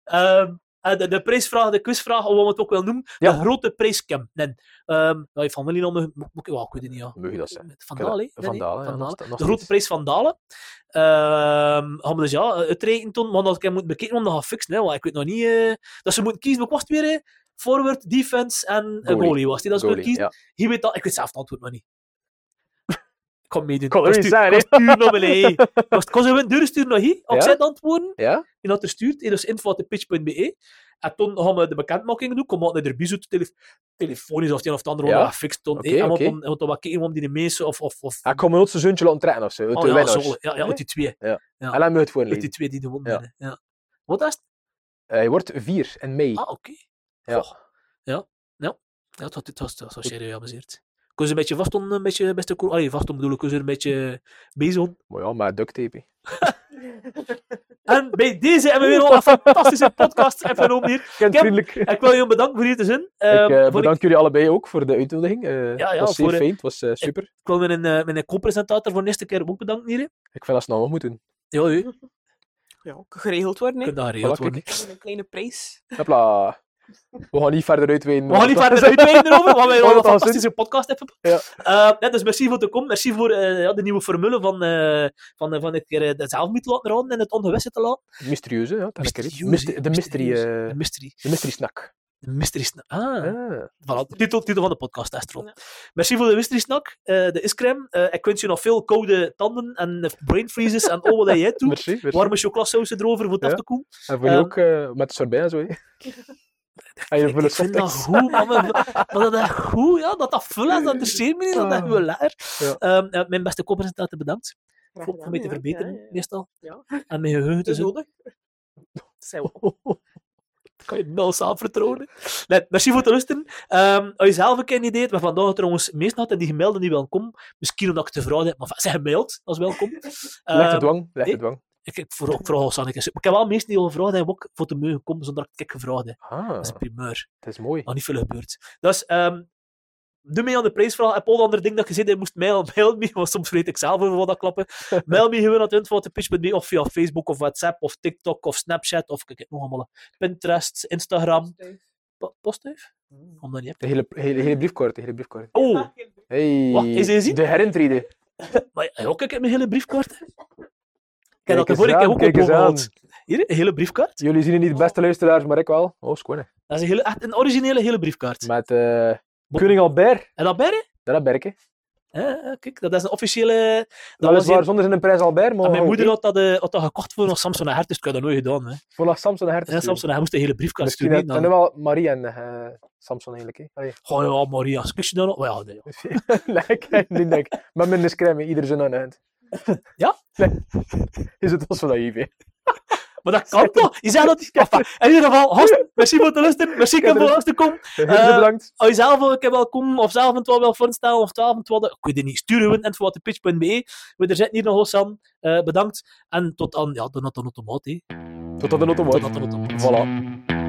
Ehm, en de, de prijsvraag, de quizvraag, of wat we het ook wel noemen,
Ja.
de grote prijscam. Nee. Ehm ja, je familie nog, moet- moet- ja, ik weet het niet. Ja.
Mag je dat zeggen?
Van Dalen, hè?
Van
Nee,
Dalen, ja, nog
Van Dalen.
sta- nog
de grote
steeds.
prijs van Dalen. Ehm gaan we dus ja, uitrekenen toen, want als ik hem moet bekijken, want dan ga ik fixen, hè, want ik weet nog niet... eh, dat ze moeten kiezen, wat was het weer? hè? Forward, defense en eh, goalie,
Goalie.
was die. Dat ze moeten
Goalie,
kiezen.
ja.
Hier weet dat, ik weet zelf het antwoord nog niet. Ik kan meedoen.
Kon er
Ik
niet
stuur-
zijn,
ik kan sturen naar beneden. Ik Kan kan ze een deur sturen naar hier?
Ja?
Opzet antwoorden.
Ja?
En dat er stuurt. En dat is info.pitch.be. En toen gaan we de bekendmaking doen. Kom uit naar de zoet tele telefonisch of het een of het ander
Ja?
ja? gefixt. Toen,
Oké,
eh, en we
oké.
dan- en we dan wat kijken om die mensen of... of, of
Hij kon me nooit zijn zoontje laten trekken of zo. uit
oh,
de
ja,
winnaars.
zo, ja, ja, uit die twee. ja.
En laat me het
Uit die
voorlezen.
twee die de
Ja.
wonnen ja. ja. Wat is het?
Hij wordt vier in mei.
Ah, oké.
Ja.
Goh. Ja. Ja. Ja, het was, het was, het was serieus geamuseerd. Kun je een beetje vast om, een beetje, beste koer... Allee, vast om bedoel ik, kun je er een beetje bezig om.
Maar ja, maar duct tape. hè.
En bij deze hebben we weer al een fantastische podcast genomen hier.
Kindvriendelijk.
Ik wil jullie bedanken voor hier te zijn. Ehm,
Ik eh,
voor
bedank jullie allebei ook voor de uitnodiging. Eh
Ja, ja,
het was zeer
voor, eh,
fijn, het was eh, super.
Ik wil mijn, eh, mijn co-presentator voor de eerste keer ook bedanken hier. hè.
Ik vind dat ze nou nog moeten doen.
Ja, u. Je
Ja, ook geregeld worden, hè.
kunt dat geregeld
Voilà, kijk.
worden.
Met Een kleine prijs.
Hopla. We gaan niet verder uitweiden.
We gaan niet verder uitweiden erover, want we hebben al
dat was
een
het.
fantastische podcast hebben.
Ja.
Eh, nee, dus merci voor de kom. Merci voor eh, ja, de nieuwe formule van, eh van, van dit keer eh, het zelf niet te laten raden en het ongewisse te laten.
Mysterieus, hè? Ja, dat is lekker, hè.
Mysterieus,
Myster-
hè,
de, mystery,
mysterieus.
eh,
De mystery.
de mystery snack.
De mystery snack. Ah,
Ah.
voilà, de titel, titel van de podcast, Astro.
Ja.
Merci voor de mystery snack, eh, de iscrem. Eh, ik wens je nog veel koude tanden en eh, brain freezes en al wat dat jij doet.
Merci, merci.
Warme chocolasausen erover voor het
Ja.
af te koelen.
En voor je
Ehm,
ook eh, met de sorbet en zo. hè. En je
Ik,
vullen
ik vind dat
softdrinks.
goed, man. Maar maar dat dat goed, ja. Dat dat vul is, dat interesseert me niet. Dat dat
Ah.
goed lekker.
Ja.
Ehm, eh, mijn beste co-presentator, bedankt.
Graag
Voor, voor mij te
gedaan, ja.
verbeteren,
Ja, ja, ja.
meestal.
Ja.
En mijn geheugen
Het
te
is
zo.
nodig. Zijn we.
kan je nou nul samen vertrouwen. Nee, merci voor het luisteren. Ehm, als je zelf een keer een idee hebt, maar vandaag trouwens meestal had en die gemelde die welkom. Misschien omdat ik te vrouw heb, maar enfin, zij gemeld als welkom.
Leg de
Ehm,
dwang, leg de
nee.
dwang.
ik, ik vroeg ik vroeg al Sanneke. Ik heb wel meestal die al gevraagd hebben, ook voor te mogen komen zonder dat ik gevraagd heb.
Ah,
Dat is Ah. een primeur.
het is mooi.
nog niet veel gebeurd. Dus ehm doe mee aan de prijsvraag. En al dat andere ding dat je zei, je moest mail, mail me, want soms weet ik zelf over wat dat klappen. mail me gewoon aan het info.pitch.me of via Facebook of WhatsApp of TikTok of Snapchat of kijk, ik heb nog allemaal Pinterest, Instagram.
dus.
Po- Postduif? Om dat niet
De hele, hele, hele briefkort, de hele briefkort.
heb. Oh,
Hey,
Wat, is hij zien?
de herintrede.
maar ja, ook kijk ik heb mijn hele briefkaart. heb dat de
eens
vorige keer
aan,
ook
kijk eens
opgehaald. Hier, een hele briefkaart.
Jullie zien het
Oh.
niet, beste luisteraars, maar ik wel. Oh, schoon.
Dat is een, hele, echt een originele hele briefkaart.
Met eh Koning Albert.
En dat berre?
Dat heb ik, hè.
Ja, kijk, dat is een officiële... Dat
Dat
was
is waar,
hier,
zonder zijn een prijs Albert, maar...
en mijn
oh,
moeder
ik-
had dat, eh, had dat gekocht voor nog Samson en Hert, dus ik had dat nooit gedaan. Hè.
Voor naar Samson en Hertz.
Ja, Samson, hij moest een hele briefkaart
Misschien
sturen.
had-
hè,
en
dan.
dan wel Marie en eh, Samson eigenlijk, hè. Allee.
Goh, ja, Maria, kus je dan nog? Ja, nee, ja.
Lekker, die denk ik. Met minder scremmen, ieder zijn aan hand.
Ja?
Nee. Is het als van dat IV?
Maar dat kan toch? Je zei dat niet. Enfin, in ieder geval, host, merci voor het luisteren. Merci
Ik heb
Kim,
er
voor
een-
langs te komen. Eh,
Bedankt.
Als je zelf ook een keer wel komen, of zelf een wel voorstellen, of twaalf een twaalf, ik weet het niet, sturen we en voor pitch.be. We er zitten hier nog eens aan. Eh, bedankt. En tot aan, ja, de Nathan Automaat. hè.
Tot aan de
Tot
automaat.
aan de Automaat.
Voilà.